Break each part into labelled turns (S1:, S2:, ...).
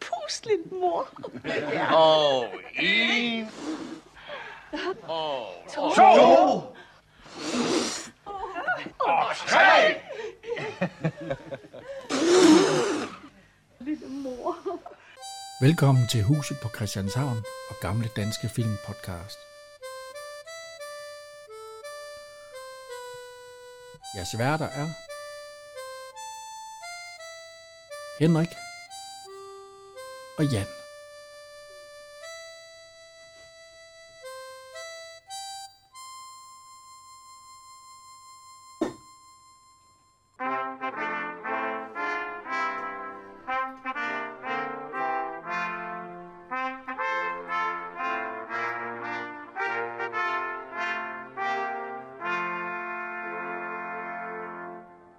S1: Vekslind, mor.
S2: Og en. Og to. Og tre.
S1: Lille mor.
S3: Velkommen til Huset på Christianshavn og Gamle Danske Film Podcast. Jeres værter er Henrik og Jan.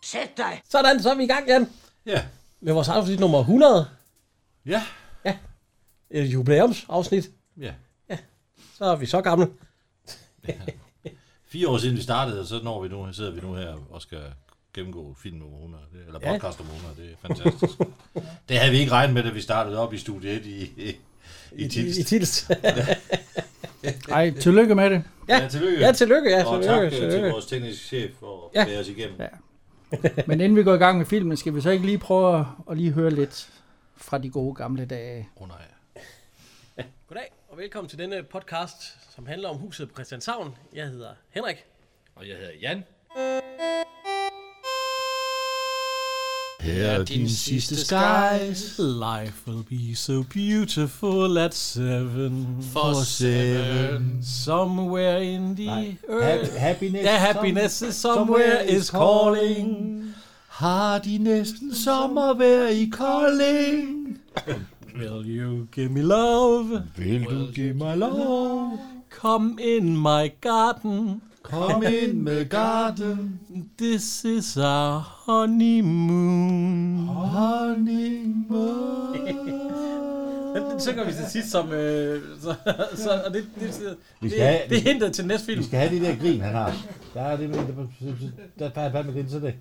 S4: Sæt dig!
S5: Sådan, så er vi i gang, Jan.
S6: Ja.
S5: Med vores afsnit nummer 100.
S6: Ja.
S5: Et jubilæumsafsnit.
S6: Ja.
S5: Så er vi så gamle.
S6: Fire år siden vi startede, og så når vi nu, sidder vi nu her og skal gennemgå film om 100, det- eller
S5: Ja.
S6: podcast om 100. Det er fantastisk. det havde vi ikke regnet med, da vi startede op i studie 1 i, i, i
S5: I, i
S6: Tilst.
S5: tils.
S3: Ej, tillykke med det.
S5: Ja.
S6: ja, tillykke.
S5: ja, tillykke. Ja,
S6: og
S5: tillykke,
S6: tak øh, til
S5: tillykke.
S6: vores tekniske chef for
S5: Ja.
S6: at bære os igennem.
S3: Ja. Men inden vi går i gang med filmen, skal vi så ikke lige prøve at- at lige høre lidt fra de gode gamle dage.
S6: Åh oh, nej.
S5: Goddag, og velkommen til denne podcast, som handler om huset på Christianshavn. Jeg hedder Henrik.
S2: Og jeg hedder Jan.
S6: Her er din sidste skies.
S7: Life will be so beautiful at seven.
S2: For seven.
S7: Somewhere in the earth.
S6: Happiness.
S7: Yeah, happiness is somewhere is calling.
S6: Har de næsten sommervejr i Kolding?
S7: Will you give me love?
S6: Vil du give mig lov?
S7: Come in my garden.
S6: Kom ind med garden.
S7: This is our honeymoon. Den synger vi til sidst som... Øh, så, så, og det, det, det,
S6: Vi
S7: det,
S6: skal have-
S7: det, er hintet til næste film.
S6: Vi skal have det der grin, han har. Der er det med, der, der peger fandme grin, så det.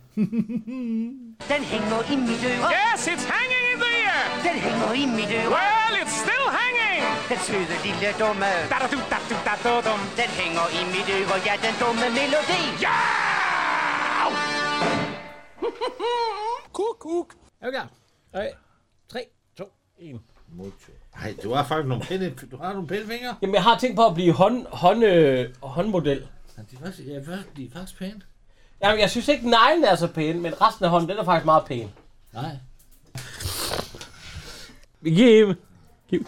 S4: Den hænger i mit øre.
S8: Yes, it's hanging in the air.
S4: Den hænger i mit øre.
S8: Well, it's still hanging.
S4: Den søde lille dumme.
S8: Da da do da do da do dum.
S4: Den hænger i mit øre. Ja, den dumme melodi. Ja!
S5: Er vi klar? Okay. 3, 2, 1.
S6: Nej, du har faktisk nogle pæne, du har nogle pæne fingre.
S5: Jamen, jeg har tænkt på at blive hånd, hånd, øh, håndmodel.
S6: Ja, de er faktisk, ja, de er faktisk pæne.
S5: Jamen, jeg synes ikke, neglen er så pæn, men resten af hånden, den er faktisk meget pæn.
S6: Nej.
S5: Giv. Giv.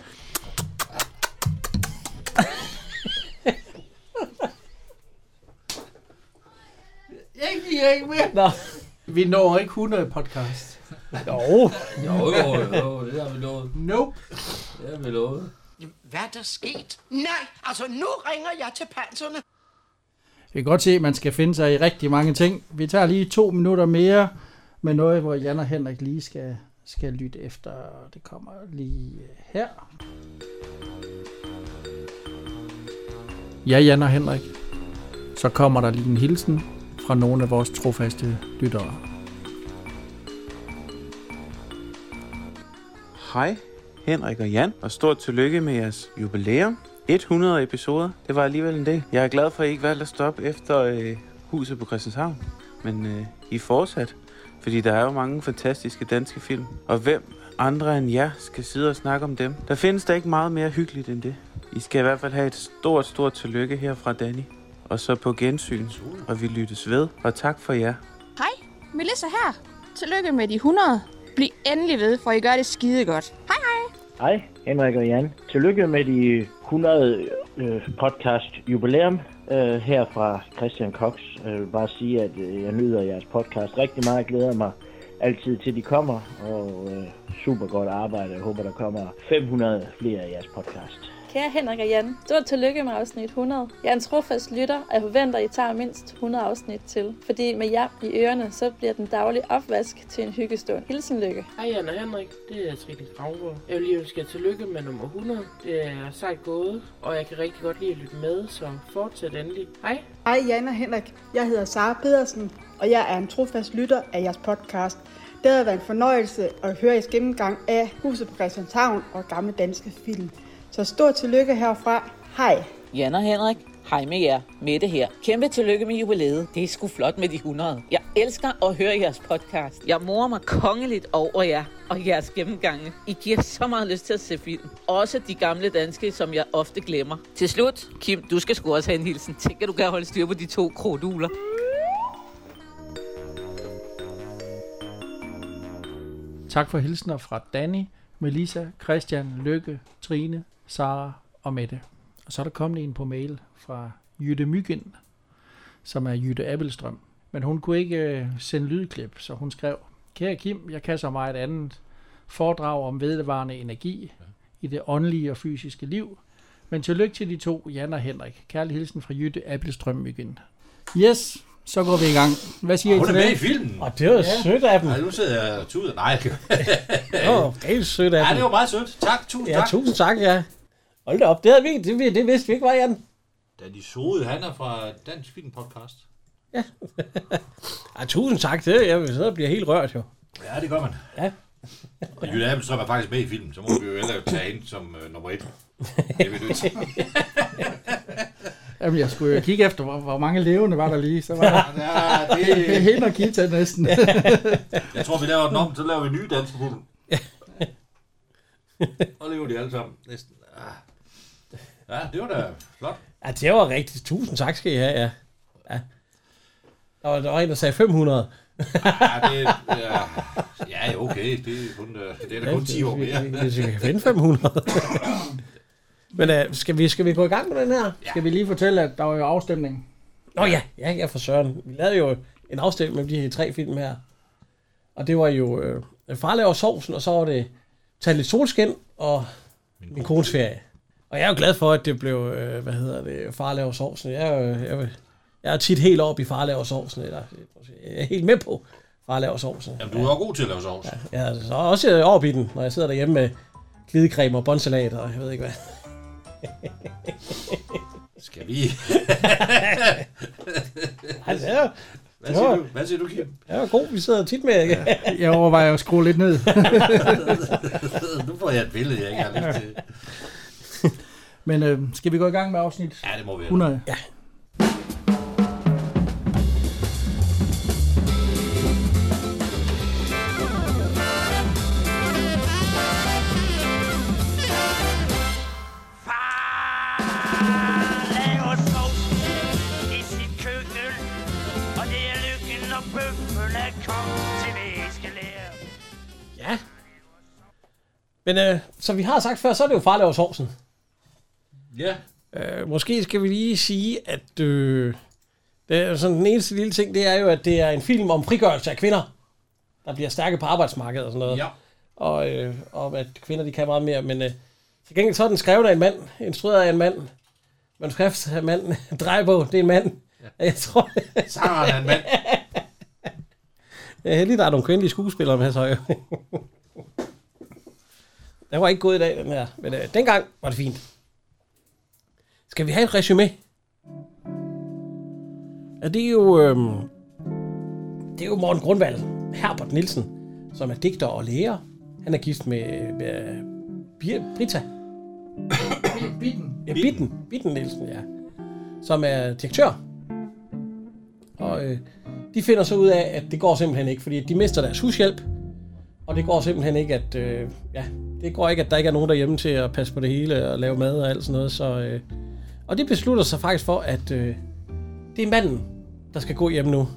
S3: Jeg giver ikke mere.
S5: Nå.
S3: Vi når ikke 100 podcast.
S5: Jo.
S9: Jo, jo, jo, det har vi lovet.
S3: Nope.
S9: Det har vi lovet.
S4: Hvad er der sket? Nej, altså nu ringer jeg til panserne.
S3: Vi kan godt se, at man skal finde sig i rigtig mange ting. Vi tager lige to minutter mere med noget, hvor Jan og Henrik lige skal, skal lytte efter. Det kommer lige øh, her. Ja, Jan og Henrik. Så kommer der lige en hilsen fra nogle af vores trofaste lyttere.
S10: Hej, Henrik og Jan, og stort tillykke med jeres jubilæum. 100 episoder, det var alligevel en del. Jeg er glad for, at I ikke valgte at stoppe efter øh, huset på Christianshavn, men øh, I er fortsat, fordi der er jo mange fantastiske danske film. Og hvem andre end jer skal sidde og snakke om dem? Der findes da ikke meget mere hyggeligt end det. I skal i hvert fald have et stort, stort tillykke her fra Danny. Og så på gensyn, og vi lyttes ved, og tak for jer.
S11: Hej, Melissa her. Tillykke med de 100. Bliv endelig ved, for I gør det skide godt. Hej hej.
S8: Hej, Henrik og Jan. Tillykke med de 100 øh, podcast jubilæum øh, her fra Christian Cox. Jeg vil bare sige, at øh, jeg nyder jeres podcast rigtig meget. Jeg glæder mig altid til de kommer, og øh, super godt arbejde. Jeg håber, der kommer 500 flere af jeres podcast.
S11: Kære Henrik og Jan, stort tillykke med afsnit 100. Jeg er en trofast lytter, og jeg forventer, at I tager mindst 100 afsnit til. Fordi med jer i ørerne, så bliver den daglige opvask til en hyggestund. Hilsen lykke.
S8: Hej Jan og Henrik, det er Trine Kravgaard. Jeg vil lige ønske jer tillykke med nummer 100. Det er sejt gået, og jeg kan rigtig godt lide at lytte med, så fortsæt endelig. Hej.
S1: Hej, Jan og Henrik. Jeg hedder Sara Pedersen, og jeg er en trofast lytter af jeres podcast.
S12: Det har været en fornøjelse at høre jeres gennemgang af Huset på Christianshavn og gamle danske film. Så stort tillykke herfra. Hej.
S13: Jan og Henrik, hej med jer. Mette her. Kæmpe tillykke med jubilæet. Det er sgu flot med de 100. Jeg elsker at høre jeres podcast. Jeg morer mig kongeligt over jer og jeres gennemgange. I giver så meget lyst til at se film. Også de gamle danske, som jeg ofte glemmer. Til slut, Kim, du skal sgu også have en hilsen. Tænk, at du kan holde styr på de to kroduler.
S3: Tak for hilsener fra Danny, Melissa, Christian, Lykke, Trine, Sara og Mette. Og så er der kommet en på mail fra Jytte Myggen, som er Jytte Appelstrøm. Men hun kunne ikke øh, sende lydklip, så hun skrev, Kære Kim, jeg kan så meget andet foredrag om vedvarende energi i det åndelige og fysiske liv. Men tillykke til de to, Jan og Henrik. Kærlig hilsen fra Jytte Appelstrøm Myggen. Yes, så går vi i gang. Hvad siger I
S6: Hun er
S3: til
S6: med
S3: det?
S6: i filmen.
S3: Og det er jo sødt af dem.
S6: Nej, nu sidder jeg og tuder. Nej.
S7: Åh, det er sødt af
S6: Ja,
S7: dem.
S6: det var meget sødt. Tak, tusind
S7: Ja,
S6: tak.
S7: tusind tak, ja. Hold da op, det, havde vi, det, vi- det vidste vi ikke, var Jan.
S6: Danny Sode, han er fra Dansk Film Podcast.
S7: Ja, tusind tak, det jeg sidder og bliver helt rørt jo.
S6: Ja, det gør man.
S7: Ja.
S6: Og Jytte Appelstrøm er faktisk med i filmen, så må vi jo ellers tage hende som øh, nummer et. Det er vi nødt til.
S3: Jamen, jeg skulle jo kigge efter, hvor, hvor mange levende var der lige. Så var der
S6: Ja, det-
S3: det er hende og Gita næsten.
S6: Jeg tror, vi laver den om, så laver vi nye danske film. Og lever de alle sammen. Næsten. Ah. Ja, det var da flot.
S7: Ja, det var rigtigt. Tusind tak skal I have, ja. ja. Der var, der var en, der sagde 500.
S6: Ja, det, ja, ja okay. Det er, kun, øh, det er da kun 10 år mere.
S7: Hvis vi- Hvis vi kan finde 500. Men øh, skal, vi, skal vi gå i gang med den her?
S3: Skal vi lige fortælle, at der var jo afstemning?
S7: Nå ja, ja, ja for søren. Vi lavede jo en afstemning mellem de her tre film her. Og det var jo øh, Far laver sovsen, og så var det Tag lidt solskin og Min, min kones ferie. Og jeg er jo glad for, at det blev, øh, hvad hedder det, Far laver sovsen. Jeg er, jo, jeg, er- jeg er tit helt oppe i Far laver sovsen, eller jeg er helt med på Far laver sovsen.
S6: Jamen, du er også god til at lave sovs.
S7: Ja, altså, så er jeg også oppe i den, når jeg sidder derhjemme med glidecreme og båndsalat, og jeg ved ikke hvad.
S6: Skal vi?
S7: Ej, det er,
S6: Hvad siger du? Hvad siger du, Kim?
S7: Det var god, vi sidder tit med. Ikke?
S3: Jeg overvejer at skrue lidt ned.
S6: nu får jeg et billede, jeg ikke har lyst til.
S3: Men øh, skal vi gå i gang med afsnit
S6: Ja, det må vi.
S3: 100?
S7: Ja.
S8: laver sovsen i sit køkken. Og det er lykken, når bøffen er kommet til væskelære.
S7: Ja. Men øh, som vi har sagt før, så er det jo far laver sovsen.
S6: Ja.
S7: Øh, måske skal vi lige sige, at øh, det er sådan, den eneste lille ting, det er jo, at det er en film om frigørelse af kvinder, der bliver stærke på arbejdsmarkedet og sådan noget.
S6: Ja.
S7: Og øh, om, at kvinder de kan meget mere, men øh, til gengæld så er den skrevet af en mand, instrueret af en mand, manuskript af en mand, drejebog, det er en mand. Ja. Jeg tror,
S6: Sangeren er en mand.
S7: Jeg er heldig, der er nogle kvindelige skuespillere med, så jo. Den var ikke god i dag, den her. Men øh, dengang var det fint. Skal vi have et resume? Ja, det er jo... Øh, det er jo Morten Grundvald, Herbert Nielsen, som er digter og læger. Han er gift med, med Bir- Brita. Bitten. Ja, Bitten. Bitten Nielsen, ja. Som er direktør. Og øh, de finder så ud af, at det går simpelthen ikke, fordi de mister deres hushjælp. Og det går simpelthen ikke, at øh, ja, det går ikke, at der ikke er nogen derhjemme til at passe på det hele og lave mad og alt sådan noget. Så, øh, og de beslutter sig faktisk for, at øh, det er manden, der skal gå hjem nu.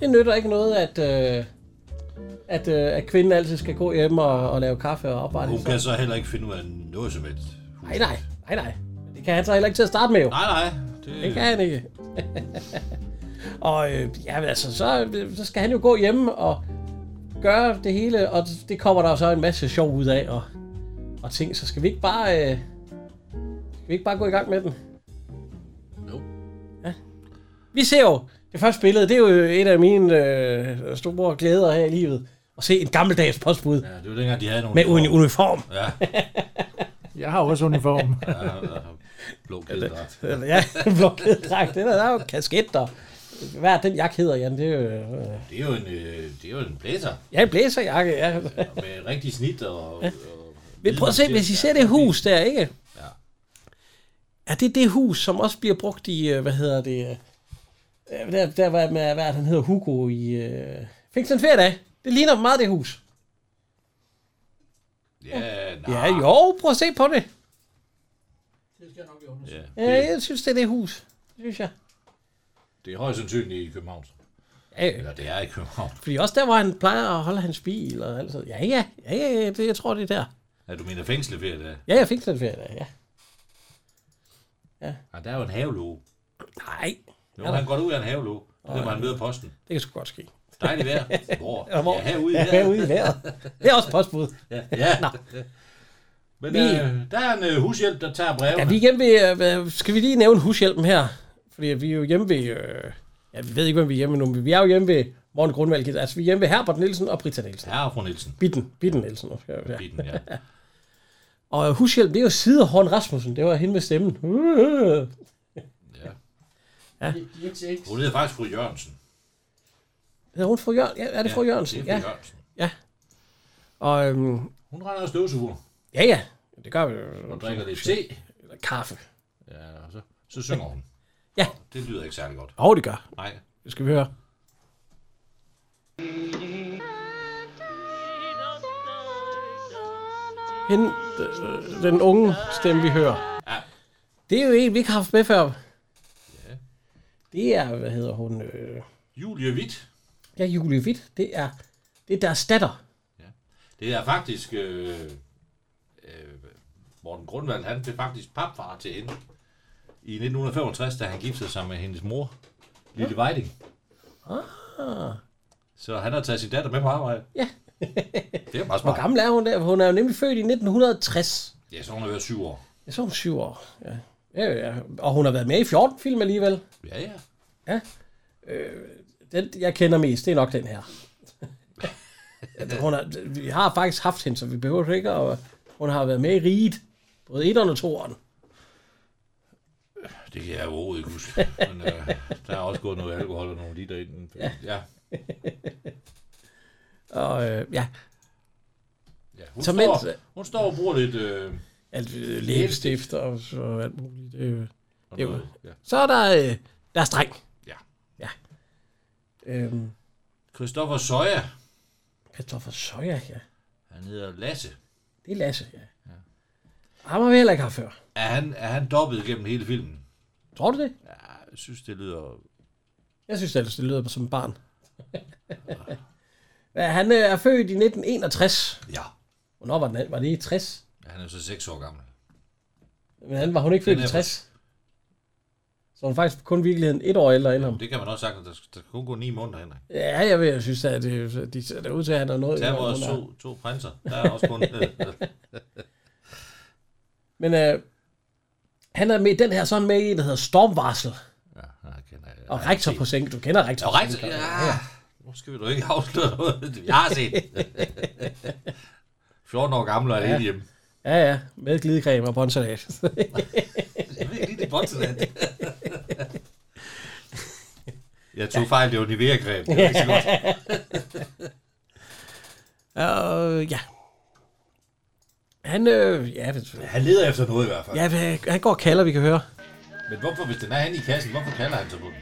S7: Det nytter ikke noget, at, øh, at, øh, at kvinden altid skal gå hjem og, og lave kaffe og arbejde.
S6: Hun kan så heller ikke finde ud af noget som helst.
S7: Nej, nej, nej, nej. Men Det kan han så heller ikke til at starte med, jo.
S6: Nej, nej.
S7: Det, det kan han ikke. og øh, ja, men altså, så, så skal han jo gå hjemme og gøre det hele, og det kommer der jo så en masse sjov ud af, og, og ting, så skal vi ikke bare... Øh, skal vi ikke bare gå i gang med den?
S6: Jo.
S7: Ja. Vi ser jo det første billede, det er jo et af mine øh, store glæder her i livet. At se en gammeldags postbud.
S6: Ja, det var dengang, de havde nogle...
S7: Med uni- uniform.
S6: Ja.
S3: Jeg har også uniform.
S6: ja, ja, ja. Blå kædedragt.
S7: Eller, Ja, en blå kædedragt. Det der, der er jo kasket der. Hvad er den jakke hedder, Jan? Det er jo... Øh,
S6: Det er jo en, øh, det er jo en blæser.
S7: ja, en blæserjakke, ja.
S6: Med rigtig snit og...
S7: Ja. Men prøv at se, hvis I ser det hus der, ikke? Ja. Er det det hus, som også bliver brugt i, øh, hvad hedder det, øh, der, der var med, hvad er det, han hedder, Hugo i øh, Fik en feriedag? Det ligner meget det hus.
S6: Ja, nej.
S7: Ja, jo, prøv at se på det.
S6: Ja.
S7: Ja, jeg synes, det er det hus, synes jeg.
S6: Det er højst sandsynligt i København.
S7: Ja.
S6: Eller det er i København.
S7: Fordi også der, hvor han plejer at holde hans bil og alt sådan. Ja, ja, ja, ja, ja, det, jeg tror, det er der.
S6: Ja, du mener fængsle hver dag?
S7: Ja, jeg fik en feriedag, ja.
S6: Ja, Ah, der er jo en havelåge.
S7: Nej.
S6: Jo, han går ud af en havelåge. Det var han ved posten.
S7: Det kan sgu godt ske.
S6: Dejligt vejr. Hvor?
S7: Ja, hvor?
S6: Ja, herude i
S7: ja,
S6: vejret.
S7: herude i vejret. Det er også postbud.
S6: Ja, ja.
S7: Nå.
S6: Men
S7: Vi-
S6: øh, der er en øh, hushjælp, der tager brevene.
S7: Ja, vi er hjemme ved, øh, hvad- skal vi lige nævne hushjælpen her? Fordi vi er jo hjemme ved, øh, ja, vi ved ikke, hvem vi er hjemme nu, men vi er jo hjemme ved Morten Grundvald. Altså, vi er hjemme ved Herbert Nielsen og Britta Nielsen.
S6: Ja, fru Nielsen.
S7: Bitten, Bitten Nielsen. nu skal jeg- Ja.
S6: Bitten, ja.
S7: og øh, hushjælpen, det er jo Sidehorn Rasmussen. Det var hende med stemmen. Uh. Ja.
S6: Hun hedder faktisk fru Jørgensen.
S7: Hedder hun fru Jørgensen? Ja, er det
S6: Ja,
S7: fru Jørgensen?
S6: det er fru Jørgensen.
S7: Ja. Og, øhm,
S6: Hun render og støvsuger.
S7: ja, ja. Det gør vi jo.
S6: Hun drikker lidt te.
S7: Eller kaffe.
S6: Ja, og så, så synger hun.
S7: Ja.
S6: Det lyder ikke særlig godt.
S7: Åh, oh, det gør.
S6: Nej.
S7: Det skal vi høre. Hende, øh, den unge stemme, vi hører.
S6: Ja.
S7: Det er jo en, vi ikke har haft med før. Ja. Det er, hvad hedder hun? Øh,
S6: Julie Witt.
S7: ja, Julie Witt. Det er, det er deres datter.
S6: Det er faktisk... Øh, øh, Morten Grundvald, han blev faktisk papfar til hende. I 1965, da han giftede sig med hendes mor, Lille Weiding.
S7: Ah,
S6: Så han har taget sin datter med på arbejde.
S7: Ja.
S6: det er meget smart.
S7: hvor gammel er hun der? Hun er jo nemlig født i 1960.
S6: Ja, så hun har været syv år.
S7: Jeg så hun er syv år. Ja. Ja, ja. Og hun har været med i 14 film alligevel.
S6: Ja, ja.
S7: Ja. Øh, den, jeg kender mest, det er nok den her. At hun har, vi har faktisk haft hende, så vi behøver ikke at... Hun har været med i riget. Både etteren og toeren.
S6: Det kan jeg overhovedet ikke huske. Men øh, der er også gået noget alkohol og nogle liter ind. Ja. ja.
S7: Og øh, ja,
S6: ja. Hun,
S7: Så
S6: så
S7: mens-
S6: står, hun står og bruger lidt... Øh,
S7: alt øh, læbestift og, så alt muligt. Det, er jo- det, er jo-
S6: noget, ja.
S7: Så er der, øh, der er streng.
S6: Ja.
S7: Ja. Øhm,
S6: Christoffer Søjer.
S7: Christoffer Søjer, ja.
S6: Han hedder Lasse.
S7: Det er Lasse, ja. ja. Ham har vi heller ikke haft før.
S6: Er han, er han dobbet gennem hele filmen?
S7: Tror du det?
S6: Ja, jeg synes, det lyder...
S7: Jeg synes ellers, det lyder som et barn. Ja, han øh, er født i 1961.
S6: Ja.
S7: Hvornår var, den, var det i 60?
S6: Han er så 6 år gammel.
S7: Men han var hun ikke født
S6: Den
S7: i
S6: er
S7: 60. Så hun er faktisk kun i virkeligheden et år ældre end ham.
S6: Det kan man også sagtens. Der skal, der skal kun gå 9 måneder, Henrik.
S7: Ja, jeg ved, jeg synes, at det, de ser da ud til, at han er noget.
S6: Tag
S7: yngre,
S6: vores
S7: end hun er.
S6: to, to prinser. Der er også kun...
S7: Men øh, han er med i den her sådan med i, der hedder Stormvarsel. Og rektor på sænken. Du kender rektor
S6: Og
S7: på
S6: rektor-
S7: sænken.
S6: ja. Nu skal vi da ikke afsløre noget. Jeg har set. 14 år gammel og er
S7: Ja.
S6: helt hjemme.
S7: Ja, ja. Med glidecreme og bonsalat.
S6: Jeg ved ikke lige, det er Bonsalat. Jeg tog fejl, det var Nivea-creme. Det var ikke så godt.
S7: Øh, ja. Han, øh, ja,
S6: Han leder efter noget i hvert fald.
S7: ja, hvad- han går og kalder, vi kan høre.
S6: Men hvorfor, hvis den er henne i kassen, hvorfor kalder han så på den?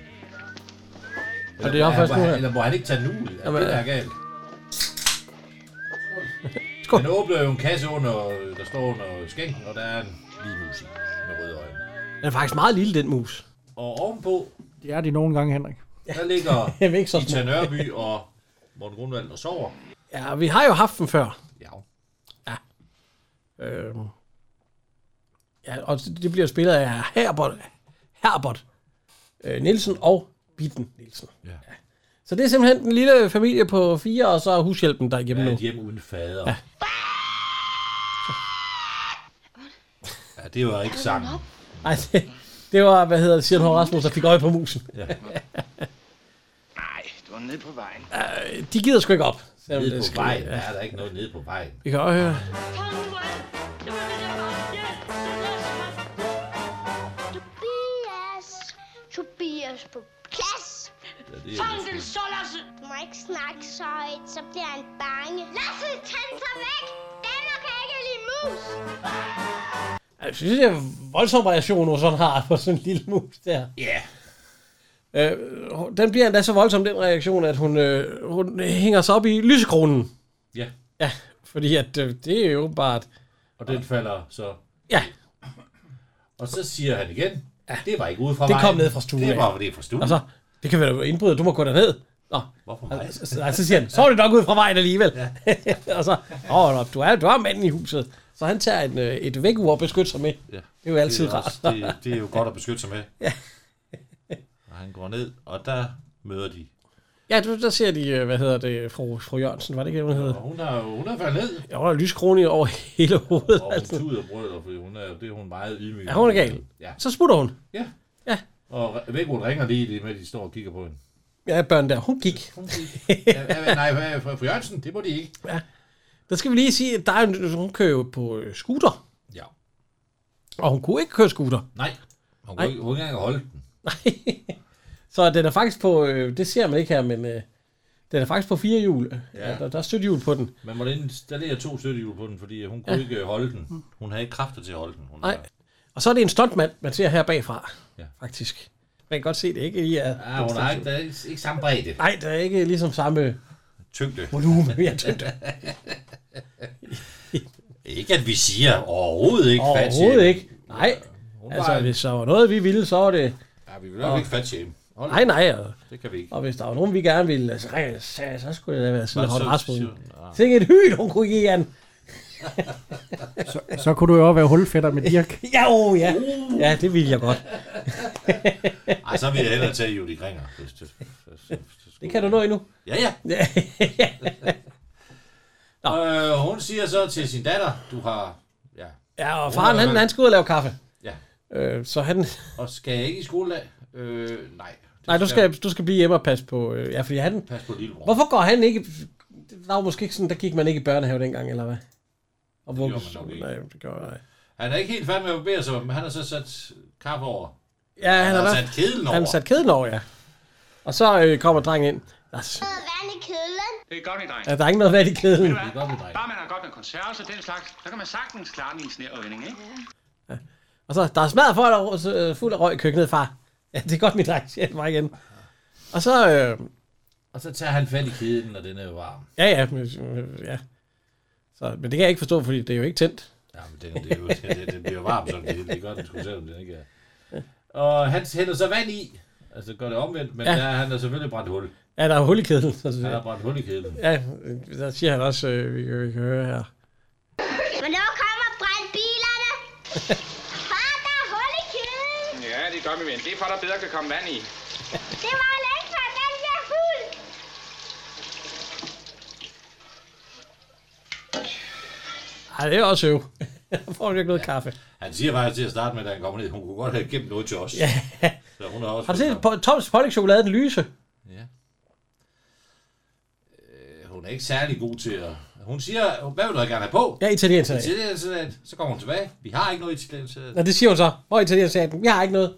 S6: Eller,
S7: det er
S6: må
S7: først
S6: han-
S7: nu her.
S6: Eller må han ikke tage den ud? Er
S7: Jamen,
S6: det, der er
S7: øh.
S6: galt? Skål. Den åbner jo en kasse, under, der står under skænken, og der er en lille mus i med røde øjne.
S7: Den er faktisk meget lille, den mus.
S6: Og ovenpå,
S3: Det er de nogle gange, Henrik.
S6: der ligger
S7: Jeg ved ikke så
S6: Ita Nørby og Morten Grundvald og sover.
S7: Ja, vi har jo haft den før.
S6: Ja.
S7: Ja. Øh, ja, og det bliver spillet af Herbert, Herbert øh, Nielsen og Bitten Nielsen.
S6: Ja.
S7: Så det er simpelthen den lille familie på fire, og så er hushjælpen der er
S6: Hjemme
S7: hjemme
S6: ja,
S7: nu.
S6: et hjem uden fader. Ja. ja, det var ikke sangen.
S7: Ej, det, det var, hvad hedder det, siger hun Rasmus, der fik øje på musen.
S6: Ja.
S2: Nej, du er nede på vejen.
S7: Øh, De gider sgu ikke op. selvom
S6: Nede
S7: det
S6: på
S7: skriger.
S6: vejen. Der er der ikke noget nede på vejen.
S7: Vi kan også høre.
S14: Tobias på plads.
S6: Ja, det er
S14: Fang den så, Lasse! Du må ikke snakke så højt, så bliver han bange. Lasse, tag den så væk! Danmark kan ikke lide mus!
S7: Jeg synes, det er voldsom reaktion, hun sådan har på sådan en lille mus der.
S6: Ja.
S7: Yeah. Øh, den bliver endda så voldsom, den reaktion, at hun, øh, hun hænger sig op i lysekronen.
S6: Ja.
S7: Ja, fordi at, øh, det er jo åbenbart...
S6: Og den falder så...
S7: Ja.
S6: Og så siger han igen, det var ikke ude fra
S7: det
S6: vejen.
S7: kom ned fra stuen.
S6: Det
S7: af.
S6: var det fra stuen.
S7: Og så, det kan være indbryder, du må gå derned. Nå.
S6: Hvorfor
S7: mig? Så, så, så siger han, så er det nok ud fra vejen alligevel. Ja. og så, åh, nå, du er, du er manden i huset. Så han tager en, øh, et vækkeur og beskytter sig med.
S6: Ja.
S7: Det er jo altid
S6: det er også-
S7: rart.
S6: Det, det er jo godt at beskytte sig med. ja. Og han går ned, og der møder de.
S7: Ja, du, der ser de, øh, hvad hedder det, fru, fru Jørgensen, var det ikke, hun hed?
S6: Hun har hun er faldet ned.
S7: Ja, hun har lyskrone over hele hovedet. altså.
S6: Og hun tuder brødder, fordi hun er, det er hun meget ydmyg.
S7: Ja, hun er gal.
S6: Ja.
S7: Så smutter hun.
S6: Ja. Og Vækbrun ringer lige, lige med, at de står og kigger på hende.
S7: Ja, børn der, hun gik.
S6: Ja, ja, nej, hvad- for, for Jørgensen, det må de ikke.
S7: Ja. Der skal vi lige sige, at der er, en- hun kører jo på øh, scooter.
S6: Ja.
S7: Og hun kunne ikke køre scooter.
S6: Nej, hun kunne ikke hun kunne ikke engang holde den.
S7: Så den er faktisk på, øh, det ser man ikke her, men øh, den er faktisk på fire hjul.
S6: Ja.
S7: Ja. der, der er støttehjul på den.
S6: Man måtte installere to støttehjul på den, fordi hun kunne
S7: Ja.
S6: ikke øh, holde den. Hun havde ikke kræfter til at holde den. Hun
S7: Nej. Og så er det en stuntmand, man ser her bagfra,
S6: Ja.
S7: ja. faktisk. Man kan godt se det, ikke? I er,
S6: Ja, hun har ikke, der er ikke, ikke samme bredde.
S7: Nej, der er ikke ligesom samme
S6: Tyngde.
S7: volumen. Ja, tyngde.
S6: Ikke at vi siger overhovedet ikke fat
S7: Overhovedet ikke. Nej.
S6: Hun
S7: Altså,
S6: var-
S7: hvis der var noget, vi ville, så var det...
S6: Ja, vi vil nok
S7: Og-
S6: ikke fat shame. Hold
S7: Nej,
S6: op.
S7: nej. Og,
S6: Det kan vi ikke.
S7: og hvis der var nogen, vi gerne ville, så, ringede jeg, så, så skulle det da være sådan,
S6: Var
S7: at
S6: det
S7: holde
S6: så-
S7: Rasmus.
S6: så- ah.
S7: Tænk et hyl, hun kunne give an. så,
S3: Så kunne du jo også være hulfætter med Dirk.
S7: Ja, oh, ja.
S6: uh.
S7: ja, det ville jeg godt.
S6: Ej, så vil jeg hellere tage Judy Kringer. hvis det- så- så- så-
S7: Det kan du nå endnu.
S6: Ja, ja. Øh, hun siger så til sin datter, du har... Ja,
S7: ja, og
S6: Hun
S7: faren,
S6: har-
S7: han, han skulle ud og lave kaffe.
S6: Ja.
S7: Øh, så han...
S6: Og skal jeg ikke i skole af? Øh, nej. Det
S7: Nej, du skal, du skal blive hjemme og passe på... Øh, ja, fordi han...
S6: Pas på lillebror.
S7: Hvorfor går han ikke... Der var måske ikke sådan, der gik man ikke i børnehave dengang, eller hvad? Og
S6: Det gjorde
S7: vugges-
S6: man nok ikke.
S7: Nej, det gjorde man ikke.
S6: Han er ikke helt færdig med at barbere sig, men han har så sat kaffe over.
S7: Ja, han,
S6: har
S7: er
S6: sat kedlen over.
S7: Han har sat kedlen over, ja. Og så øh, kommer drengen ind. Der er, s-
S14: Vand i kedlen.
S15: Det er godt i dreng.
S7: Ja, der er ikke noget vand i kedlen.
S15: Ved du hvad?
S7: Det er godt i dreng.
S15: Bare man har godt med konserves og den slags, så kan man sagtens klare den i en snæver vending, ikke?
S7: og så, der er smadret for, der, øh, fuld af røg i køkkenet, far. Ja, det er godt, min dreng siger han mig igen. Og så... Øh,
S6: Og så tager han fat i keden, og den er jo varm.
S7: ja, ja, men, øh, ja. Så, men det kan jeg ikke forstå, fordi det er jo ikke tændt.
S6: Jamen, den, det er jo, den, den bliver jo varm, så det, det gør den sgu selvom den ikke er. Og han hælder så vand i. Altså gør det omvendt, men ja.
S7: Ja.
S6: der, han er selvfølgelig brændt hul.
S7: Ja, der er hul i kedlen. Så,
S6: Han har brændt hul i kedlen.
S7: Ja, øh, der siger han også, øh, vi, kan, vi kan høre her.
S14: Men nu kommer brændt bilerne. Far, der er hul i kedlen.
S15: Ja, det gør vi, men det er for, at der bedre kan komme vand i.
S14: Det var længe før, den bliver fuld.
S7: Ej, det er også øv. Jeg får ikke noget ja. kaffe.
S6: Han siger faktisk til at starte med, da han kommer ned, hun kunne godt have gemt noget til os.
S7: Ja.
S6: Så hun har også...
S7: Har du set på Toms Pollock-chokolade, den lyse?
S6: Ja. Øh, hun er ikke særlig god til at... Hun siger, hvad vil du gerne have på?
S7: Ja, italiensk salat.
S6: Italiensk salat. Så kommer hun tilbage. Vi har ikke noget italiensk salat.
S7: Nå, det siger hun så. Hvor er italiensk sagde den? Jeg har ikke noget.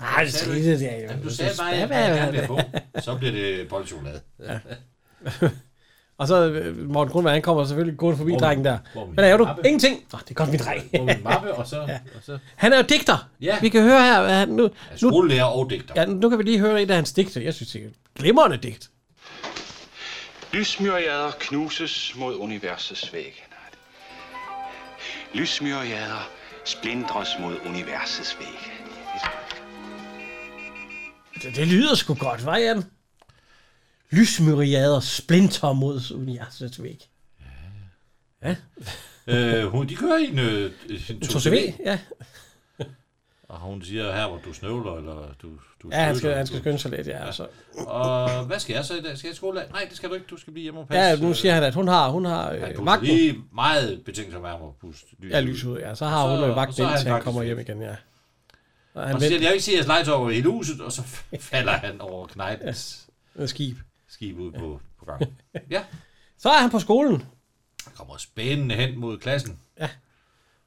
S7: Nej, det
S6: Sagde
S7: er
S6: du
S7: rigtigt,
S6: ikke?
S7: ja.
S6: Jamen, du sagde bare,
S7: Ja,
S6: at
S7: hvad-
S6: jeg gerne vil have på. Så bliver det boldchokolade.
S7: Ja. Og så øh, Morten Grundvand, han kommer selvfølgelig gående forbi
S6: Hvor er
S7: drengen
S6: min-
S7: der.
S6: hvor er min
S7: Hvad laver du?
S6: mappe?
S7: Ingenting. Nå, det er godt, min dreng.
S6: Hvor min mappe, og så... Og så
S7: Han er jo digter.
S6: Ja.
S7: Vi kan høre her, hvad han nu...
S6: skolelærer og digter.
S7: Ja, nu kan vi lige høre et af hans digte. Jeg synes, det er et glimrende digt.
S15: Lysmyrjader knuses mod universets væg. Lysmyrjader splindres mod universets væg.
S7: Det, det lyder sgu godt, hva' Jan? Lysmyriader splinter mod universets væg.
S6: Øh, hun, de kører i en, øh, en
S7: 2CV, ja.
S6: Og hun siger, her hvor du snøvler, eller du, du
S7: Ja, han skal,
S6: snøvler,
S7: han skal
S6: du-
S7: skynde sig lidt, ja. altså. ja. Så.
S6: Og hvad skal jeg så i dag? Skal jeg i skole? Nej, det skal du ikke. Du skal blive hjemme og passe.
S7: Ja, nu siger han, at hun har, hun har
S6: Han
S7: øh,
S6: puster
S7: magten.
S6: lige meget betinget som at puste lys
S7: Ja, lys ud, ja. Så har hun jo
S6: og
S7: vagt
S6: så er
S7: indtil han
S6: faktisk
S7: kommer
S6: væk.
S7: hjem igen, ja. Og
S6: Og
S7: han
S6: så
S7: venter
S6: siger, han, jeg vil ikke se jeres legetøj over hele huset, og så falder han over knejpens
S7: med skib.
S6: skib ud på, på gangen. Ja.
S7: Så er han på skolen,
S6: Han kommer spændende hen mod klassen.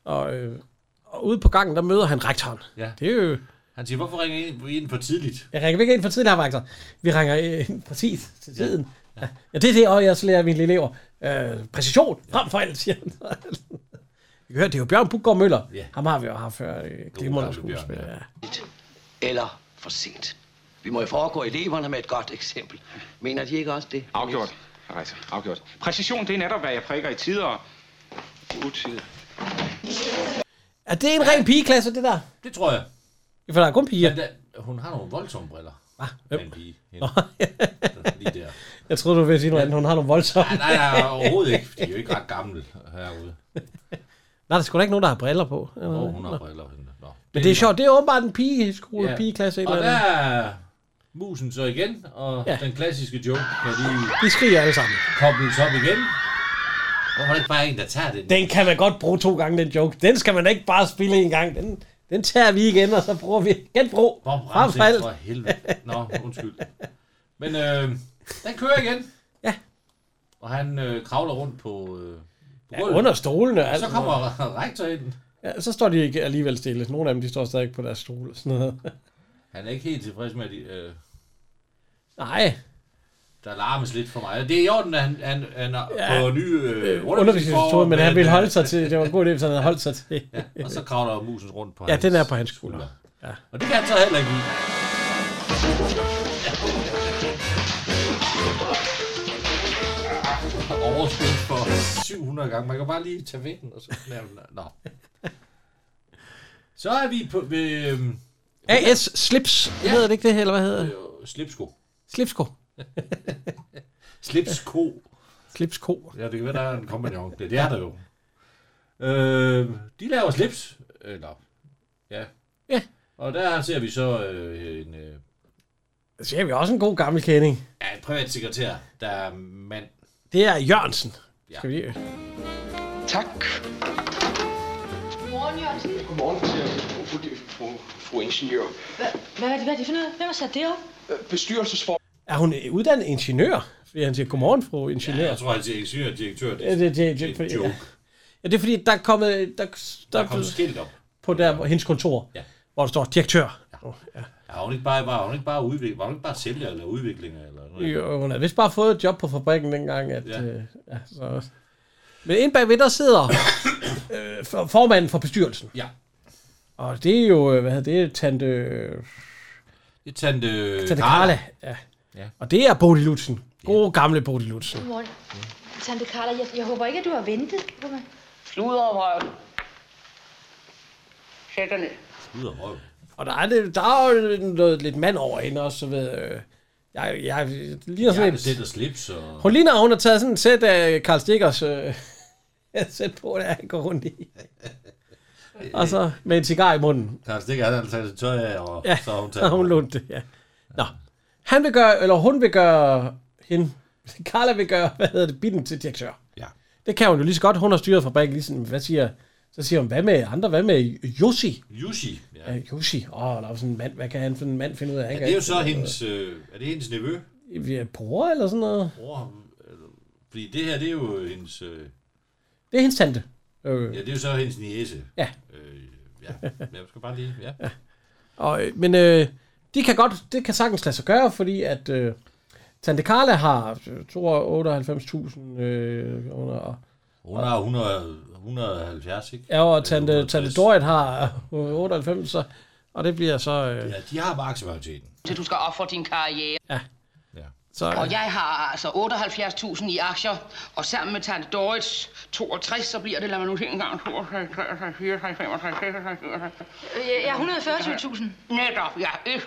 S7: og, øh, og ude på gangen, der møder han rektoren.
S6: Ja.
S7: Det er jo
S6: Han siger, hvorfor ringer I ind- I ind for tidligt?
S7: Jeg ringer ikke ind for tiden, her, Vagter. Vi ringer øh, ind præcis til tiden. Ja, ja det er det, og jeg så lærer mine elever. Øh, præcision, frem for alt, siger han. Vi kan høre, det er jo Bjørn Buggaard Møller.
S16: Ja.
S7: Ham har vi jo haft før. Øh, glimrende
S16: gamle Bjørn,
S7: skuespil. Ja.
S2: Eller for sent. Vi må jo foregå eleverne med et godt eksempel. Mener de ikke også det?
S15: Afgjort. Altså, afgjort. Præcision, det er netop, hvad jeg prikker i tider og utider.
S7: Er det en ren pigeklasse, det der?
S6: Det tror jeg.
S7: For der er kun piger.
S6: Men da, hun har nogle voldsomme briller.
S7: Ah,
S6: hvem? En pige.
S7: Nå.
S6: Hende. Lige der.
S7: Jeg troede, du ville sige noget andet. Hun har nogle voldsomme.
S6: Nej, nej, nej, overhovedet ikke. for De er jo ikke ret gamle herude.
S7: Nej, der er sgu da ikke nogen, der har briller på.
S6: Åh, oh, hun har briller. Hende. Nå.
S7: Men det er sjovt, det er åbenbart en pige, skole,
S6: Ja.
S7: yeah. pigeklasse eller
S6: Og
S7: andet.
S6: der er musen så igen, og ja. den klassiske joke kan lige
S7: De skriger alle sammen.
S6: kobles op igen. Hvorfor er det ikke bare en, der tager den?
S7: Den kan man godt bruge to gange, den joke. Den skal man ikke bare spille en gang. Den, den tager vi igen, og så bruger vi genbrug. Frem
S6: Ramsen,
S7: for alt.
S6: for helvede. Nå, undskyld. Men øh, den kører igen.
S7: Ja.
S6: Og han øh, kravler rundt på, øh, på
S7: Ja, under stolene og
S6: Og
S7: alt
S6: så kommer rektor ind.
S7: Ja, så står de ikke alligevel stille. Nogle af dem, de står stadig på deres stole og sådan
S6: Øh,
S7: noget.
S6: Han er ikke helt tilfreds med, at de, øh,
S7: Nej.
S6: der larmes lidt for meget. Det er i orden, at han, han, han er ja. på nye øh,
S7: Undervisningsmetode, men han ville holde sig til, det var en god idé, hvis han havde holdt sig til.
S6: Og så kravler musen rundt på
S7: Ja,
S6: hans
S7: den er på hans skulder. Ja.
S6: Og det kan han så heller ikke lide. øh, Overskud for 700 gange. Man kan bare lige tage ved den, og så knæver den. Nå. Så er vi på, ved øhm,
S7: AS Slips, ja. hedder det ikke det, eller hvad
S6: Øh.
S7: hedder det?
S6: slipsko.
S7: Slipsko.
S6: Slipsko.
S7: Slipsko.
S6: Ja, det kan være, der er en kompagnon. Det, det er der jo. Øh, de laver slips. Eller, ja.
S7: Ja.
S6: Og der ser vi så øh, en øh,
S7: Så ser vi også en god gammel kending.
S6: ja, en privatsekretær, der er mand.
S7: Det er Jørgensen.
S6: Ja.
S7: Skal vi lige...
S17: Tak.
S11: Godmorgen, Jørgensen.
S17: Godmorgen, fru, fru, fru, fru ingeniør.
S11: Hvad, hvad, er det- hvad er det for noget? Hvem har sat det op?
S17: Øh, Bestyrelsesform.
S7: Er hun øh, uddannet ingeniør? Fordi han siger, godmorgen, fru ingeniør.
S6: Ja, jeg tror, han siger ingeniør direktør.
S7: Ja, det, det, det,
S6: det er
S7: fordi,
S6: en
S7: ja.
S6: joke.
S7: ja, det er fordi, der er kommet... Der,
S6: Der er kommet skilt op.
S7: På der, hvor hendes kontor, ja. hvor der står direktør. Ja.
S6: Ja, var hun ikke bare, var hun ikke bare, udvik, var hun ikke bare sælger eller udviklinger? Eller noget?
S7: Jo, hun havde vist bare fået et job på fabrikken dengang. At, ja.
S6: Ja.
S7: Øh, ja, så. Men inde bagved, der sidder øh, for- formanden for bestyrelsen.
S6: Ja.
S7: Og det er jo, øh, hvad hedder det, Tante, øh,
S6: Det er tante,
S7: tante Carla. Ja.
S6: Ja.
S7: Og det er Bodil Lutzen. God gamle Bodil Lutzen.
S11: Godmorgen. Tante Carla, jeg, jeg håber ikke, at du har ventet på mig.
S18: Sluderrøv. Sæt dig ned.
S6: Sluderrøv.
S7: Og der er, det, der er jo noget, lidt mand over hende også, så ved øh, jeg, jeg, jeg ligner
S6: Jeg
S7: sådan en,
S6: har set og slips og...
S7: Hun ligner, at hun har taget sådan et sæt af Karl Stikkers øh, sæt på, der han går rundt i. Og så med en cigar i munden.
S6: Karl Stikker, han har taget sit tøj af, og
S7: Ja,
S6: så har hun
S7: så har
S6: taget
S7: hun lånt det, ja. Nå, han vil gøre, eller hun vil gøre hende, Carla vil gøre, hvad hedder det, bitten til direktør.
S6: Ja.
S7: Det kan hun jo lige så godt, hun har styret fabrikken, ligesom, hvad siger, så siger hun, hvad med andre, hvad med Jussi?
S6: Jussi, ja.
S7: ja Jussi, åh, oh, der er jo sådan en mand, hvad kan han for en mand finde ud af? Han
S6: Ja,
S7: kan
S6: det er jo
S7: ikke
S6: så
S7: finde ud af
S6: hendes, øh, er det hendes nevø?
S7: noget. Ja, Bror eller sådan noget?
S6: Bror, eller, fordi det her, det er jo hendes, øh,
S7: Det er hendes tante. Øh.
S6: ja, det er jo så hendes niese.
S7: Ja.
S6: Øh, ja, Men jeg skal bare lige, ja.
S7: Og, øh, men øh, de kan godt, det kan sagtens lade sig gøre, fordi at øh, Tante Carla har 298.000 øh, kroner, og,
S6: Hun har 100, 170, ikke?
S7: ja, og Tante, Tante Dorit har øh, 98, så, og det bliver så... Øh,
S6: Ja, de har bare aktiemajoriteten.
S18: Til du skal ofre din karriere.
S7: Ja. Så,
S18: Og jeg har altså 78.000 i aktier, og sammen med Tante Dorits 62, så bliver det, lad mig nu tænke en gang, 62, 63, 64, 65, 66, 67.
S11: Øh, Jeg, jeg har 140.000.
S18: Netop, ja, 140.000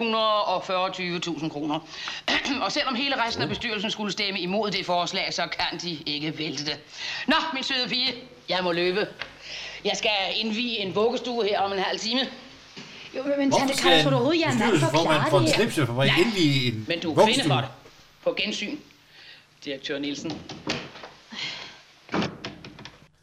S18: kroner. og selvom hele resten af bestyrelsen skulle stemme imod det forslag, så kan de ikke vælte det. Nå, min søde pige, jeg må løbe. Jeg skal indvige en vuggestue her om en halv time.
S11: Jo, men- men tante Carla, tror du overhovedet, jeg er mand for at klare
S6: for en
S11: det her?
S6: slipsefabrik
S18: Nej,
S6: inde i en
S18: Men du er
S6: vuggestue?
S18: kvinde for det. På gensyn, direktør Nielsen.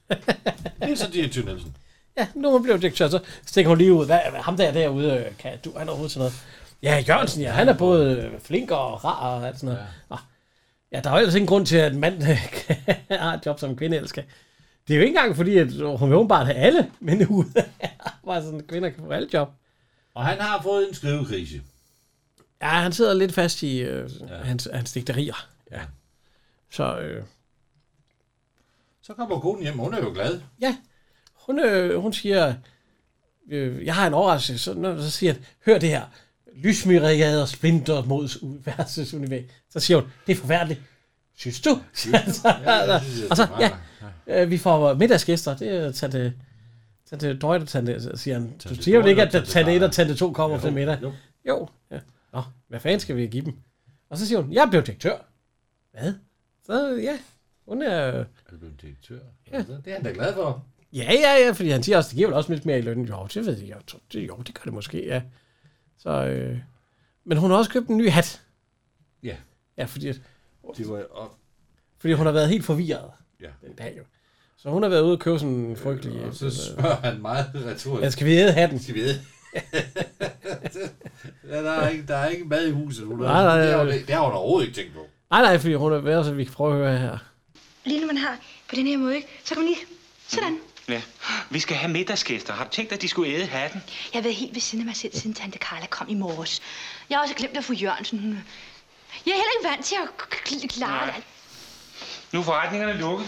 S6: Det er så direktør Nielsen.
S7: ja, nu er hun blevet direktør, så stikker hun lige ud. Hvad, hvad ham der derude, øh, kan du, han er overhovedet til noget? Ja, Jørgensen, ja, han er både øh, flink og rar og alt sådan noget. Ja. Ja, der er jo ellers ingen grund til, at en mand har et job som en kvinde elsker. Det er jo øh, ikke engang fordi, at hun vil åbenbart have alle mænd ude. Bare sådan, at kvinder kan få alle job.
S6: Og han har fået en skrivekrise.
S7: Ja, han sidder lidt fast i øh, ja. hans, hans digterier. Ja. Så, øh,
S6: Så kommer konen hjem, og hun er jo glad.
S7: ja, hun, øh, hun siger, øh, jeg har en overraskelse, så, når, så siger han, hør det her, lysmyriader splinter mod universets univers. Så siger hun, det er forfærdeligt. Synes du? Ja,
S16: jeg synes, det er
S7: og så, ja,
S16: meget-
S7: øh, vi får middagsgæster, det er tante, tante Drøjt og tante, siger han. Du siger jo
S16: Dorte
S7: ikke,
S16: og tante
S7: at tante 1
S16: Drejer.
S7: og tante 2 kommer
S16: Jo,
S7: til middag.
S16: jo.
S7: Jo. Ja. Nå, hvad fanden skal vi give dem? Og så siger hun, jeg blev direktør. Hvad? Så ja, hun er... Er
S6: du blevet direktør? Ja. Det er han da glad for.
S7: Ja, ja, ja, fordi han siger også, det giver vel også lidt mere i løn. Jo, det ved jeg. jeg tror, det, jo, det gør det måske, ja. Så, øh, men hun har også købt en ny hat.
S6: Ja.
S7: Ja, fordi, at-
S6: Det var op.
S7: fordi hun har været helt forvirret
S6: Ja.
S7: den dag jo. Så hun har været ude og købe sådan en frygtelig...
S6: Øh, Og så spørger han meget retorisk.
S7: Ja, skal vi æde hatten?
S6: Skal vi æde? ja, der, er ikke, der er ikke mad i huset. Hun har-
S7: Nej, nej,
S6: det, har hun,
S7: nej.
S6: det har hun overhovedet ikke tænkt på.
S7: Nej, nej, fordi hun har været, så vi kan prøve at høre her.
S11: Lige når man har på den her måde, ikke? så kan man lige... Sådan.
S5: Ja. Vi skal have middagsgæster. Har du tænkt, at de skulle æde hatten?
S11: Jeg har været helt ved siden af mig selv, siden tante Carla kom i morges. Jeg har også glemt at få Jørgensen. hun- Jeg er heller ikke vant til at k- k- klare det.
S5: Nu er forretningerne lukket.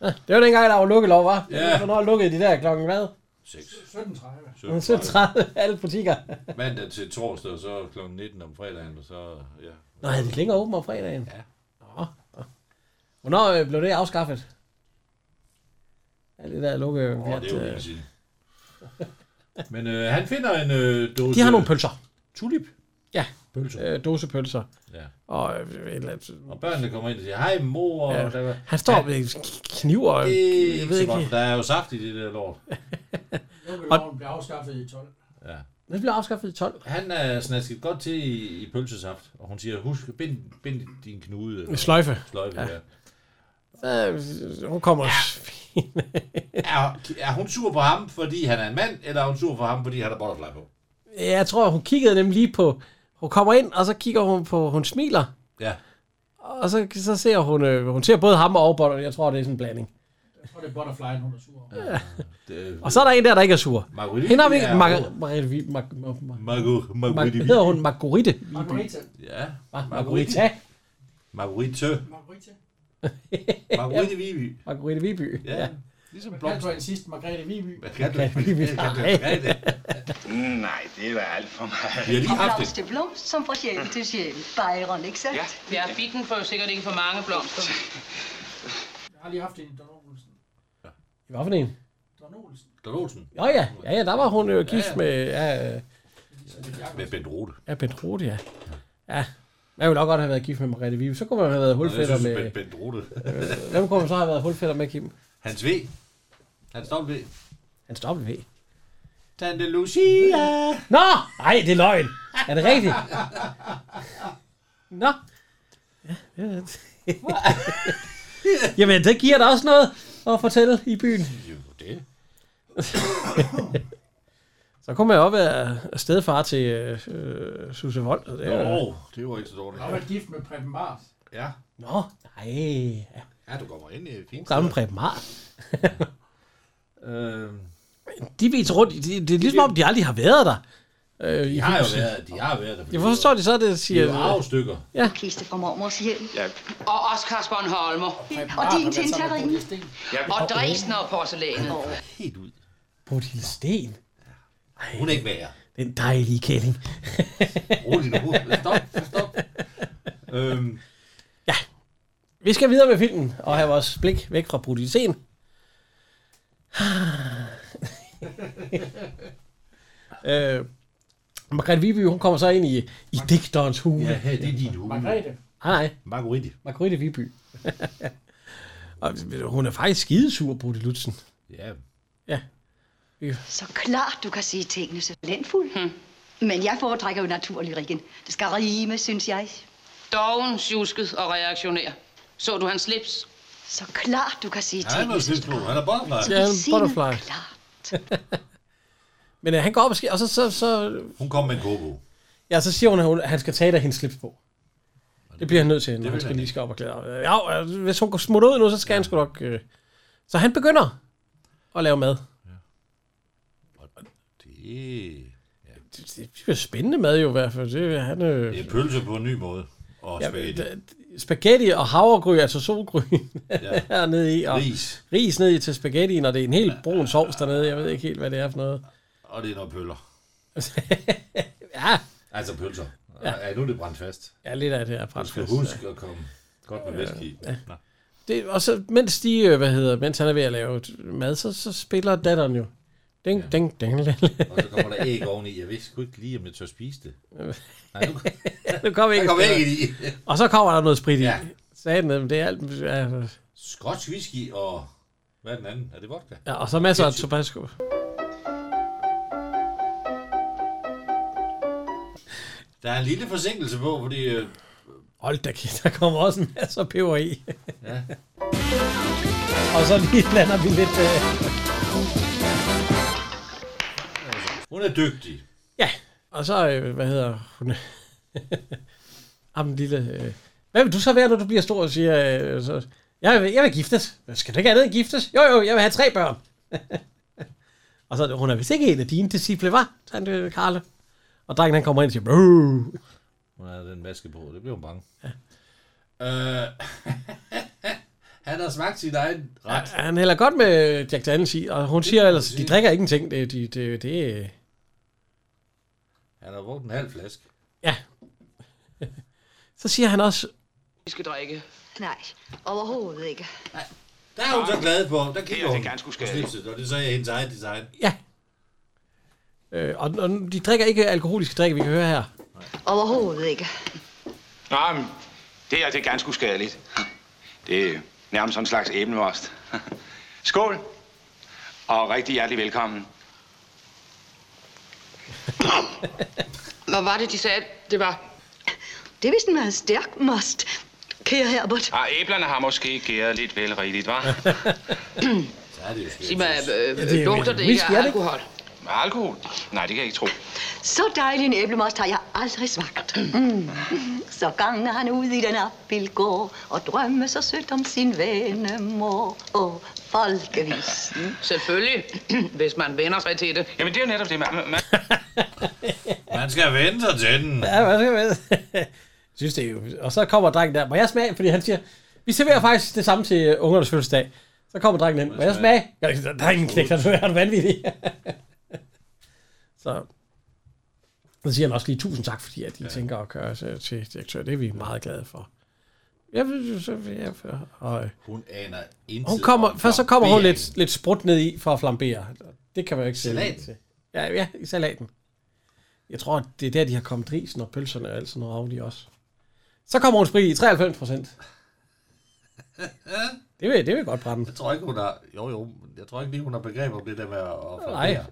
S7: Ja, det var dengang, der var lukkelov, var.
S5: Ja.
S7: Hvornår lukkede de der klokken hvad?
S6: 17.30.
S7: 17.30, alle butikker.
S6: Mandag til torsdag, og så kl. 19 om fredagen, og så... Ja.
S7: Nå, havde de klinger åben om fredagen? Ja. Nå. nå. Hvornår øh, blev det afskaffet? Ja, det der lukke...
S6: Åh, det er jo
S7: øh,
S6: ikke sige. Men øh, han finder en øh, dose...
S7: De har nogle pølser.
S6: Tulip.
S7: Ja,
S6: Pølser.
S7: Øh, dosepølser.
S6: Ja.
S7: Og, øh, et eller andet-
S6: Og børnene kommer ind og siger, hej mor. og der
S7: ja.
S6: var-
S7: Han står med kniver. og-
S6: Det er
S7: jeg
S6: ikke
S7: ved
S6: så
S7: ikke.
S6: godt. Der er jo saft i det der lort.
S3: Lukkeloven blev afskaffet i 12.
S6: Ja.
S7: Den blev afskaffet i 12.
S6: Han er snasket godt til i, i pølsesaft, og hun siger, husk, bind, bind din knude.
S7: Med sløjfe.
S6: Sløjfe, ja.
S7: Ja. Så, øh, hun kommer...
S6: Er, er hun sur på ham, fordi han er en mand, eller er hun sur på ham, fordi han har butterfly på?
S7: Ja. Jeg tror, hun kiggede nemlig lige på... Hun kommer ind, og så kigger hun på... Hun smiler.
S6: Ja.
S7: Og så, så ser hun... Øh, hun ser både ham og Aarbotter. Jeg tror, det er sådan en blanding.
S3: Og det er Butterfly, hun er sur.
S7: Ja. Og så er der en der, der ikke er sur.
S6: Marguerite
S7: Hende har vi ikke...
S6: er-
S7: Mar- Marguerite... Mar- Mar- Mar-
S6: Margu- Marguerite
S7: Mar- hedder hun Marguerite?
S3: Margarita.
S6: Ja.
S7: Hva? Margarita?
S6: Margarita.
S3: Margarita.
S6: Margarita Viby.
S7: Marguerite Viby.
S6: Ja. Ligesom
S3: Hvad kaldte du hende sidst? Margrethe Viby?
S6: Hvad kan du?
S5: Nej, det er da alt for meget.
S6: Vi har lige haft det.
S4: til blomst, som fra sjæl til sjæl. Byron, ikke sandt?
S18: Ja, fik den for sikkert ikke for mange blomster.
S3: Jeg har lige haft en, Don Olsen.
S7: Hvad for en?
S3: Don Olsen.
S6: Don Olsen.
S7: Nå ja, ja, ja, der var hun jo gift med... Ja, øh,
S6: Med Bent Rode.
S7: Ja, Bent Rode, ja. Ja. Jeg ville nok godt have været gift med Mariette Vive. Så kunne man have været hulfætter
S6: Jeg synes,
S7: med...
S6: Bent- Bent Rode.
S7: Øh, Hvem kunne man så have været hulfætter med, Kim?
S6: Hans V. Hans W.
S7: Hans W.
S6: Tante Lucia.
S7: Nå! Nej, det er løgn. Er det rigtigt? Nå. Ja, ja. Jamen, det giver da også noget at fortælle i byen.
S6: Jo, det.
S7: Så kunne man jo også være stedfar til øh, øh, Susse Vold. og Det er, jo-
S6: Åh, det var ikke så dårligt.
S3: Jeg har været gift med Preben Mars.
S6: Ja.
S7: Nå, nej. Ja.
S6: Ja, du kommer ind i fint.
S7: Gammel Preben Mar.
S6: Øhm,
S7: De viser rundt. i- De, det er ligesom om, de aldrig har været der. Øh, i
S6: de har jo
S7: huset.
S6: været, de har været der.
S7: Jeg forstår de så, det
S6: De
S7: siger...
S6: er jo arvestykker.
S7: Ja.
S4: Kiste fra mormors hjem.
S6: Ja.
S18: Og Oscars Bornholmer.
S4: Og din tintarine.
S18: Og Dresden og porcelænet.
S6: Helt ud.
S7: Bodil Sten. Ej,
S6: Hun er ikke værre.
S7: Den dejlige kælling.
S6: Rolig nu. Stop, stop. Øhm,
S7: Ja. Vi skal videre med filmen og have vores blik væk fra Bodil Sten. øh, Margrethe Viby, hun kommer så ind i, i digterens hule.
S6: Ja, her, det er din hule. Margrethe.
S7: Nej, nej.
S6: Margrethe.
S7: Margrethe Viby. og hun er faktisk skidesur, Bodil Lutzen.
S6: ja.
S7: Ja.
S4: Så klart, du kan sige tingene så talentfuldt.
S18: Hmm.
S4: Men jeg foretrækker jo naturlyrikken. Det skal rime, synes jeg.
S18: Doven, sjusket og reaktionær. Så du hans slips?
S4: Så klart, du kan sige
S6: Han er noget slidt på. Han er butterfly.
S7: Ja, han er butterfly. Men øh, han går op og, sker, og så, så, så...
S6: Hun kom med en kobo.
S7: Ja, så siger hun, at hun- han skal tage dig hendes slips på. Det bliver han nødt til, når
S6: vil
S7: han skal
S6: han
S7: lige skal op og klæde. Øh, Ja, øh, hvis hun går smutte ud nu, så skal han sgu nok... Øh. Så han begynder at lave mad.
S6: Det,
S7: Det er spændende mad jo i hvert fald. Det, er- han, øh,
S6: det er pølse på en ny måde. Og
S7: Ja,
S6: spaghetti.
S7: d- d- spaghetti og havregryn, altså solgryn
S6: Ja.
S7: ja. hernede i. Og
S6: Ris.
S7: Ris ned i til spaghetti, når det er en helt brun sovs dernede. Jeg ved ikke helt, hvad det er for noget.
S6: Og det er noget pøller.
S7: ja.
S6: Altså pølser.
S7: Ja.
S6: Ja. ja, nu er det brændt fast.
S7: Ja, lidt af det er brændt
S6: Du skal
S7: fast,
S6: huske at komme godt med væske i.
S7: Ja.
S6: Nå.
S7: Det, og så, mens de, øh, hvad hedder, mens han er ved at lave t- mad, så, så spiller datteren jo. Ding, ja. ding, ding, ding.
S6: Og så kommer der æg oveni. Jeg ved sgu ikke lige, om jeg tør spise det. Nej, nu,
S7: nu kommer
S6: Der
S7: ægget
S6: kommer
S7: der.
S6: ægget i.
S7: Og så kommer der noget sprit i.
S6: Ja.
S7: Ja. Sagde den, det er alt. Ja,
S6: Skotsk whisky og... Hvad er den anden? Er det vodka?
S7: ja, og så masser af Tabasco.
S6: Der er en lille forsinkelse på, fordi... Øh,
S7: Hold da kæft, der kommer også en masse peber i.
S6: ja.
S7: Og så lige lander vi lidt... Øh,
S6: Hun er dygtig.
S7: ja, og så, øh, hvad hedder hun? Ham den lille... Øh. Hvad vil du så være, når du bliver stor og siger... Øh, så, jeg, vil, jeg vil giftes. Skal du ikke andet end giftes? Jo, jo, jeg vil have tre børn. og så, hun er vist ikke en af dine disciple, var? Tante øh, Karle. Og drengen han kommer ind og siger... Boo!
S6: Hun havde den maske på. Det blev hun bange. Ja. Øh, han har smagt sin egen ret.
S7: Ja, han hælder godt med Jack Daniels i, og hun siger ellers, de drikker ingenting. Det, de, det, det,
S6: Han har brugt en halv flaske.
S7: så siger han også,
S18: Vi skal drikke.
S4: Nej, overhovedet ikke.
S6: Der er hun så glad på. Der kigger
S4: Det er
S6: hun
S4: ganske
S6: på
S4: uskadeligt.
S6: snipset, og Ah. det sagde jeg hendes eget design.
S7: øh, og, og de drikker ikke alkoholiske drikke, vi kan høre her.
S4: Overhovedet ikke.
S5: Nej, men det her det er ganske uskadeligt. Det er nærmest sådan en slags æblemost. Skål, og rigtig hjertelig velkommen.
S18: Hvad var det, de sagde, det var?
S4: Det er vist en meget stærk must, kære Herbert.
S5: Ah, æblerne har måske gæret lidt vel rigtigt, hva'?
S18: Sig mig, øh,
S5: Ja, det er
S18: lugter
S5: jo
S18: det ikke
S5: whisky, er
S18: af
S5: det ikke?
S18: alkohol?
S5: Alkohol? Nej, det kan jeg ikke tro.
S4: Så dejlig en æblemost har jeg aldrig smagt. Mm. Så ganger han ud i den appelgård og drømmer så sødt om sin venemor og folkevisen.
S18: Selvfølgelig, hvis man vender sig til det.
S5: Jamen, det er jo netop det, man... man...
S6: Man skal vente sig til den.
S7: Ja, hvad skal man? Jeg synes det er jo. Og så kommer drengen der, må jeg smage? Fordi han siger, vi serverer faktisk det samme til ungernes fødselsdag. Så kommer drengen ind, må jeg smage? Jeg siger, Der er ingen knæk, der er du vanvittig. så. Så siger han også lige tusind tak, fordi at I ja. tænker at køre til, til direktør. Det er vi meget glade for. Jeg vil, så vil jeg, og, øh,
S6: Hun aner intet
S7: hun kommer,
S6: om
S7: først så kommer hun
S6: flambering.
S7: lidt, lidt sprudt ned i for at flambere. Det kan man jo ikke sige.
S6: Salat?
S7: Ja, ja, i salaten. Jeg tror, det er der, de har kommet risen og pølserne og alt sådan noget af de også. Så kommer hun sprit i 93 procent. Det vil, det vil godt brænde.
S6: Jeg tror ikke, hun har... Jo, jo. men Jeg tror ikke lige, hun har begreb om det der med at... at
S7: Nej.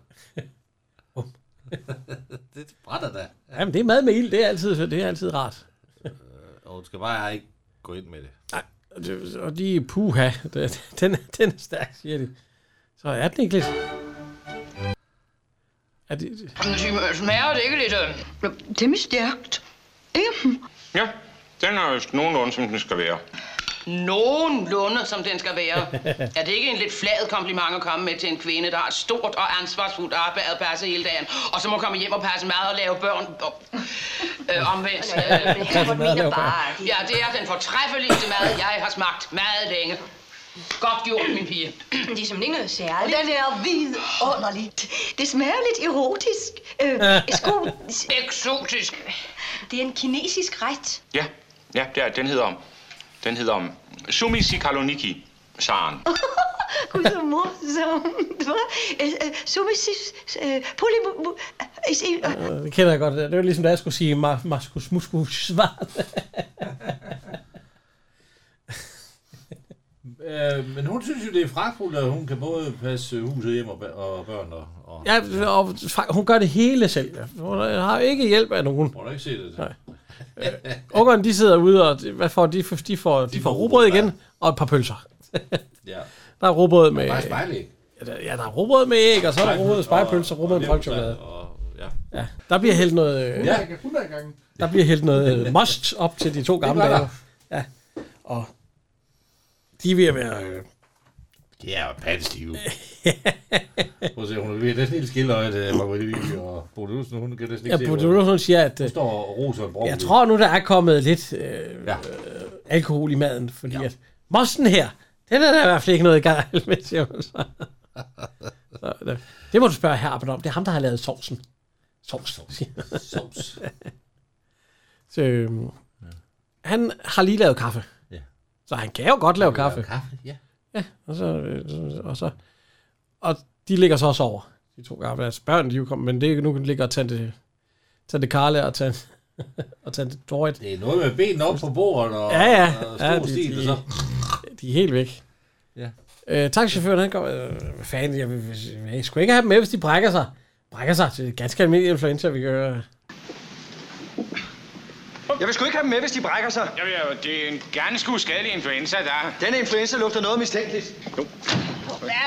S6: det brænder da.
S7: Jamen, det er mad med ild, det er altid, det er altid rart.
S6: Og hun skal bare ikke gå ind med det.
S7: Og det- Og de puha, det- den, den er stærk, siger de. Så er den ikke lidt... Er det,
S18: Smager det ikke lidt? øh?
S4: Temmelig stærkt. Ikke?
S5: Ja, den er vist nogenlunde, som den skal være.
S18: Nogenlunde, som den skal være. Er det ikke en lidt flad kompliment at komme med til en kvinde, der har et stort og ansvarsfuldt arbejde at passe hele dagen, og så må komme hjem og passe mad og lave børn og, øh, omvendt? Øh,
S7: Herbert mener bare,
S18: ja, det er den fortræffeligste mad, jeg har smagt meget længe. Godt gjort, min pige.
S4: Det er som ikke noget særligt. Den er vidunderligt. Det smager lidt erotisk. Øh, sko...
S18: Eksotisk.
S4: Det er en kinesisk ret.
S5: Ja, ja, det er, den hedder... Den hedder Sumisi Kaloniki. Saren.
S4: Gud, så morsomt. hva'? Øh, øh, Sumisis... øh, Polymo... mo- øh, se- øh,
S7: Øh, Det kender jeg godt. det der. Det var ligesom, da jeg skulle sige ma- maskus muskus svar.
S6: Øh, men hun synes jo, det er fragtfuldt, at hun kan både passe huset hjem og, bæ- og børn og... og
S7: ja, og fa- hun gør det hele selv. ja. Hun har ikke hjælp af nogen.
S6: Må du ikke se det?
S7: Nej. Øh, Ungerne, de sidder ude, og de- hvad får de? De får, de får rugbrød igen, og et par pølser.
S6: Ja.
S7: Der er rugbrød med...
S6: Bare spejlæg.
S7: Ja, der- Ja, der er rugbrød med æg, og så er der rugbrød med spejepølser,
S6: Og-
S7: rugbrød med
S6: og
S7: franchokolade.
S6: og- Ja.
S7: Ja, der bliver hældt noget... øh,
S19: 100 gange.
S7: Der bliver hældt noget øh, must op til de to gamle
S19: var der.
S7: dage. Ja. Og de er ved at være øh,
S6: Det er jo pattestive. Prøv at se, hun er ved næsten helt skildøjet, øh, Margrethe Viby og Bode Olsen, hun kan næsten
S7: Ja,
S6: ikke se,
S7: Bodil
S6: hvor-
S7: Olsen siger, at,
S6: Hun
S7: øh,
S6: står og roser og brokker.
S7: Jeg tror nu, der er kommet lidt øh, ja. øh, alkohol i maden, fordi ja. at mossen her, den er der i hvert fald ikke noget galt med, siger hun så. så der- det må du spørge Herbert om. Det er ham, der har lavet sovsen. Sovs. Sovs. så, øhm, ja. Han har lige lavet kaffe.
S6: Ja.
S7: Så han kan jo godt lave kaffe.
S6: kaffe, ja.
S7: Ja, og så, øh, så- og så... Og de ligger så også over, de to gamle. Altså børn, de er jo kommet, men det er, nu ligger tante, tante Karla og tante, og tante Dorit.
S6: Det er noget med benene op på bordet og-
S7: ja, ja.
S6: og stor
S7: ja,
S6: stil,
S7: de,
S6: og så-
S7: de er helt væk.
S6: Ja.
S7: Øh, taxichaufføren, han kommer... Øh, hvad fanden, jeg, vil- jeg, jeg, skulle ikke have dem med, hvis de brækker sig. Brækker sig til ganske almindelig influenza, vi gør.
S20: Jeg vil sgu ikke have dem med, hvis de brækker sig.
S15: Jamen, ja, det er en gerne skulle skadelig influenza, der
S20: Den influenza lugter noget mistænkeligt.
S18: Ja,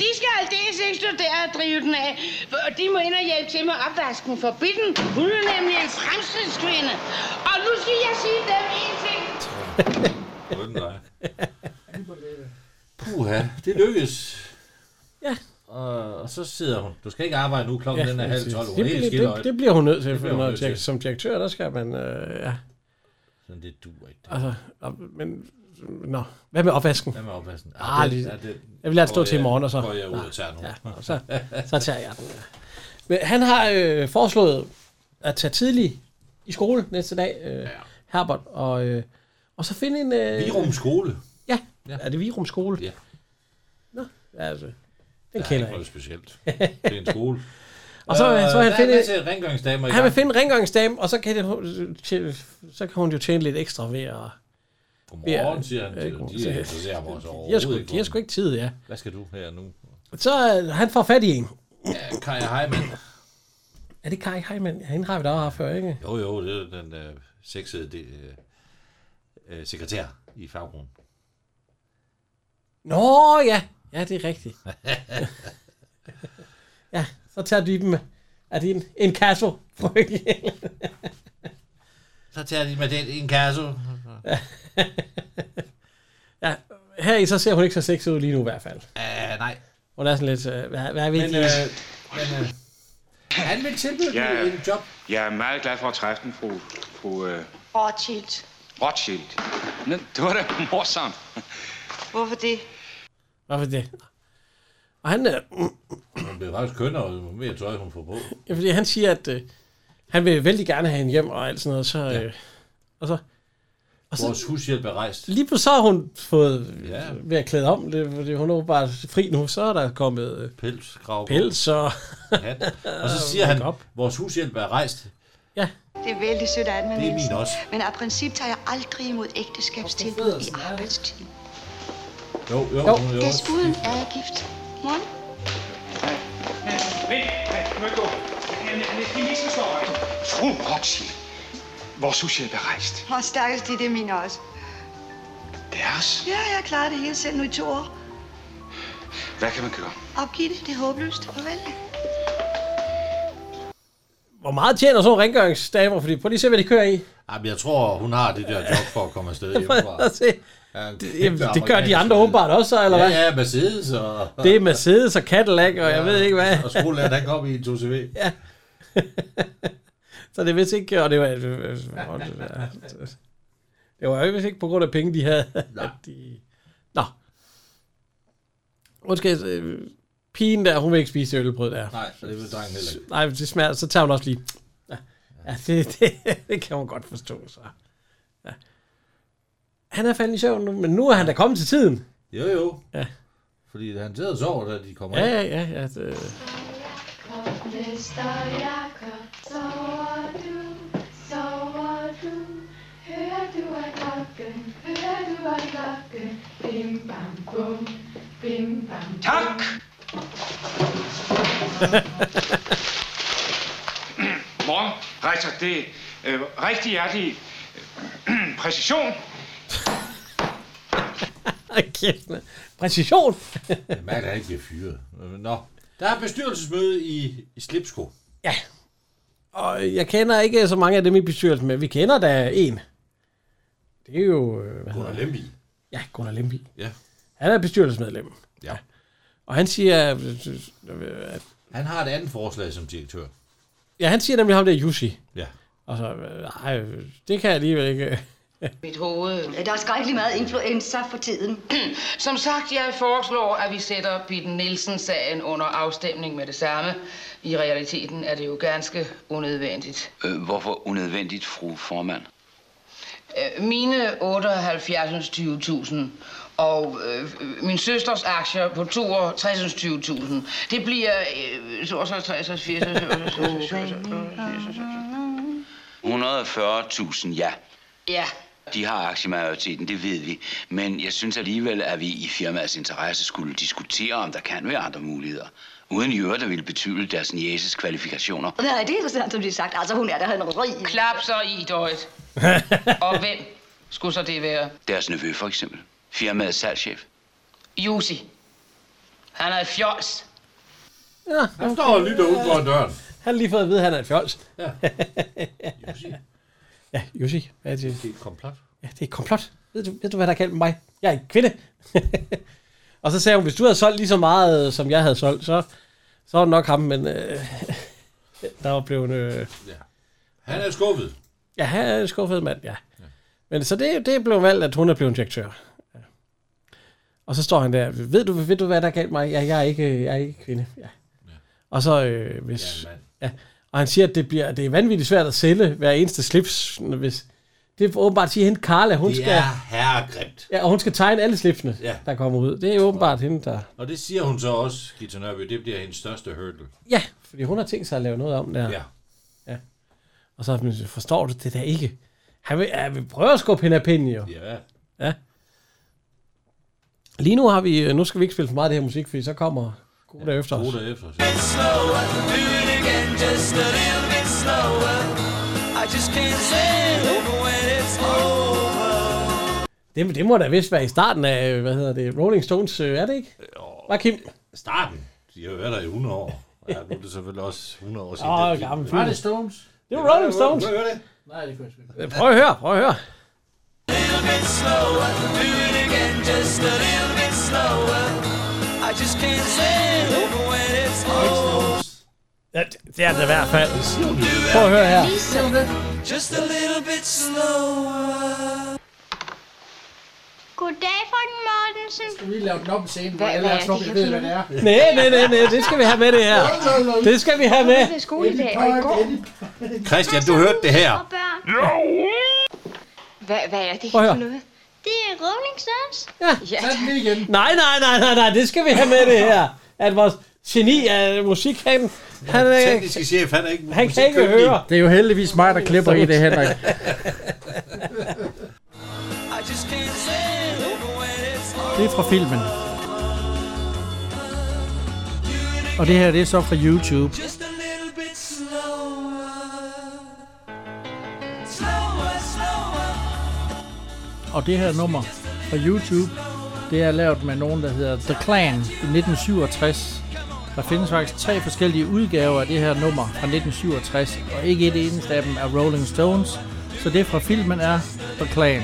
S18: de skal aldeles ikke stå der og drive den af. For De må ind og hjælpe til med opvasken for Bitten. Hun er nemlig en fremskridtskvinde. Og nu skal jeg sige dem en ting.
S6: Puha, det lykkedes.
S7: Ja.
S6: Og, og så sidder hun. Du skal ikke arbejde nu, klokken ja, den er halv tolv. Hun er
S7: det,
S6: helt
S7: det,
S6: skildøjet.
S7: det, det, bliver hun nødt til,
S6: Det
S7: for
S6: bliver hun
S7: når,
S6: nødt
S7: direk-
S6: til.
S7: som direktør, der skal man... Øh, ja.
S6: Sådan, det duer ikke.
S7: Altså, og, men... Nå, hvad med opvasken?
S6: Hvad med opvasken? Ah,
S7: Ah,
S6: den-
S7: lige,
S6: ja, den
S7: jeg vil lade den stå
S6: går
S7: til i
S6: jeg-
S7: morgen, og så...
S6: går jeg ud og
S7: Nej,
S6: tager den.
S7: Ja, og så, så tager jeg den. ja. Men han har øh, foreslået at tage tidlig i skole næste dag, øh, ja. Herbert, og, øh, og så finde en... Øh,
S6: Virum skole.
S7: Ja, ja, er det Virum skole?
S6: Ja.
S7: Nå, altså, den
S6: Der er
S7: kender jeg
S6: ikke noget specielt. Det er en skole.
S7: og så,
S6: Øh,
S7: øh, så vil
S6: der er
S7: han finde...
S6: en masse rengøringsdamer i
S7: Han vil
S6: gang.
S7: finde en rengøringsdame, og så kan, det, så kan hun jo tjene lidt ekstra ved at...
S6: Godmorgen, siger han.
S7: Øh,
S6: til dem. De
S7: så-
S6: er interesserer mig så
S7: de har sgu,
S6: overhovedet
S7: de har
S6: ikke.
S7: sgu ikke tid, ja.
S6: Hvad skal du her nu?
S7: Så øh, han får fat i en.
S6: Ja, Kaja Heimann.
S7: Er det Kai Heimann? Ja, hende har vi da også haft før, ikke?
S6: Jo, jo, det er den øh, sexede det, øh, øh, sekretær i faggrunden.
S7: Nå ja, ja det er rigtigt. ja, så tager de dem. Er det en, en kasso?
S6: Så tager de med den en kasse.
S7: ja, her i så ser hun ikke så sexet ud lige nu i hvert fald.
S6: Uh, nej.
S7: Hun er sådan lidt, øh, hvad, hvad vil
S6: Men,
S7: de?
S6: øh, men øh, han vil tilbyde
S15: Ja.
S6: ja. en job.
S15: Jeg er meget glad for at træffe den, fru, fru øh,
S4: Rothschild.
S15: Rothschild. Nå, det var da morsomt.
S4: Hvorfor det?
S7: Hvorfor det? Og han, øh,
S6: Hun bliver faktisk kønnere, jo mere tøj hun får på.
S7: ja, fordi han siger, at øh, han vil vældig gerne have hende hjem og alt sådan noget. Så, øh, og så, og
S6: Vores
S7: så,
S6: hushjælp er rejst.
S7: lige på så har hun fået
S6: Ja.
S7: ja. ved at klæde om. Det, fordi hun er bare fri nu, så er der kommet øh,
S6: Pels, grav
S7: pels og...
S6: Hat. Og så siger han, vores hushjælp er rejst.
S4: Det er vældig sødt af Anna
S6: Det er
S4: Nielsen.
S6: min også.
S4: Men af princip tager jeg aldrig imod ægteskabstilbud i arbejdstiden.
S6: Jo, jo,
S4: Jo.
S6: jo. jo.
S4: Desuden er jeg gift. Morgen.
S15: Vent, du må ikke gå. Hvis de misforstår mig.
S17: Fru Rothschild, vores hushjælp er rejst.
S4: Og stakkels de, det er mine også.
S17: Deres?
S4: Ja, jeg klarer det hele selv nu i to år.
S17: Hvad kan man gøre?
S4: Opgiv det, det er håbløst. Farvel.
S7: Hvor meget tjener sådan nogle rengøringsdamer? Fordi prøv lige at se, hvad de kører i.
S6: Jamen, jeg tror, hun har det der job for at komme afsted hjemmefra.
S7: Prøv at se.
S6: Ja, en kæmpe
S7: Jamen, det gør de
S6: amerikansk-
S7: andre åbenbart også, så, eller
S6: ja,
S7: hvad?
S6: Ja, Mercedes og...
S7: Det er Mercedes og Cadillac, og jeg ved ikke hvad.
S6: Og skolelærer, der kom i en 2CV.
S7: Ja. så det er vist ikke... Og det var, det, det var jo vist ikke på grund af penge, de havde. at de, nå. Undskyld, øh, pigen der, hun vil ikke spise det ølbrød der.
S6: Nej, det vil drengen heller ikke.
S7: Nej, men det smager, så tager hun også lige... Ja, ja det, det, det, kan hun godt forstå, så. Ja. Han er faldet i søvn nu, men nu er han da kommet til tiden.
S6: Jo, jo.
S7: Ja.
S6: Fordi han sidder og sover, da de kommer
S7: Ja,
S6: ind.
S7: ja, ja. ja det,
S21: Mester Jakob, sover du, sover du, hører du af klokken, hører du af klokken, bim bam bum, bim bam bum. Tak!
S15: Morgen, rejser det øh, rigtig hjertelig øh, præcision.
S7: Kæft, mand. Præcision.
S6: Jeg mærker, at han ikke bliver fyret. Nå. Der er bestyrelsesmøde i, i Slipsko.
S7: Og jeg kender ikke så mange af dem i bestyrelsen, men vi kender da en. Det er jo... øh, Hvad
S6: Gunnar Lemby.
S7: Ja, Gunnar Lemby.
S6: Ja.
S7: Han er bestyrelsesmedlem.
S6: Ja.
S7: Og han siger, øh, at
S6: Han har et andet forslag som direktør.
S7: Ja, han siger nemlig ham der Yushi.
S6: Ja.
S7: Og så, øh, nej, øh, det kan jeg alligevel ikke.
S18: Mit hoved.
S4: Der er skrækkelig meget influenza for tiden.
S18: Som sagt, jeg foreslår, at vi sætter Bitten Nielsen-sagen under afstemning med det samme. I realiteten er det jo ganske unødvendigt.
S2: Øh, hvorfor unødvendigt, fru formand?
S18: Øh, Mine 78.000 og øh, min søsters aktier på 62.000. Det bliver øh, 62, 80,
S2: 140.000, ja.
S18: Ja,
S2: De har aktiemajoriteten, det ved vi. Men jeg synes alligevel, at vi i firmaets interesse skulle diskutere, om der kan være andre muligheder. Uden i øvrigt at ville betyde deres niæses kvalifikationer.
S4: Nej, det er interessant, som de har sagt. Altså, hun er da en rig.
S18: Klap så i, døjet. Og hvem skulle så det være?
S2: Deres nevø for eksempel. Firmaets salgschef.
S18: Jussi. Han er et fjols.
S7: Ja,
S6: Han står og lytter ud foran døren.
S7: Han har lige fået at vide, at han er et fjols.
S6: Ja.
S7: Jussi. Ja, Jussi. Hvad er det?
S6: Det er et komplot.
S7: Ja, det er et komplot. Ved du, ved du hvad der er galt med mig? Jeg er en kvinde. og så sagde hun, hvis du havde solgt lige så meget, øh, som jeg havde solgt, så, så var det nok ham, men øh, der var blevet... Øh,
S6: Han er skuffet.
S7: ja, han er en skuffet mand, ja. ja. Men så det, det blev valgt, at hun er blevet direktør. Ja. Og så står han der, ved du, ved du hvad der er galt med mig? Ja, jeg er ikke, øh, jeg er ikke kvinde. Ja. Og så øh, hvis... Ja, og han siger, at det, bliver, det er vanvittigt svært at sælge hver eneste slips, hvis... Det er åbenbart at sige, at hende Carla, hun
S6: Det
S7: skal...
S6: er herregrimt.
S7: Ja, og hun skal tegne alle slipsene,
S6: Ja.
S7: ja. der kommer ud. Det er åbenbart hende, der...
S6: Og det siger hun så også, Gita Nørby, det bliver hendes største hurdle.
S7: Ja, fordi hun har tænkt sig at lave noget om der.
S6: Ja.
S7: ja. Og så er hun, forstår du det der ikke? Han vil, han vil prøve at skubbe hende af pinden, jo.
S6: Ja.
S7: ja. Lige nu har vi... øh, Nu skal vi ikke spille for meget af det her musik, fordi så kommer gode ja, dage efter os.
S6: Gode dage efter os.
S8: Slower, do it again, just a little bit slower. I just can't say over when it's over.
S7: Det, det må da vist være i starten af, øh, hvad hedder det, Rolling Stones, øh, er det ikke? Var Kim?
S6: Starten. De har jo været der i 100 år. Og ja, nu er det selvfølgelig også 100 år siden.
S7: Åh,
S6: den film.
S7: gammel
S6: Var
S7: film.
S6: det Stones?
S7: Det var Rolling Stones. Øh,
S6: Prøv at høre det.
S15: Nej, det kunne jeg sgu ikke.
S7: Prøv at høre, prøv at høre.
S8: Little bit slower, do it again, just a little bit slower. I just can't say over when it's over.
S7: Ja, det er det i hvert fald. Prøv at høre her.
S8: Just a little bit slower.
S16: Goddag, frøken Mortensen.
S15: Skal vi lave den op scene, hvor
S16: Hvad-
S15: alle
S16: hvad
S15: er
S16: er
S15: sluppet
S16: det
S15: ved,
S16: her
S15: hvad det er?
S7: Nej, nej, nej, nej, det skal vi have med det her. Det skal vi have med.
S16: Det er skoledag, og i går...
S6: Christian, du hørte det her.
S16: Og børn. Hvad, hvad er det
S7: Prøv at
S16: her
S7: høre.
S16: for noget? Det er Rolling Stones.
S7: Ja.
S16: ja.
S7: Nej, nej, nej, nej, nej, det skal vi have med det her. At vores geni af musik, han, han, øh,
S6: Tekniske chef, han er ikke
S7: han kan ikke
S6: musikkyndig.
S7: høre.
S3: Det er jo heldigvis mig, der klipper i det, Henrik.
S8: I just can't say over when it's
S3: Det er fra filmen. Og det her, det er så fra YouTube.
S8: Just a little bit slower. Slower, slower.
S3: Og det her nummer fra YouTube, det er lavet med nogen, der hedder The Clan i 1967. Der findes faktisk tre forskellige udgaver af det her nummer fra 1967, og ikke et eneste af dem er Rolling Stones. Så det fra filmen er The Clan.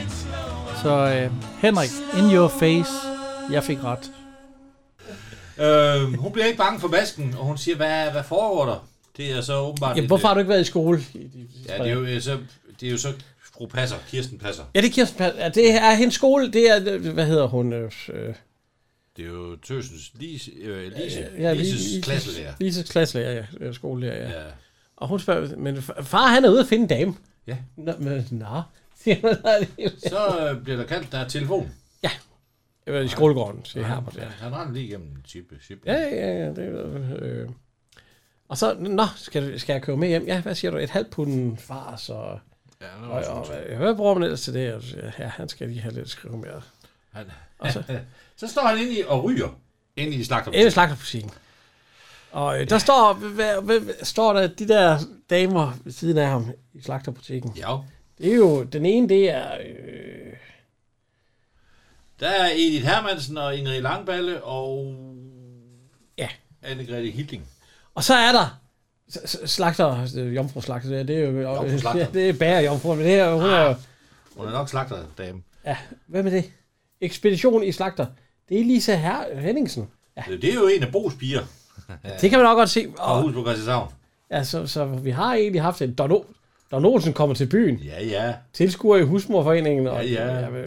S3: Så øh, Henrik, in your face, jeg fik ret.
S6: Øhm, hun bliver ikke bange for masken, og hun siger, hvad, hvad foregår der? Det er så åbenbart...
S7: Ja,
S6: et-
S7: hvorfor har du ikke været i skole?
S6: Ja, det er jo øh, så... Det er jo så fru Passer, Kirsten Passer.
S7: Ja, det er Kirsten Pal- ja, det er hendes skole, det er, øh, hvad hedder hun? Øh, øh,
S6: Det er jo Tøsens Lise, øh, Lise,
S7: ja,
S6: ja, Lises klasselærer.
S7: Lises klasselærer, ja. Øh, Skolelærer, ja.
S6: ja.
S7: Og hun spørger, men f- far han er ude at finde en dame.
S6: Ja.
S7: Nå, men, nå. siger hun, "Nej, det er jo-
S6: Så øh, bliver der kaldt, der er telefon.
S7: Jeg var i skolegården, siger
S6: Han-
S7: Herbert. Ja.
S6: Han render lige igennem chip, chip.
S7: Ja, ja, ja. Det, øh. Og så, nå, skal, du- skal jeg køre med hjem? Ja, hvad siger du? Et halvt pund far, så...
S6: Ja, det var
S7: og, og, hvad, hvad bruger man ellers til det? Og så siger jeg, Ja, han skal lige have lidt at skrive med.
S6: Han,
S7: Og så,
S6: så står han inde i og ryger. Inde i slagterbutikken.
S7: Inde i slagterbutikken. Og øh, der står, hvad, hvad, hvad, står der de der damer ved siden af ham i slagterbutikken.
S6: Ja.
S7: Det er jo, den ene, det er... Øh,
S6: Der er Edith Hermansen og Ingrid Langballe og...
S7: Ja.
S6: Anne-Grethe Hitling.
S7: og så er der s- s- slagter, øh, jomfru slagter, det er jo,
S6: Jomfruslagter.
S7: ja, det er bager jomfru, men det her, hun er jo,
S6: Hun er nok slagterdame.
S7: hvad med det? Ekspedition i slagter. Det er Lisa Her Henningsen.
S6: Ja. Det er jo en af Bo's piger.
S7: Det kan man nok godt se.
S6: Og hus på Christianshavn.
S7: Ja, så, så vi har egentlig haft en... Don, o- Don Olsen kommer til byen.
S6: Ja, ja.
S7: Tilskuer i husmorforeningen. Og,
S6: Ja, ja.
S7: men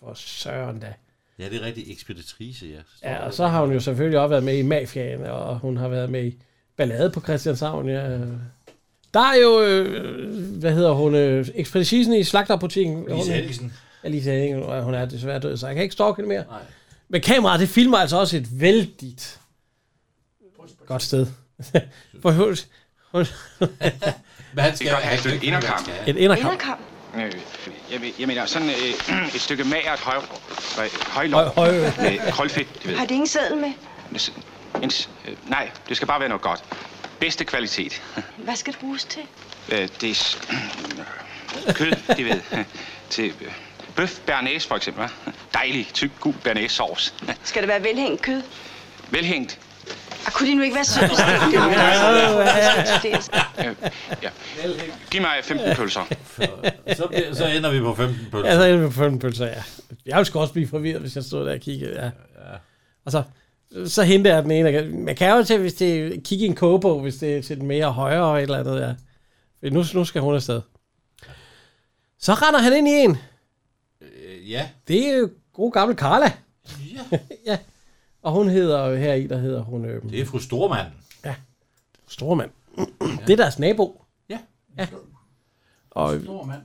S7: for søren da.
S6: Ja, det er rigtig ekspeditrice, ja.
S7: Ja, og så har hun jo selvfølgelig også været med i Mafiaen, og hun har været med i Ballade på Christianshavn. Ja. Der er jo, øh, hvad hedder hun, øh, ekspedicisen i slagterbutikken.
S6: Lise
S7: Hun-
S6: Henningsen.
S7: Ja, Lise Henningsen, og hun er desværre død, så jeg kan ikke stalke hende mere. Nej. Men kameraet, det filmer altså også et vældigt godt sted. For hun, hun,
S6: Men han skal
S5: Det kan have et stykke inderkamp.
S7: Et inderkamp. Inderkamp?
S5: Øh, jeg, ved- jeg mener sådan øh, et stykke magert høj, høj,
S7: højlov
S5: høj,
S7: høj-
S5: med krølfedt, du ved.
S4: Har de ingen seddel med?
S5: Men s- En, s- øh, nej, det skal bare være noget godt. Bedste kvalitet.
S4: Hvad skal det bruges til?
S5: Øh, det er s- kød, det ved. Til øh, bøf bernæs for eksempel. hva'? Dejlig, tyk, gul bernæs sovs.
S4: Skal det være velhængt kød?
S5: Velhængt.
S4: Og kunne de nu ikke være søde?
S5: Øh, ja. Giv mig 15 pølser.
S6: Så, bliver- så ender vi på 15 pølser.
S7: Ja, så ender vi på 15 pølser, ja. Jeg ville sgu også blive forvirret, hvis jeg stod der og kiggede. Ja. Og så, så henter jeg den ene. Man kan jo til, hvis det er, kigge i en kogebog, hvis det er til den mere højere et eller andet, ja. Fordi Nu, nu skal hun afsted. Så render han ind i en.
S6: Øh, ja.
S7: Det er jo god gammel Carla.
S6: Ja.
S7: ja. Og hun hedder her i, der hedder hun... Øh,
S6: Det er fru Stormand.
S7: Ja. Fru Stormand. Det er deres nabo.
S6: Ja.
S7: ja. Og,
S3: Stor mand.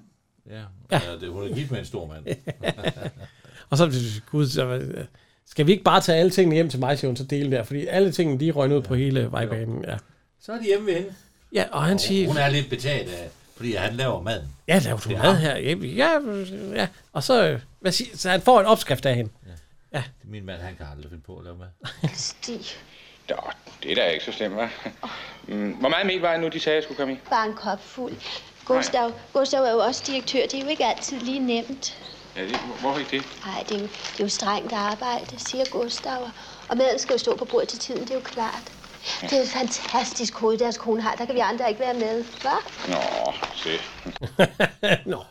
S6: Ja, ja. det, hun er gift med en stor mand.
S7: Og så, gud, så, øh, skal vi ikke bare tage alle tingene hjem til mig, siger hun, så dele der, fordi alle tingene, de røg ud på hele vejbanen. Ja.
S6: så er de hjemme ved hende.
S7: Ja, og han siger-
S6: Hun er lidt betalt af, fordi han laver maden.
S7: Ja, laver du
S6: Det er
S7: mad
S6: ham.
S7: her hjemme? Ja, ja. Og så, øh, hvad siger, så han får en opskrift af hende. Ja.
S6: Min mand, han kan aldrig finde på at lave mad.
S4: Stig,
S5: Nå, det er da ikke så slemt, hva'? Mm, Hvor meget mel var det nu, de sagde, jeg skulle komme i?
S14: Bare en kop fuld. Gustav, Gustav er jo også direktør. Det er jo ikke altid lige nemt.
S5: Ja, det, hvorfor ikke det?
S14: Nej, det, er jo- det er jo strengt arbejde, siger Gustav. og- Og maden skal jo stå på bordet til tiden, det er jo klart. Det er et fantastisk hoved, deres kone har. Der kan vi andre ikke være med, hva'?
S5: Nå, se.
S7: Nå.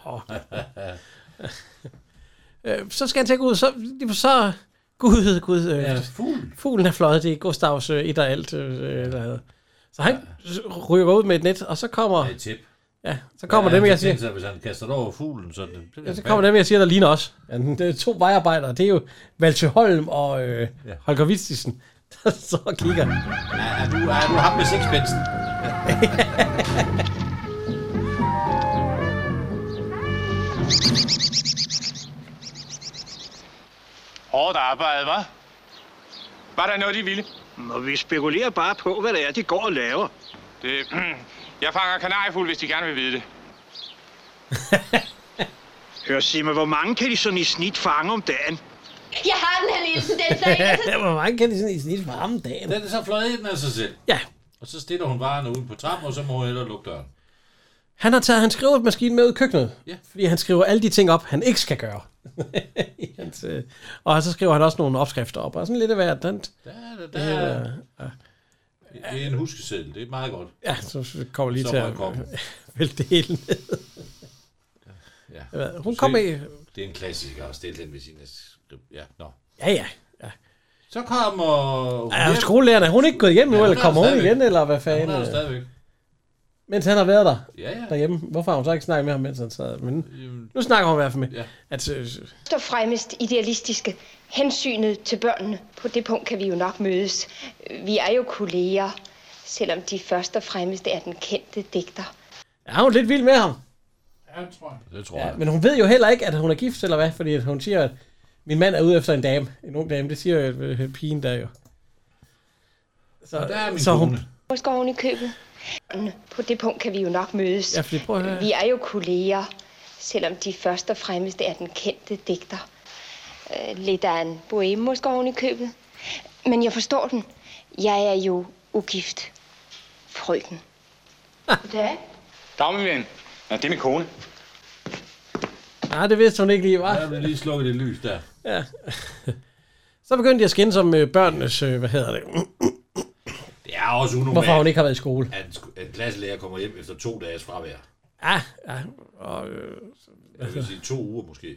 S7: Øh, så skal han til at gå ud, så, så gud, gud, øh, ja,
S6: fugl.
S7: fuglen er fløjet, det er Gustavs øh, et og alt. Øh, eller, andet. så han rykker ud med et net, og så kommer...
S6: Et tip.
S7: Ja, så kommer dem,
S6: han
S7: jeg
S6: tænker
S7: siger.
S6: sig, Hvis han kaster det over fuglen, så... Det,
S7: Ja, så kommer dem, jeg siger, der ligner os. Ja, det er to vejarbejdere. Det er jo Valtje Holm og øh,
S6: Ja.
S7: Holger Vistisen, der så kigger.
S6: Er, er, du, er du ham med sixpensen?
S5: Hårdt arbejde, hva'? Var der noget, de ville?
S20: Nå, vi spekulerer bare på, hvad det er, de går og laver.
S5: Det, jeg fanger kanariefugl, hvis de gerne vil vide det.
S20: Hør, Simme, hvor mange kan de sådan i snit fange om dagen?
S14: Jeg har den her, Nielsen, den
S7: Hvor mange kan de sådan i snit for ham dagen?
S6: Den er så fløjet ind af sig selv.
S7: Ja.
S6: Og så stiller hun varerne ude på trappen, og så må hun hellere lukke døren.
S7: Han har taget hans skrivemaskine med ud i køkkenet,
S6: Ja.
S7: fordi han skriver alle de ting op, han ikke skal gøre. I hans, øh, og så skriver han også nogle opskrifter op, og sådan lidt af hvert. Den,
S6: Der,
S7: det, er,
S6: der,
S7: øh,
S6: det er en huskeseddel, det er meget godt.
S7: ja, så kommer lige
S6: Så
S7: til
S6: røg
S7: at
S6: koppen.
S7: vælte det hele ned. Jeg ved, hun
S6: Du
S7: kom
S6: ser,
S7: i-
S6: Det er en klassiker at stille den ved sin... Ja, nå.
S7: Ja, ja. ja.
S6: Så kommer...
S7: Er hun skolelærer? Er hun ikke gået hjem nu,
S6: Ja,
S7: ja,
S6: hun er
S7: eller kommer
S6: der
S7: hun
S6: stadigvæk.
S7: igen, eller hvad
S6: Ja,
S7: fanden?
S6: hun er der
S7: øh,
S6: stadigvæk.
S7: Mens han har været der
S6: Ja, ja.
S7: derhjemme. Hvorfor har hun så ikke snakket med ham, mens han sad? Men nu snakker hun i hvert fald med. Ja. At, øh,
S10: Først og fremmest idealistiske hensynet til børnene. På det punkt kan vi jo nok mødes. Vi er jo kolleger, selvom de først og fremmest er den kendte digter.
S7: er hun lidt vild med ham?
S3: Ja, det tror jeg.
S6: Det tror
S7: Ja,
S6: jeg.
S7: men hun ved jo heller ikke, at hun er gift, eller hvad? Fordi at hun siger, at min mand er ude efter en dame. En ung dame, det siger jo øh, pigen der jo. Så,
S10: Og der er min
S7: så hun,
S10: Hvor skal oven i købet? På det punkt kan vi jo nok mødes.
S7: Ja, fordi prøv at høre her.
S10: Vi er jo kolleger, selvom de først og fremmest er den kendte digter. Øh, Lidt af en boheme måske oven i købet. Men jeg forstår den. Jeg er jo ugift. Frøken.
S5: Goddag. Dag, min ven. Nå, det er min kone.
S7: nej, det vidste hun ikke lige, var.
S6: Der blev lige slukket det lys der.
S7: Ja. Så begyndte de at skændes om øh, børnenes, øh, hvad hedder det?
S6: Det er også unormalt.
S7: Hvorfor hun ikke har været i skole.
S6: At en sk- en klasselærer kommer hjem efter to dages fravær.
S7: Ja, ja. Og, øh,
S6: Jeg vil sige to uger måske.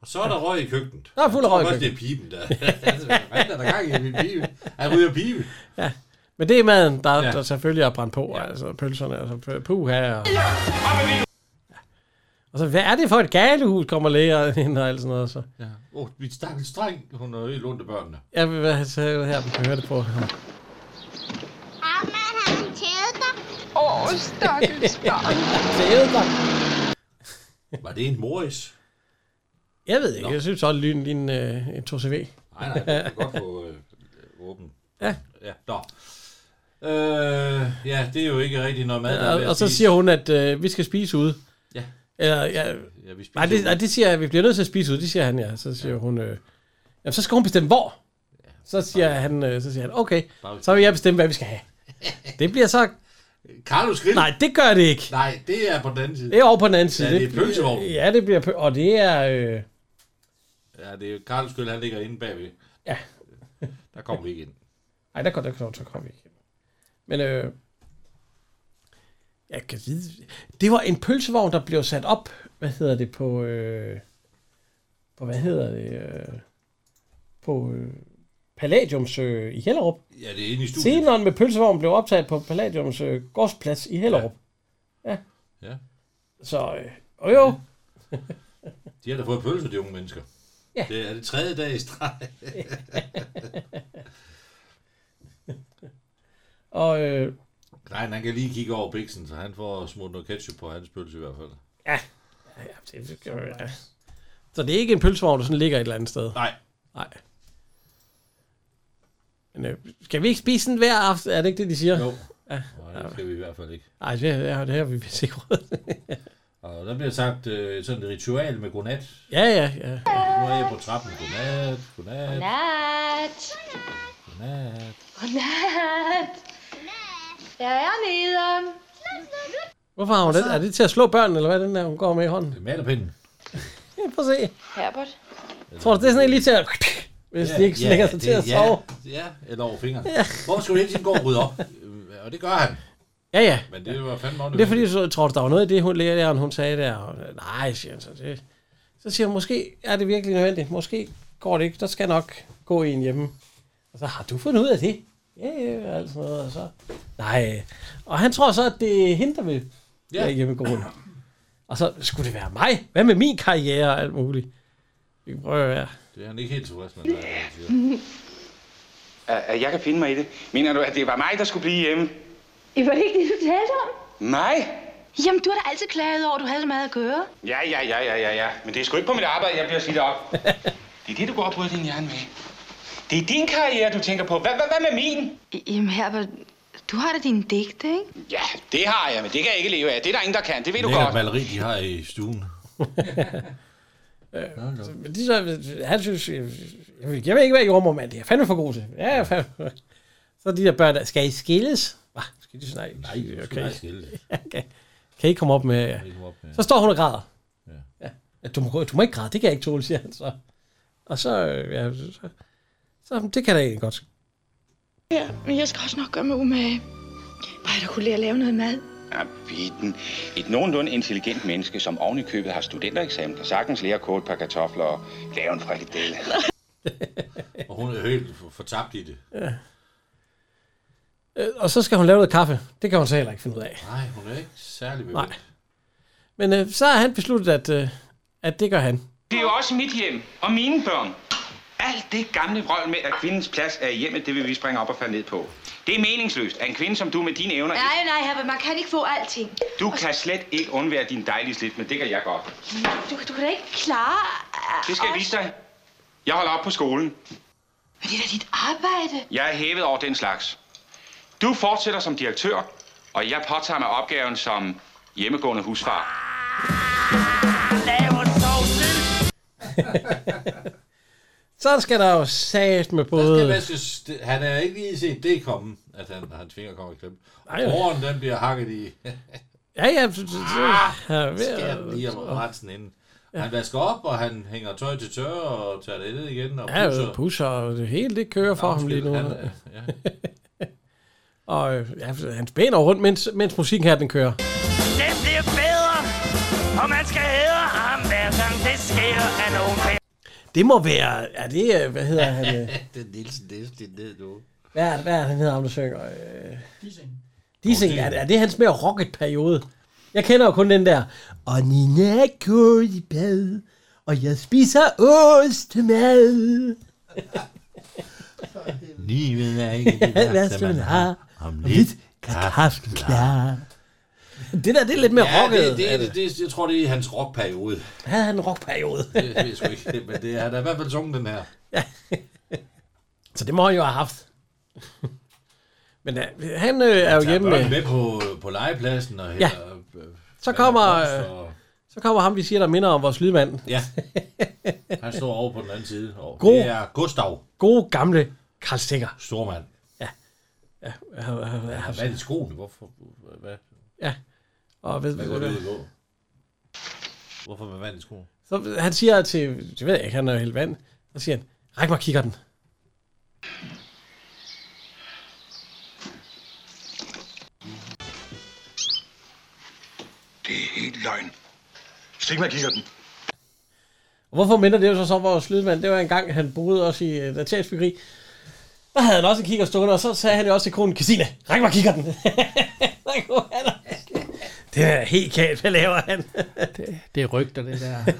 S6: Og så er der røg i køkkenet.
S7: Der er fuld af røg i
S6: Jeg tror også, det er pipen, der. Altså, hvad fanden er der gang i min pibe? Han ryger pibe.
S7: Ja. Men det er maden, der, ja. der selvfølgelig er brændt på. Ja. Altså pølserne, altså puha. Og... og så, Altså, hvad er det for et galehus, kommer læger ind og alt sådan noget. Så.
S6: Ja. Åh, oh, mit stakkels dreng. Hun har øget ondt af børnene.
S7: Jeg vil være så her, vi kan høre det på.
S1: Åh, oh, stakkels barn.
S6: Var det en moris?
S7: Jeg ved ikke, jeg synes også, at lyden ligner øh, en 2CV.
S6: Nej, nej, det kan godt få øh, åben.
S7: Ja.
S6: Ja, nå. Øh, ja, det er jo ikke rigtigt noget mad, der er ved
S7: og,
S6: at
S7: og så
S6: spise.
S7: siger hun, at øh, vi skal spise ude.
S6: Ja.
S7: Eller, ja,
S6: Ja, vi spiser
S7: nej, det,
S6: ude.
S7: nej, det siger jeg, vi bliver nødt til at spise ude, det siger han, ja. Så siger ja. hun, øh, jamen, så skal hun bestemme, hvor. Så siger, han, øh, så siger han, okay,
S6: Bare-
S7: så vil jeg bestemme, hvad vi skal have. Det bliver så...
S6: Carlos Grill?
S7: Nej, det gør det ikke.
S6: Nej, det er på den anden side.
S7: Det er over på den anden side.
S6: Ja, det er pølsevogn.
S7: Ja, det bliver pø- Og det er... Øh,
S6: Ja, det er jo Carlos Grill, han ligger inde bagved.
S7: Ja.
S6: Der kommer vi ikke ind.
S7: Ej, der går der klogt, så kommer vi ikke. Men øh, jeg kan vide... Det var en pølsevogn, der blev sat op. Hvad hedder det på... Øh, på hvad hedder det? Øh, på øh, Palladiums øh, i Hellerup.
S6: Ja, det er inde i studiet.
S7: Senere med pølsevogn blev optaget på Palladiums øh, gårdsplads i Hellerup. Ja. ja.
S6: Ja.
S7: Så øh, og jo.
S6: De har da fået pølser, de unge mennesker.
S7: Ja.
S6: Det er det tredje dag i streg.
S7: og øh,
S6: Nej, han kan lige kigge over biksen, så han får smurt noget ketchup på hans pølse i hvert fald.
S7: Ja. ja, det, kan man- ja. Så det er ikke en pølsevogn, der sådan ligger et eller andet sted?
S6: Nej.
S7: Nej. Men, øh, skal vi ikke spise den hver aften? Er det ikke det, de siger?
S6: Jo.
S7: Ja.
S6: Nej, det skal vi i hvert fald ikke.
S7: Ej, det, er, det her vi vil sikre.
S6: Og der bliver sagt øh, sådan et ritual med godnat.
S7: ja, ja, ja.
S6: Nu er jeg på trappen. Godnat, godnat,
S1: Godnat.
S6: godnat.
S1: Godnat. Jeg er nede.
S7: Hvorfor har hun den? Er det til at slå børn, eller hvad den der, hun går med i hånden? Det
S6: er malerpinden.
S7: Ja, prøv at se.
S1: Herbert.
S7: Tror du, det er sådan en lige til at... Hvis de ikke lægger sig
S6: det-
S7: til at
S6: ja,
S7: sove.
S6: Ja, eller over fingrene.
S7: Ja.
S6: Ja. Hvor skulle du hele tiden gå og rydde op? Øh, Og det gør han.
S7: Ja, ja.
S6: Men det var fandme også
S7: Det er fordi, så tror du, der var noget af det, hun læreren, hun sagde der. Og, Nej, siger han så. Det. Så siger hun, måske er det virkelig nødvendigt. Måske går det ikke. Der skal nok gå en hjemme. Og så har du fundet ud af det. Ja, ja, og alt sådan noget. Og så, nej. Og han tror så, at det er hende, der vil
S6: Ja.
S7: ja. hjemme gå Og så skulle det være mig. Hvad med min karriere og alt muligt? Vi kan prøve at være.
S6: Det er han ikke helt tilfreds med. hvad han siger.
S5: At, at jeg kan finde mig i det. Mener du, at det var mig, der skulle blive hjemme?
S11: Det var ikke det, du talte om.
S5: Nej.
S11: Jamen, du har da altid klaget over, at du havde så meget at gøre.
S5: Ja, ja, ja, ja, ja, ja. Men det er sgu ikke på mit arbejde, jeg bliver slidt op. Det er det, du går og bryder din hjerne med. Det er din karriere, du tænker på. Hvad, hvad, hvad med min?
S11: Jamen, Herbert, du har da dine digte, ikke?
S5: Ja, det har jeg, men det kan jeg ikke leve af. Det er der ingen, der kan. Det ved du
S6: Lækkert
S5: godt.
S6: maleri, de har i stuen.
S7: Så, men de så, han synes, jeg, jeg, vil- jeg ved ikke, hvad jordmor, mand. Det er jeg fandme for god til. Ja, jeg er fandme. Så de der børn, der, skal I skilles? Hva? Skal de snakke?
S6: Nej, du skal ikke skille det.
S7: kan, kan I komme op med...
S6: I komme op med-
S7: Så står hun og græder. Ja. ja. Du, må, du må ikke græde, det kan jeg ikke tåle, siger han så. Og så, øh, ja, så, så, så det kan jeg da egentlig godt.
S11: Ja, men jeg skal også nok gøre mig umage. Bare jeg da kunne lære at lave noget mad.
S5: Ja, Bitten. Et nogenlunde intelligent menneske, som oven i købet har studentereksamen, kan sagtens lære at koge et par kartofler og lave en frikadelle.
S6: Og hun er helt for- fortabt i det.
S7: Ja. Øh, Og så skal hun lave noget kaffe. Det kan hun så heller ikke finde ud af.
S6: Nej, hun er ikke særlig bevidst.
S7: Nej. Men øh, så har han besluttet, at, øh, at det gør han.
S5: Det er jo også mit hjem og mine børn. Alt det gamle vrøvl med, at kvindens plads er i hjemmet, det vil vi springe op og falde ned på. Det er meningsløst, at en kvinde som du med dine evner...
S11: Nej, nej, Herbert, man kan ikke få alting.
S5: Du kan slet ikke undvære din dejlige slidt, men det kan jeg godt.
S11: Du, du kan da ikke klare...
S5: Det skal jeg vise dig. Jeg holder op på skolen.
S11: Men det er da dit arbejde.
S5: Jeg er hævet over den slags. Du fortsætter som direktør, og jeg påtager mig opgaven som hjemmegående husfar.
S7: Så skal der jo sagt med både...
S6: Det vaskes, det, han er ikke lige set det komme, at han, hans finger kommer i klemme. Og
S7: Nej, nej.
S6: Håren, den bliver hakket i.
S7: Ja, ja. så- så- så- ja, ved-
S6: Skær den lige om retsen inden. Han vasker op, og han hænger tøj til tørre, og tager det ned igen, og
S7: Ja,
S6: pusser.
S7: pusser. pusser, og det hele det kører for ham lige nu.
S6: Han er- ja.
S7: og øh, ja, han spænder rundt, mens, mens musikken her, den kører.
S8: Det bliver bedre, og man skal æde ham hver gang det sker, at nogen
S7: Det må være... Er det... øh, Hvad hedder han? øh?
S6: det er Nielsen, det er det ned nu.
S7: Hvad er, hvad er han hedder, ham der synger? Øh,
S3: Dissing.
S7: Dissing. Er, er det hans mere rocket-periode? Jeg kender jo kun den der. Og Nina er gået i bad, og jeg spiser ostemad.
S6: Livet er ikke det
S7: Alt
S6: værste, man har. Om lidt
S7: er kraften klar. Det der, det er lidt mere
S6: ja,
S7: rocket.
S6: Det, det, det, det, jeg tror, det er hans rockperiode.
S7: Havde han en rockperiode?
S6: Det ved jeg sgu ikke, men det er, han har i hvert fald sunget den her.
S7: Så det må han jo have haft. Men øh, han øh, er jo
S6: Tager
S7: hjemme
S6: børnene
S7: med...
S6: med på, på legepladsen og
S7: Ja.
S6: hælder, øh,
S7: Så kommer,
S6: blomster
S7: øh, så kommer ham, vi siger, der minder om vores lydmand.
S6: Ja. Han står over på den anden side. Og
S7: God.
S6: God. Det er Gustav,
S7: Gode gamle Karl Stikker.
S6: stormand.
S7: Ja, han, han, han,
S6: Han
S7: han,
S6: har vand i skoene. Hvorfor? Hvad?
S7: ja. Og ved,
S6: Hvad går det ud i gå? Hvorfor med vand i skoene?
S7: så han siger til... Det ved jeg ikke, han er jo helt vand. Så siger han, ræk mig kigger den.
S17: Det er helt løgn. Stik mig kigger den.
S7: Og hvorfor minder det jo så så om vores lydmand? Det var en gang, han boede også i øh, et etagsbyggeri. Der havde han også en kigger stående, og så sagde han jo også til konen, Kasine, ræk mig kigger den. det er helt galt, hvad laver han?
S3: det, det er rygter, det der.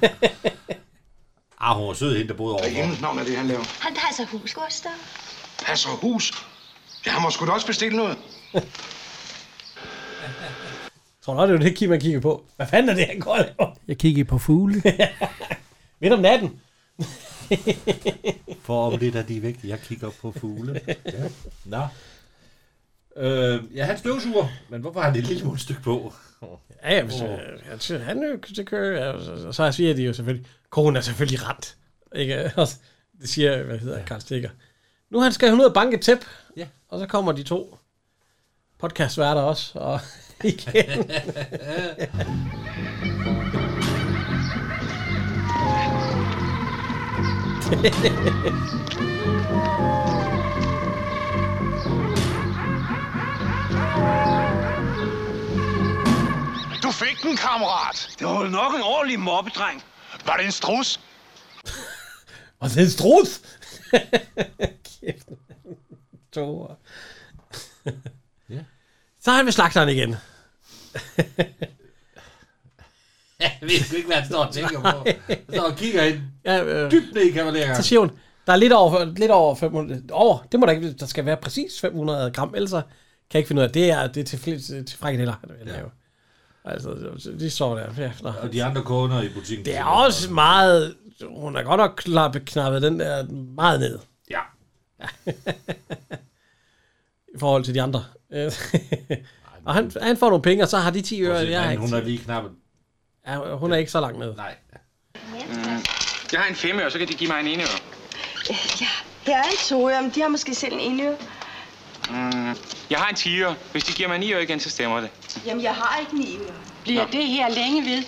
S6: Ah, hun var sød, hende der boede
S17: Hvad i
S6: overfor.
S17: himlens navn er det, han laver?
S14: Han passer hus, Gustav.
S17: Passer hus. Ja, han må sgu da også bestille noget.
S7: Tror du, det er jo det, Kim man kigger på? Hvad fanden er det, han går og laver?
S3: Jeg kigger på fugle.
S7: Midt om natten.
S6: For om lidt er de væk. Jeg kigger på fugle. Ja. Nå. Øh, ja, han støvsuger. Men hvorfor har han et lille smule stykke på?
S7: Ja, ja, hvis, øh, han siger, han er jo, det kører, ja, så, så, så siger de jo selvfølgelig, konen er selvfølgelig rent. Ikke? Og så- Det siger, hvad hedder Karl Stikker. Nu han skal han ud og banke et tæp,
S6: Ja.
S7: og så kommer de to podcastværter også, og igen.
S17: Du fik den, kammerat. Det var nok en ordentlig mobbedreng. Var det en strus?
S7: og det er en strus! Kæft. To år.
S6: Ja.
S7: Så er han ved slagteren igen.
S6: Jeg ved sgu ikke, hvad han står og tænker på. Han står og kigger ind.
S7: Ja, øh,
S6: Dybt ned i kavalergangen.
S7: så siger hun, der er lidt over, lidt over 500, over, det må der ikke, der skal være præcis 500 gram, ellers så kan jeg ikke finde ud af, det er, det er til, fl- til frikadeller, han vil lave. Altså, så- de står der. Ja, nå.
S6: Og de andre kunder i butikken.
S7: det er også meget, hun har godt nok klappet, knappet den der meget ned,
S6: Ja.
S7: i forhold til de andre. Øh, og han, han får nogle penge, og så har de 10 øre, jeg har
S6: Ja,
S7: ikke
S6: hun er
S7: 10.
S6: lige knappet.
S7: Ja, hun er ikke så langt med.
S6: Nej.
S5: Mm. Jeg har en femøre, så kan de give mig en enøre.
S14: Her er en toer, men de har måske selv en enø.
S5: Mm. Jeg har en tiger. Hvis de giver mig en øre igen, så stemmer det.
S14: Jamen, jeg har ikke en enø.
S18: Bliver det her længe ved?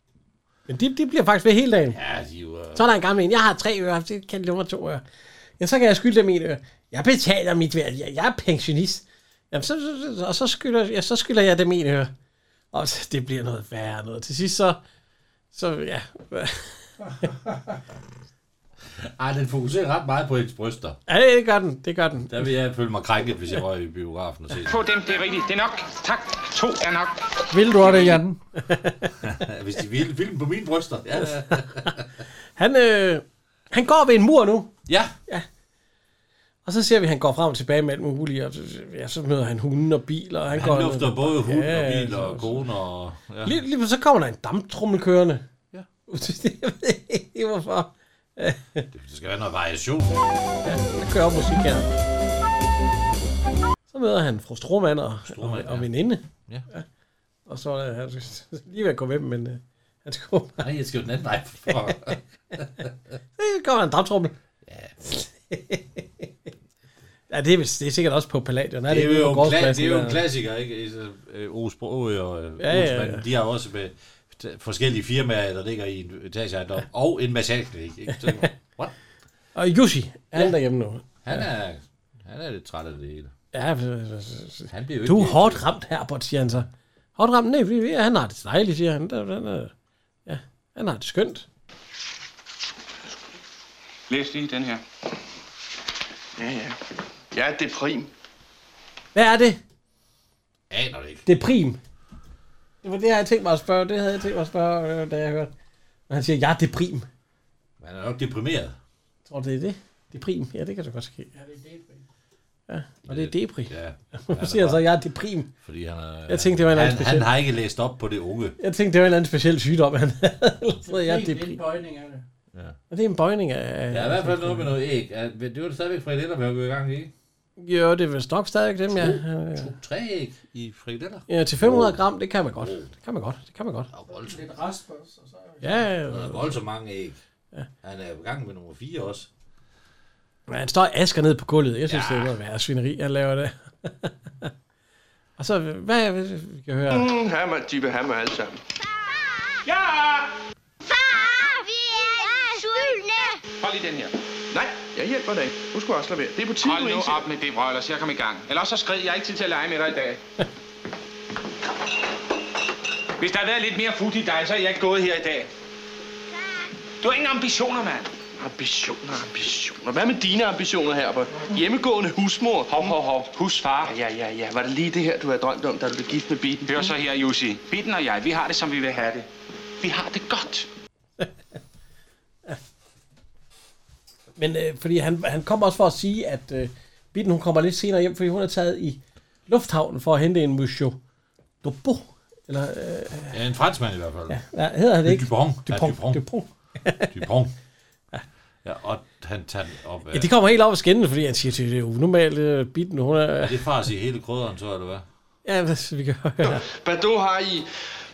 S7: Men de, de bliver faktisk ved hele dagen.
S6: Ja, de er jo... øh,
S7: Så er der en gammel en, jeg har tre øre, det kan nummer to øre. Ja, så kan jeg skylde dem en øre. Jeg betaler mit værd, jeg, jeg er pensionist. Jamen, så, så, så, og så skylder, ja, så skylder jeg dem en øre. Og så, det bliver noget værre noget. Til sidst så, så ja.
S6: Ej, den fokuserer ret meget på hendes bryster.
S7: ja, det gør den, det gør den.
S6: Der vil jeg føle mig krænket, hvis jeg røg i biografen og se
S5: Få dem, det er rigtigt. Det er nok. Tak. To er nok.
S3: Vil du have det, Jan?
S6: den. Hvis de ville filme på mine bryster. Ja, ja.
S7: Han, øh, han går ved en mur nu,
S6: ja.
S7: og så ser vi, at han går frem og tilbage med alt muligt, og så, ja, så møder han hunden og biler. Og han, går
S6: Han
S7: ned.
S6: lufter både hund og
S7: Ja,
S6: bil og kone og... Ja.
S7: Lige, lige, pludselig så kommer der en damptrummel kørende.
S6: Ja.
S7: jeg ved ikke, hvorfor.
S6: Det skal være noget variation.
S7: Der kører musik her. Så møder han fru Strohmann og,
S6: Strohmann,
S7: og, og
S6: ja.
S7: veninde.
S6: Ja.
S7: Og så er han lige ved at gå med dem, men øh, han skal gå.
S6: Nej, jeg skal jo den anden vej. for pokker.
S7: Så kommer en damptrummel. Ja. ja, det er, vist- det er sikkert også på Palladion. Er
S6: Det er jo
S7: på
S6: en, kla-
S7: gårdspladsen
S6: det er jo en
S7: der?
S6: klassiker, ikke? Så, øh, Ove Sprogøe og
S7: Ja,
S6: ja,
S7: ja,
S6: ja,
S7: ja.
S6: ja. de har jo også med t- forskellige firmaer, der ligger i en etageejendom, ja. og en massageklinik. Ikke? Så, what?
S7: Og Jussi, han er derhjemme nu.
S6: Han er, han er lidt træt af det hele.
S7: Ja, øh,
S6: Han bliver jo
S7: du er
S6: ikke-
S7: hårdt ramt, Herbert, siger han så. Hårdt ramt? Nej, vi- vi- han har det dejligt, siger han. Der- Han, er- ja, han har det skønt.
S5: Læs lige den her. Ja, ja. Ja, det er prim.
S7: Hvad er det?
S6: Aner det ikke.
S7: Det er prim. Det var det, jeg havde tænkt mig at spørge. Det havde jeg tænkt mig at spørge, øh, da jeg hørte. Men han siger, ja, det er prim. Jeg
S6: Man er nok deprimeret.
S7: tror, det er det. Det er prim. Ja, det kan da godt ske. Ja, det er deprim. Ja, og det er deprim.
S6: Ja.
S7: Hvorfor siger han så, jeg er deprim?
S6: Fordi han er,
S7: Jeg tænkte, det var en
S6: han,
S7: anden speciel.
S6: han har ikke læst op på det unge.
S7: Jeg tænkte, det var en eller anden speciel sygdom, han havde. Så jeg er
S3: Det er en
S7: deprim.
S3: bøjning af det.
S6: Ja.
S7: Og det er en bøjning af...
S6: Der er i hvert fald noget med noget æg. Er- Det var det stadigvæk frikadeller, vi har gået i gang i. ikke?
S7: Jo, det er vist nok stadigvæk dem, ja.
S6: To, tre æg i frikadeller.
S7: Ja, til 500 gram, det kan man godt. Det kan man godt, det kan man godt.
S6: Og voldsomt.
S3: Lidt raspers, og så
S7: Ja,
S6: Der er
S7: øh,
S6: voldsomt mange æg. Ja. Han er i gang med nummer 4 også.
S7: men han står og asker ned på gulvet. Jeg synes, ja. det er noget værre svineri, han laver det. og så, hvad vi kan høre?
S5: Mm, ham, er- de vil have mig alle sammen.
S8: Ja! Far, vi er sultne!
S5: Hold lige den her.
S15: Nej, jeg hjælper dig. Du skulle også lade være. Det er på tide,
S5: Hold nu op med det, brøl, så jeg kom i gang. Ellers så skrid, jeg har ikke tid til at lege med dig i dag. Hvis der havde været lidt mere fut i dig, så er jeg ikke gået her i dag. Du har ingen ambitioner, mand.
S15: Ambitioner, ambitioner. Hvad med dine ambitioner her på? Hjemmegående husmor. Hov, hov, hov. Husfar. Ja, ja, ja. Var det lige det her, du havde drømt om, da du blev gift med Bitten?
S5: Hør så her, Jussi. Bitten og jeg, vi har det, som vi vil have det. Vi har det godt.
S7: Men øh, fordi han, han kommer også for at sige, at øh, Bitten hun kommer lidt senere hjem, fordi hun er taget i lufthavnen for at hente en Monsieur Dubo. Eller, øh,
S6: Ja, en franskmand i hvert fald. Ja.
S7: hvad hedder han
S6: Det er
S7: ikke?
S6: Dupont. Ja,
S7: Dupont.
S6: Dupont.
S7: Dupont.
S6: Dupont. Ja, og han tager den op.
S7: Ja, de kommer helt op og skændes, fordi han siger, det er unormalt, øh, Bitten, hun
S6: Er
S7: er...
S6: det fars i hele krydderen, så er det hvad?
S7: Ja, hvad vi kan høre.
S15: Bado har I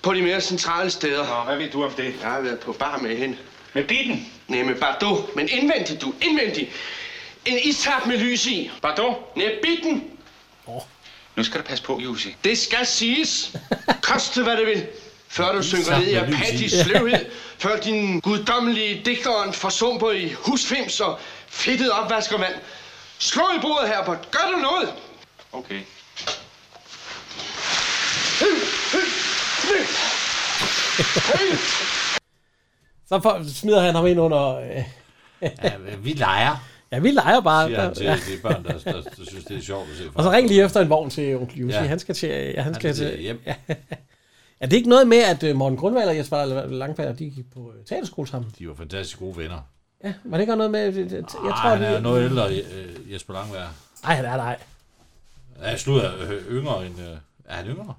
S15: på de mere centrale steder.
S5: Nå, hvad ved du om det?
S15: Jeg har været på bar med hende.
S5: Med Bitten?
S15: Nej, med Bado. Men indvendig, du. Indvendig. En istap med lys i.
S5: Bardot?
S15: Nej, Bitten.
S5: Nu skal du passe på, Jussi.
S15: Det skal siges. Koste hvad det vil. Før du synker
S5: Istap
S15: ned i
S5: med lys i.
S15: apatisk sløvhed. Før din guddommelige digteren forsumper i husfims og fedtet opvaskervand. Slå i bordet, Herbert. Gør du noget?
S5: Okay.
S7: Så for, smider han ham ind under... Øh,
S6: Ja, vi leger,
S7: ja, vi leger bare.
S6: siger han til
S7: Ja.
S6: de børn, der, der, der, synes, det er sjovt at se.
S7: Og så ring lige efter en vogn til onkel Jussi. Ja.
S6: Ja.
S7: Han skal til... Ja, han skal til
S6: hjem.
S7: er det ikke noget med, at øh, Morten Grundvald og Jesper Langfald, de gik på øh, teaterskole sammen?
S6: De var fantastisk gode venner.
S7: Ja, var det ikke noget med... Jeg, jeg
S6: Jeg
S7: tror,
S6: tror, han er
S7: vi-
S6: noget ældre, øh, Jesper Langvær.
S7: Nej, han er nej.
S6: Ja, slut er øh, yngre end... Øh, er han yngre?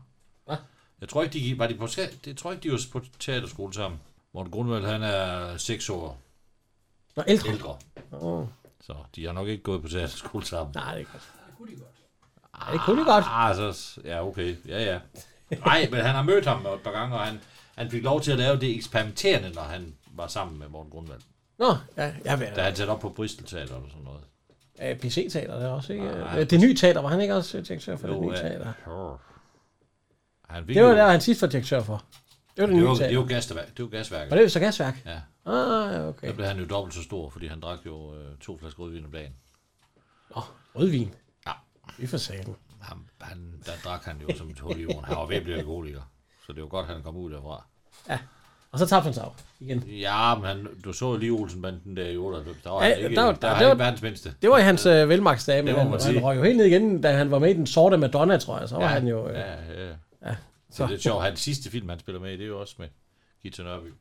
S7: Hva?
S6: Jeg tror ikke, de, gik- var de på, ska- det tror ikke, de var på teaterskole sammen. Morten Grundvald, han er 6 år
S7: Nå, ældre.
S6: ældre.
S7: Åh.
S6: Så de har nok ikke gået på teaterskole sammen.
S7: Nej, det er godt.
S6: Ja,
S7: det kunne de godt.
S6: Ah, så, ja, okay. Ja, ja. Nej, men han har mødt ham et par gange, og han, han fik lov til at lave det eksperimenterende, når han var sammen med Morten Grundvald.
S7: Nå, ja, jeg ved
S6: Da han satte op på Bristol Teater eller sådan noget.
S7: det. PC-teater, det er også, ikke?
S6: Nej.
S7: Nej. Det nye teater, var han ikke også direktør for det nye
S6: ja.
S7: teater?
S6: Brr. Han fik
S7: Det var
S6: jo-
S7: der, han sidst var direktør for. Det var det,
S6: det
S7: nye
S6: var,
S7: teater.
S6: det var, gasværk, det var gasværket.
S7: Var det så gasværk?
S6: Ja.
S7: Ah, ja, okay.
S6: Der blev han jo dobbelt så stor, fordi han drak jo øh, to flasker rødvin om dagen.
S7: Rødvin. Ja. Vi får sagen.
S6: Han, han, der drak han jo som et hul i jorden. Han var ved at blive alkoholiker. Så det var godt, han kom ud derfra.
S7: Og så tabte han sig af igen.
S6: Ja, men han, du så jo lige Olsenbanden der i 98. Der var
S7: Ja,
S6: han ikke,
S7: der
S6: der
S7: var-
S6: var,
S7: der-
S6: der var
S7: det
S6: han
S7: var-
S6: ikke verdens mindste.
S7: Det var i hans øh, velmagtsdage, men
S6: Det må
S7: han,
S6: man
S7: han
S6: sige.
S7: røg jo helt ned igen, da han var med i den sorte Madonna, tror jeg. Så var
S6: Ja,
S7: han jo... Øh,
S6: Ja, ja. ja.
S7: ja.
S6: Så. Det er lidt sjovt. Hans sidste film, han spiller med i, det er jo også med Gita Nørby.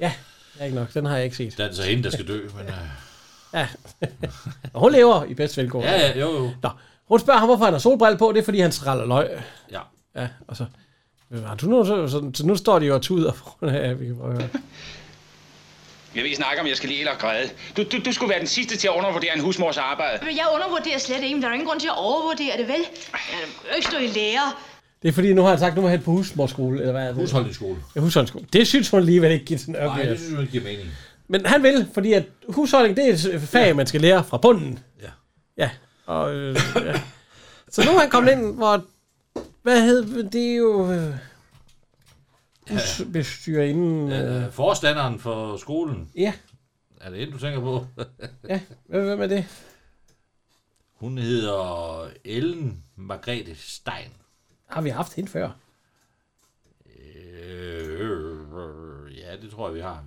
S7: Ja, det er ikke nok. Den har jeg ikke set.
S6: Der er det så hende, der skal dø. Men, øh,
S7: Ja. Og hun lever i bedst velgående.
S6: ja, ja, jo, jo.
S7: Nå, hun spørger ham, hvorfor han har solbrille på. Det er, fordi han straller løg.
S6: Ja.
S7: Ja, og så... Har du nu, så, så, så nu står de jo og tuder foran ja, vi kan prøve at høre.
S5: Jeg ved snakke om, jeg skal lige eller græde. Du, du, du skulle være den sidste til at undervurdere en husmors arbejde.
S11: Men jeg undervurderer slet ikke, men der er jo ingen grund til at overvurdere det, vel? Jeg kan jo ikke stå i lære.
S7: Det er fordi, nu har han sagt, nu må han på husmorskole, eller hvad er det?
S6: Husholdningsskole.
S7: Ja, husholdningsskole. Det synes hun alligevel ikke giver den
S6: Nej, det
S7: opgave.
S6: synes jeg ikke giver mening.
S7: Men han vil, fordi at husholdning, det er et fag, ja. man skal lære fra bunden.
S6: Ja.
S7: Ja. Og, øh, ja. Så nu er han kommet ind, hvor... Hvad hed det er jo... Øh, husbestyrerinden... Øh,
S6: Øh, forstanderen for skolen,
S7: ja,
S6: er det en, du tænker på?
S7: ja. Hvad, hvad med det?
S6: Hun hedder Ellen Margrethe Stein.
S7: Har vi haft hende før?
S6: Øh, ja, det tror jeg, vi har.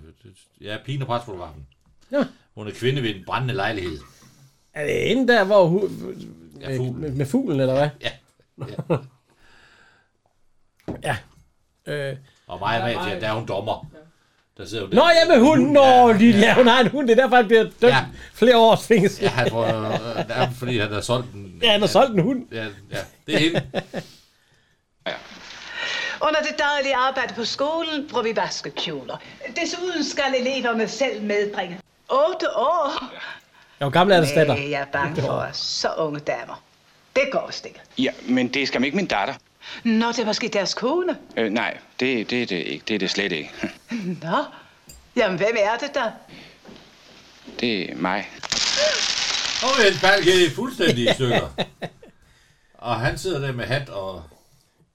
S6: Ja, pigen og presfotografen.
S7: Ja.
S6: Hun er kvinde ved en brændende lejlighed.
S7: Er det hende der, hvor hun...
S6: Ja, fuglen.
S7: Med, med fuglen, eller hvad?
S6: Ja.
S7: ja. Øh,
S6: Og Maja Maja, der er hun dommer. Der sidder hun der.
S7: Nå ja, med hunden! Nå, ja, ja. hun har en hund. Det er derfor, han bliver dømt ja. flere års fængsel.
S6: Ja, han får, øh, det er fordi han har solgt en...
S7: Ja, han har solgt en hund.
S6: Ja, ja det er hende.
S12: Under det daglige arbejde på skolen bruger vi vaskekjoler. Desuden skal eleverne selv medbringe. 8 år?
S7: Ja, hvor gammel er det statter?
S12: Nej, jeg er bange for os. så unge damer. Det går stikker.
S5: Ja, men det er skam ikke min datter.
S12: Nå, det er måske deres kone.
S5: Øh, nej, det, det, er det, ikke. det er det slet ikke.
S12: Nå, jamen hvem er det der?
S5: Det er mig.
S6: Og en balke fuldstændig i stykker. Og han sidder der med hat og...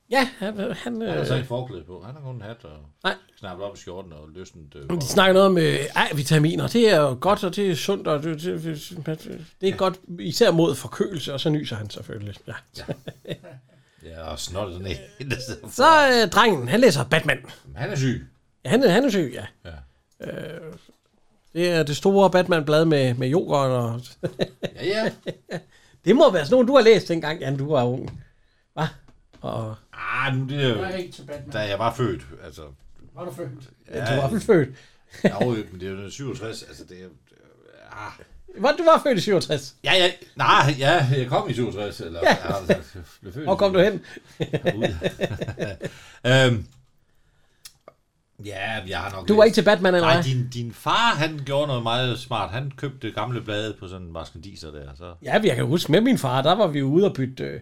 S7: Ja, han... han
S6: Han har så
S7: øh,
S6: ikke forklæde på. Han har kun en hat og
S7: Nej.
S6: knappet op i skjorten og løsnet... Øh,
S7: men de snakker noget om øh, A-vitaminer. Det er jo godt, og det er sundt, og det, det, det, det er godt, især mod forkølelse, og så nyser han selvfølgelig. Ja. ja.
S6: Ja, og snottet ned. Der sidder-
S7: Så øh, drengen, han læser Batman.
S6: Han er syg.
S7: Ja, han, er- han er syg, ja.
S6: Ja.
S7: Øh, det er det store Batman-blad med, med yoghurt og...
S6: ja, ja.
S7: Det må være sådan nogen, du har læst dengang, Jan, du var ung. Hva? Og...
S6: Ah, nu det er jo...
S3: Jeg er ikke til Batman.
S6: Da jeg var født, altså...
S3: Var du født?
S7: Ja, du var vel født.
S6: jo, jo, men det er jo 67, altså det er... Ah.
S7: Var, du var født i 67.
S6: Ja, ja, nej, ja, jeg kom i 67, eller
S7: Ja.
S6: ja. altså, jeg blev født. i
S7: Hvor kom du hen?
S6: 67. Ud. øhm, ja, jeg har nok...
S7: Du var
S6: læst-
S7: ikke til Batman, eller
S6: Nej,
S7: hvad?
S6: din, din far, han gjorde noget meget smart. Han købte gamle blade på sådan en maskendiser der, så...
S7: Ja, jeg kan huske med min far, der var vi jo ude og bytte, øh,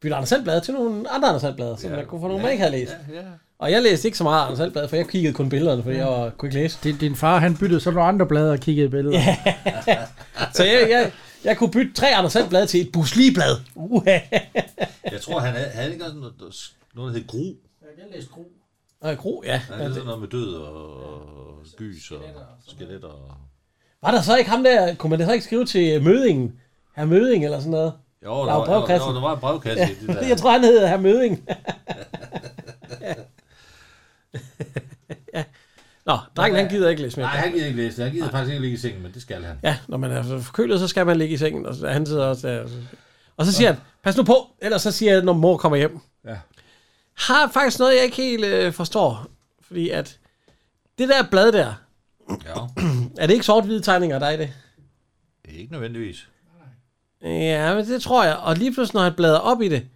S7: bytte Anders Sandblad til nogle andre Anders Sandblad, som
S6: Ja.
S7: jeg kunne få nogle,
S6: Ja.
S7: man ikke havde læst.
S6: Ja, ja.
S7: Og jeg læste ikke så meget Anders Sandblad, for jeg kiggede kun billederne, fordi jeg var, kunne ikke læse.
S3: Din, din far, han byttede så nogle andre blade og kiggede i billeder. Ja.
S7: Så jeg, jeg, jeg kunne bytte tre Anders Sandblad til et busliblad. Uha.
S6: Jeg tror, han havde, havde ikke også noget, noget der hed Gru.
S3: Jeg læste gro.
S7: Og jeg gro, ja.
S6: Han havde sådan noget med død og gys og skeletter og...
S7: Var der så ikke ham der, kunne man da så ikke skrive til øh, Mødingen? Herr Møding eller sådan noget?
S6: Jo, der
S7: jo
S6: var-
S7: brevkassen.
S6: jo, der var en brevkasse i det der.
S7: Jeg tror, han hed Herr Møding. ja. Nå, drengen han gider ikke læse mere.
S6: Nej, han gider ikke læse det. Han gider faktisk ikke ligge i sengen, men det skal han.
S7: Ja, når man er så forkølet, så skal man ligge i sengen, og så- han sidder også der. Og så siger han, pas nu på, ellers så siger jeg, når mor kommer hjem.
S6: Ja.
S7: Har faktisk noget, jeg ikke helt øh, forstår, fordi at det der blad der,
S6: Ja.
S7: er det ikke sort-hvide tegninger, der er i det?
S6: Ikke nødvendigvis.
S7: Ja, men det tror jeg. Og lige pludselig, når han bladrer op i det,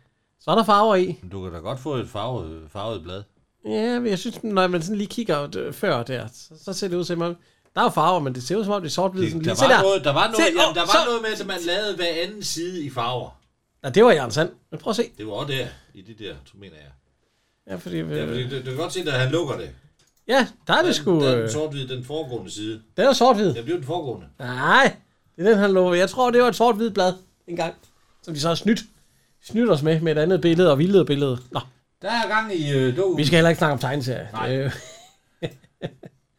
S7: så er der farver i.
S6: Men Du kan da godt få et farvet, farvet blad.
S7: Ja, men jeg synes, når man sådan lige kigger øh, før der, så, så ser det ud som om, der er jo farver, men det ser ud som om, det er sort-hvidt. sådan
S6: Der
S7: lige- Se
S6: var, noget, der var, noget,
S7: Se,
S6: jamen, der
S7: åh,
S6: var
S7: så-
S6: noget med, at man lavede hver anden side i farver.
S7: Nej, det var Jørgen Sand. Men prøv at se.
S6: Det var også der, i det der, så mener jeg.
S7: Ja, fordi,
S6: Ja, fordi
S7: øh,
S6: du, du kan godt se, at han lukker det.
S7: ja der er det sgu...
S6: Der er den
S7: Øh,
S6: sort-hvide, den foregående side.
S7: den er sort-hvid.
S6: Ja, det er jo den foregående.
S7: Nej, det er den, han lovede. Jeg tror, det var et sort-hvidt blad engang, som de så har snydt, snydt os med, med et andet billede og vildere billede. Nå,
S6: Der er gang i øh, dukkehus.
S7: vi skal heller ikke snakke om tegneserier.
S6: Nej.
S7: Øh,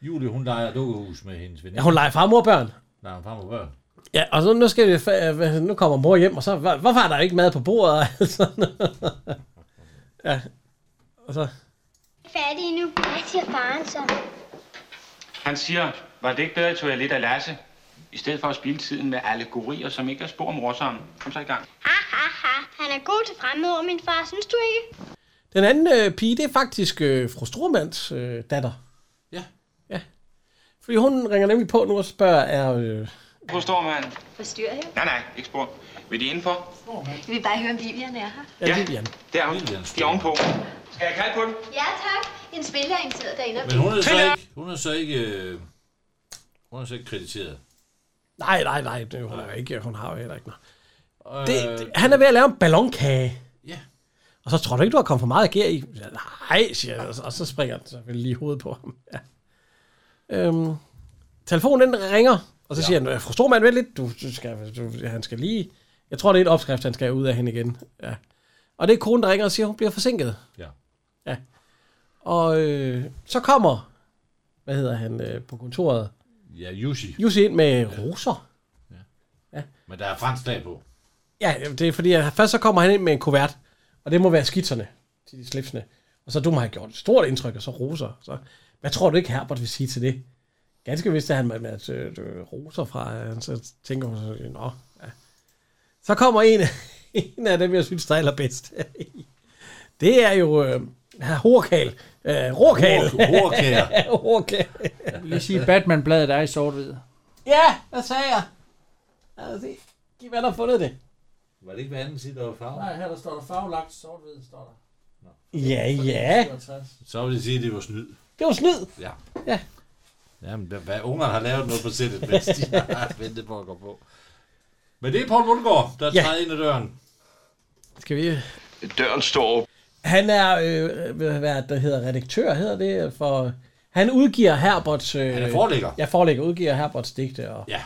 S6: Julie, hun leger dukkehus med hendes veninde.
S7: ja, hun leger farmor og børn.
S6: Nej, hun farmor børn.
S7: Ja, og så nu, skal vi, fa- øh, hvad- nu kommer mor hjem, og så, "Hva- hvorfor er der ikke mad på bordet? og alt sådan noget. ja, og så,
S22: færdige nu. Hvad siger faren så?
S5: Han siger, var det ikke bedre, at jeg lidt af Lasse? I stedet for at spille tiden med allegorier, som ikke er spor morsomme. Kom så i gang.
S22: Han er god til fremmedord, min far, synes du ikke?
S7: den anden øh, pige, det er faktisk øh, fru Stromands øh, datter.
S6: Ja.
S7: Ja. Fordi hun ringer nemlig på nu og spørger, er... Øh,
S5: Hvor står man?
S11: Forstyrrer jeg?
S5: Nej, nej, ikke spor. Vil de indenfor?
S11: Vi vil bare høre, om Vivian er her.
S7: Ja, Lilian.
S5: Der er hun. I er ovenpå. Skal jeg kalde på den?
S14: Ja tak. En spiller er inviteret derinde. og
S6: Men hun er så
S14: Triller.
S6: ikke, hun er så ikke, øh, hun er så ikke krediteret.
S7: nej, nej, nej, det, hun, er ikke, hun har jo heller ikke noget.
S6: Øh,
S7: Det, det, han er ved at lave en ballonkage.
S6: Ja.
S7: Og så tror du ikke, du har kommet for meget gær i? Ja, Nej, siger jeg, og så- og så springer den selvfølgelig altså, lige i hovedet på ham. Ja. Øhm, telefonen den ringer, og så ja. siger han, fru Stormand, vent lidt, du, du skal, du, han skal lige... Jeg tror, det er et opskrift, han skal ud af hende igen. Ja. Og det er konen, der ringer og siger, hun bliver forsinket.
S6: Ja.
S7: ja. Og øh, så kommer, hvad hedder han, øh, på kontoret,
S6: Ja, Jussi.
S7: Jussi ind med roser.
S6: Men der er fransk flag på.
S7: Ja, jamen, det er fordi, at først så kommer han ind med en kuvert, og det må være skitserne til de slipsene. Og så du må have gjort et stort indtryk, og så roser. Så, hvad tror du ikke, Herbert vil sige til det? Ganske vist er han med, med øh, øh, roser fra, øh, så tænker hun så, nå, ja. Så kommer en, en af dem, jeg synes, der er allerbedst. Det er jo øh, her, Horkal. Øh, Rorkal.
S3: Ror- Rorkær.
S7: Rorkær.
S3: Jeg vil lige sige, at Batman-bladet er i sort-hvid.
S7: Ja, hvad sagde jeg? Lad os se. Giv hvad der har fundet det.
S6: Var det ikke hvad anden side, der var farve?
S3: her der står der farvelagt sort-hvid, står der.
S7: Ja, ja.
S6: Så vil jeg sige, at det var snyd.
S7: Det var snyd.
S6: Ja.
S7: Ja.
S6: Jamen, hvad- hvad ungerne har lavet noget på sættet, mens de har ventet på at gå på. Men det er Poul Mundgaard, der
S7: Ja.
S6: ja. træder ind ad døren.
S7: Skal vi...
S15: Døren står
S7: Han er, øh, hvad hvad der hedder, redaktør, hedder det, for... Han udgiver Herberts... Øh,
S6: Han er forlægger.
S7: Ja, forlægger. Udgiver Herberts digte og
S6: ja.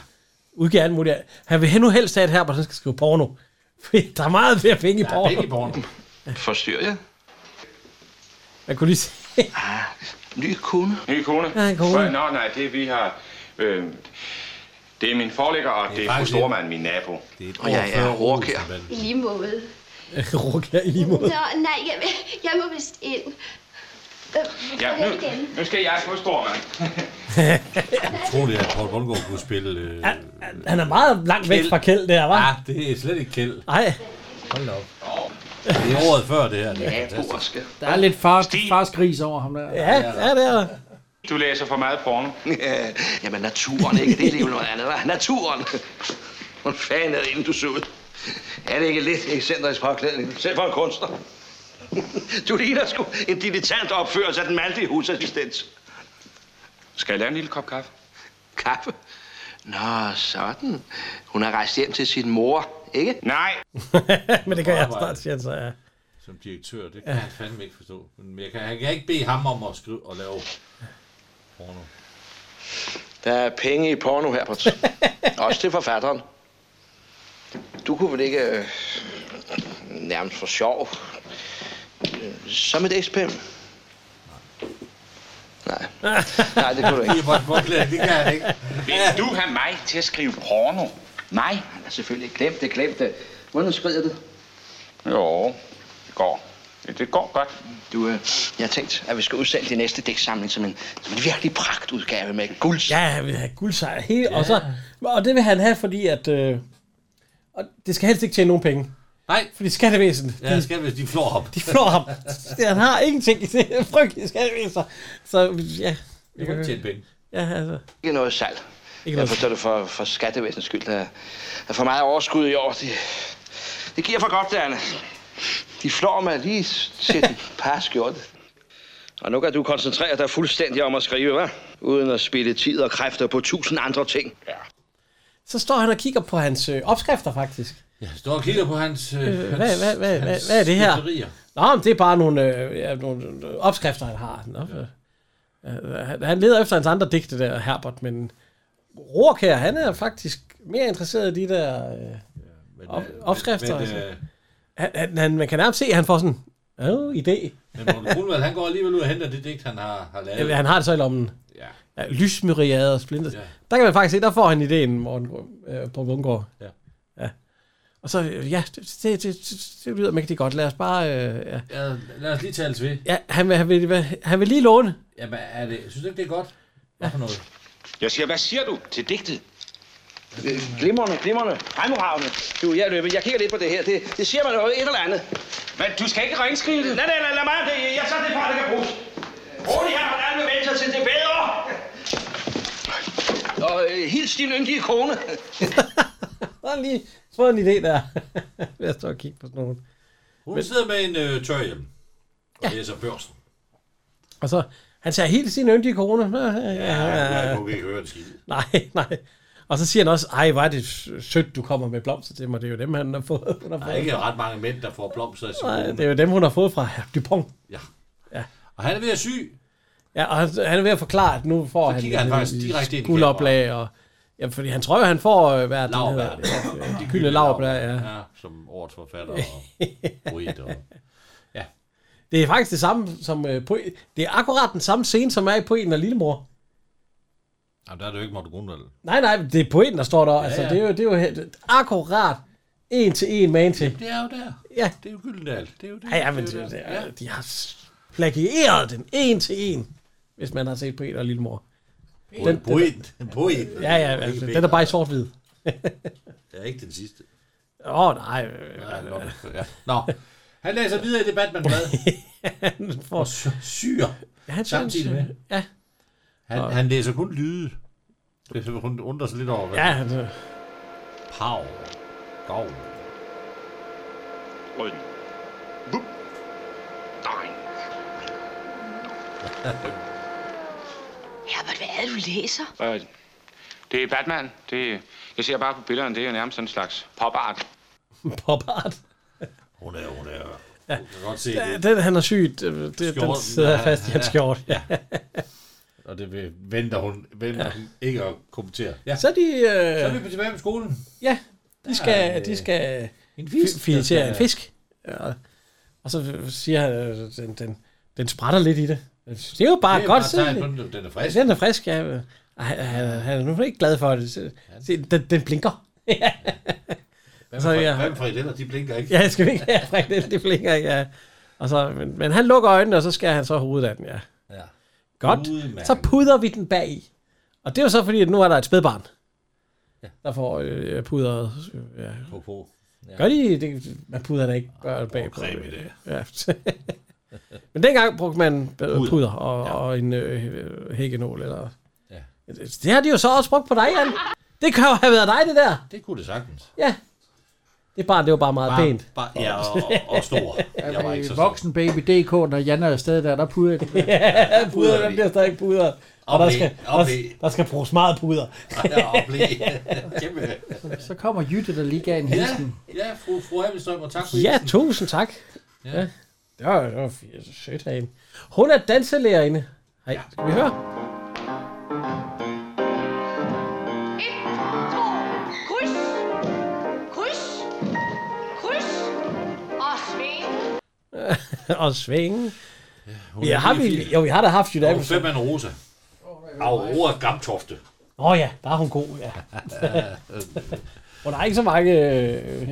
S7: udgiver alt muligt. Han vil nu helst have, at Herbert han skal skrive porno. Fordi der er meget flere penge i
S6: Der er
S7: porno.
S6: penge i porno.
S15: Forstyrrer jeg?
S7: Jeg kunne lige se.
S6: Ah.
S15: Ny kone. Ny kone?
S7: Ja, en kone.
S15: Før- Nå, nej, det er vi har... Øh, det er min forlægger, og det, er fru Stormand, min nabo. Det er
S6: Og jeg er
S15: råkær.
S22: I lige måde.
S7: Råkær i lige måde.
S22: Nå, nej, jeg, jeg må vist ind. Øh, vi
S15: Ja,
S22: går
S15: nu,
S22: hen igen.
S15: nu skal jeg fru Stormand.
S6: Utroligt, at Poul Mundgaard kunne spille... Øh,
S7: Han er meget langt væk fra Kjeld der, var.
S6: Ja, det er slet ikke Kjeld.
S7: Nej.
S6: Ah. Hold da op. Det er året før, det her. Det er
S15: Ja,
S6: fantastisk.
S3: Der er lidt far, farsgris over ham der.
S7: Ja, ja, det er
S15: Du læser for meget porno.
S13: Jamen naturen, ikke? Det er jo noget andet, hva'? Naturen! Hvordan fanden er det, inden du så ud? Er det ikke lidt ekscentrisk påklædning? Selv for en kunstner.
S15: Du ligner sgu en dilettant opførelse af den mandlige husassistent. Skal jeg lave en lille kop kaffe?
S13: Kaffe? Nå, sådan. Hun har rejst hjem til sin mor, ikke?
S15: Nej.
S7: Men det kan jeg snart sige, så ja.
S6: Som direktør, det kan han fandme ikke forstå. Men jeg kan, jeg kan ikke bede ham om at skrive og lave porno.
S13: Der er penge i porno, Herbert. Også til forfatteren. Du kunne vel ikke øh, nærmest for sjov. øh, Som et ekspem. Nej. Nej, det kunne du ikke.
S6: det kan jeg ikke.
S13: Vil du have mig til at skrive porno? Nej, selvfølgelig. Glem det, glem det. Hvordan skrider det?
S15: Jo, det går. Det går godt.
S13: Du, øh, jeg har tænkt, at vi skal udsælge din næste dæksamling som en, som en virkelig pragtudgave med guld.
S7: Ja, han vil have guldsejr. Helt, og, så, og det vil han have, fordi at... Øh, og det skal helst ikke tjene nogen penge.
S6: Nej.
S7: Fordi skattevæsenet,
S6: Ja, skal hvis de flår ham.
S7: de flår ham. han har ingenting i det frygtelige skattevæsenet. Så ja.
S6: Jeg kan ikke tjene penge.
S7: Ja, altså.
S13: Ikke noget salg.
S7: Ikke
S13: Ikke jeg
S7: noget
S13: forstår det for, for skattevæsenets skyld. Der er for meget overskud i år. Det, det giver for godt, Anne. De flår mig lige til den par skjorte. Og nu kan du koncentrere dig fuldstændig om at skrive, hva'? Uden at spille tid og kræfter på tusind andre ting.
S7: Så står han og kigger på hans øh, opskrifter, faktisk.
S6: Jeg står og kigger på hans... Øh,
S7: Øh,
S6: hans
S7: hvad, hvad, hvad, hvad,
S6: hans
S7: hvad er det her?
S6: skriverier.
S7: Nå, men det er bare nogle, øh, ja, nogle øh, opskrifter, han har. Nå, øh, han- han leder efter hans andre digte der, Herbert, men Rourke her, han er faktisk mere interesseret i de der øh, op, opskrifter.
S6: men,
S7: altså.
S6: øh,
S7: han, han, han, man kan nærmest se, at han får sådan en oh, idé.
S6: Men Morten Brunvald, han går alligevel ud og henter det digt, han har, har lavet.
S7: Eller han har det så i lommen.
S6: Ja.
S7: ja lysmyriade og splintet. Ja. Der kan man faktisk se, der får han ideen, Morten Gru- øh, på Bungård.
S6: Ja.
S7: ja. Og så, øh, ja, det, det, det, det, det lyder mægtigt godt. Lad os bare, øh, ja.
S6: Ja, lad os lige tales ved.
S7: ja han, vil, han, vil, hvad- han vil lige låne.
S6: Jamen, er det, synes du ikke, det er godt? Hvad for noget?
S15: Jeg siger, hvad siger du til digtet?
S13: Øh, Glimrende, glimrende, fremragende. Du, jeg løber. Jeg kigger lidt på det her. Det, det siger man noget et eller andet. Men du skal ikke ringskrive det. Nej, nej, nej, lad mig. Det, jeg tager det fra, det kan bruges.
S15: Rolig her, hvordan vil vende sig til det bedre?
S13: Og øh, hils din yndige kone.
S7: Der er lige fået en idé der. Lad os stå og kigge på sådan nogen.
S6: Hun
S7: Men-
S6: Men... sidder med en øh, tørhjelm. Og ja. læser børsen.
S7: Og så, han tager helt sin yndige kone. Ja,
S6: Ja, jeg kunne ikke høre en skid.
S7: Nej, nej. Og så siger han også, ej, hvor er det sødt, du kommer med blomster til mig. Det er jo dem, han har fået. Hun har
S6: Der
S7: fået.
S6: er ikke ret mange mænd, der får blomster i sin
S7: Nej,
S6: kone.
S7: det er jo dem, hun har fået fra herr Dupont.
S6: Ja.
S7: Ja.
S6: Og han er ved at sy.
S7: Ja, og han han er ved at forklare, at nu får
S6: Så kigger han
S7: øh,
S6: faktisk direkte ind i
S7: guldoplag. Og, ja, fordi han tror jo, han får, øh, hvad er det, den
S6: Laurbær.
S7: hedder? Øh,
S6: De gyldne
S7: Gyldne Laurbær,
S6: laurbær,
S7: ja.
S6: ja. Som årets forfatter og poet. Og... Ja.
S7: Det er faktisk det samme som øh, på, Det er akkurat den samme scene, som er i Poeten og Lillemor.
S6: Jamen, der er det jo ikke Morten Grundvald.
S7: Nej, nej, det er Poeten, der står der. Ja, altså,
S6: ja.
S7: Det, er jo, det er jo helt- akkurat en til en man til.
S6: Det er jo der.
S7: Ja.
S6: Det er jo Gyldendal. Det er jo det.
S7: Ja, ja, men
S6: jo
S7: det, det,
S6: Ja.
S7: er, de har s- plagieret den en til en, hvis man har set Peter og Lillemor.
S6: Den, point. Point.
S7: Ja, ja, altså, den er bare i sort-hvid.
S6: Ja, ikke den sidste.
S7: Åh, oh, nej.
S6: Ja, nå, ja. Nå. Han læser videre i det Batman-blad.
S7: han får
S6: syre
S7: Ja, han
S6: samtidig
S7: synes,
S6: med.
S7: Ja.
S6: Han,
S7: Og-
S6: han læser kun lyde. Det er så, hun undrer sig lidt over. Hvad.
S7: Ja, han,
S6: Pow. Gov.
S15: Rød. Bup. Nej.
S11: Herbert, hvad er det, du læser?
S5: Øh, det er Batman. Det, jeg ser bare på billederne, det er jo nærmest sådan en slags popart.
S7: Popart.
S6: Hun er, hun er.
S7: Ja.
S6: Hun kan godt se
S7: Ja,
S6: det.
S7: den, han er sygt. Det, den
S6: Skjorten,
S7: sidder
S6: ja,
S7: fast i hans
S6: ja.
S7: skjort. Ja.
S6: Og det vil- venter hun, venter ja. hun ikke at kommentere. Ja.
S7: Så er de... Øh,
S6: Så er vi tilbage på skolen.
S7: Ja,
S6: Der
S7: de skal,
S6: er, øh,
S7: de skal
S6: en fisk,
S7: fi- finansiere
S6: der
S7: en
S6: skal-
S7: fisk. Og, og så siger han, øh, den, den, den sprætter lidt i det. Det er jo bare
S6: Det er
S7: godt.
S6: bare
S7: se.
S6: tegn på, den- den er frisk.
S7: Den er frisk, ja. Ej, Han, han, han er nu ikke glad for det. Se, se, Den, den blinker. Ja.
S6: Hvad med, ja. hvad med frikadeller? De blinker ikke.
S7: Ja, jeg skal vi ikke have frikadelle, det blinker, ja. Og så, men, men han lukker øjnene, og så skærer han så hovedet af den, ja.
S6: ja.
S7: Godt.
S6: Udmærket.
S7: Så pudrer vi den bag i. Og det er jo så fordi, at nu er der et spædbarn, ja. der får øh, pudret. øh, Ja.
S6: På på. Ja.
S7: Gør de det? Man pudrer da ikke børn bag på.
S6: creme i det.
S7: Ja. men dengang brugte man puder, puder og, ja. og en øh, hækkenål. Eller...
S6: Ja.
S7: Det har de jo så også brugt på dig, Jan. Det kan jo have været dig, det der.
S6: Det kunne det sagtens.
S7: Ja. Det barn, det var bare meget
S6: Bare-
S7: pænt.
S6: bare- ja, og- og stor. Jeg var ikke så stor.
S3: Voksenbaby.dk, når Jan er afsted der, der puder det.
S7: ja, puder, der bliver stadig puder. Og
S3: Og
S7: der
S3: ble,
S7: skal,
S3: og
S7: der,
S3: ble.
S7: der skal bruges meget puder.
S6: Ja, og ble. Kæmpe.
S3: Så, så kommer Jytte, der lige gav en hilsen.
S6: Ja, fru, fru Abelstrøm, og tak for
S7: ja,
S6: hilsen.
S7: tusind tak.
S6: Ja.
S7: Ja. Det var, det var f- sødt af hende. Hun er danselærerinde. Hej, skal vi høre?
S8: Kryds, kryds, kryds og sving.
S7: og svinge.
S6: hun
S7: Ja,
S6: er
S7: har vi,
S6: 89.
S7: jo, vi har da haft Jytte
S6: Og
S7: Abelstrøm.
S6: fem af en rosa. Aurora Gamtofte.
S7: Åh oh, ja, der er hun god, ja. Og der er ikke så mange... Øh,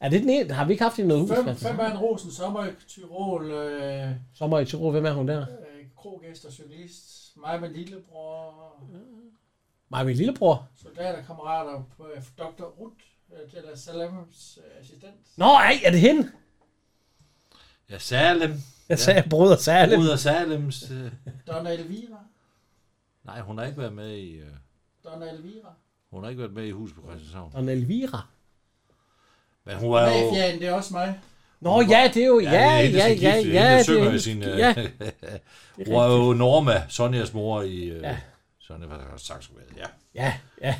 S7: er det den ene? Har vi ikke haft hende i noget hus?
S3: Fem,
S7: faktisk?
S3: fem af en rosen, sommer i Tyrol, øh,
S7: Sommer i Tyrol, hvem er hun der?
S3: øh, krogæst og cyklist, mig med lillebror,
S7: Mig min lillebror.
S3: soldaterkammerater på øh, Dr. Ruth, øh, det er der Salams øh, assistent.
S7: Nå, ej, er det hende?
S6: Ja, Salem.
S7: Jeg sagde, bruder Salem.
S6: Bruder Salems. øh,
S3: Donna Elvira,
S6: Nej, hun har ikke været med i... øh,
S3: Donna Elvira.
S6: Hun har ikke været med i Hus på Christianshavn.
S7: Og Elvira.
S6: Men hun er jo...
S3: Mafiaen, det er også mig.
S7: Nå, ja, det er jo... Ja,
S6: det er
S7: ja,
S6: hende, der
S7: ja,
S6: skal
S7: ja,
S6: gifte. Hende,
S7: ja,
S6: der
S7: det
S6: synger
S7: er
S6: i
S7: hende. Ja.
S6: sin... Ja.
S7: rigtigt.
S6: Hun er jo Norma, Sonjas mor i...
S7: Ja.
S6: Ja. Sonja var også sagt, ja.
S7: Ja, ja.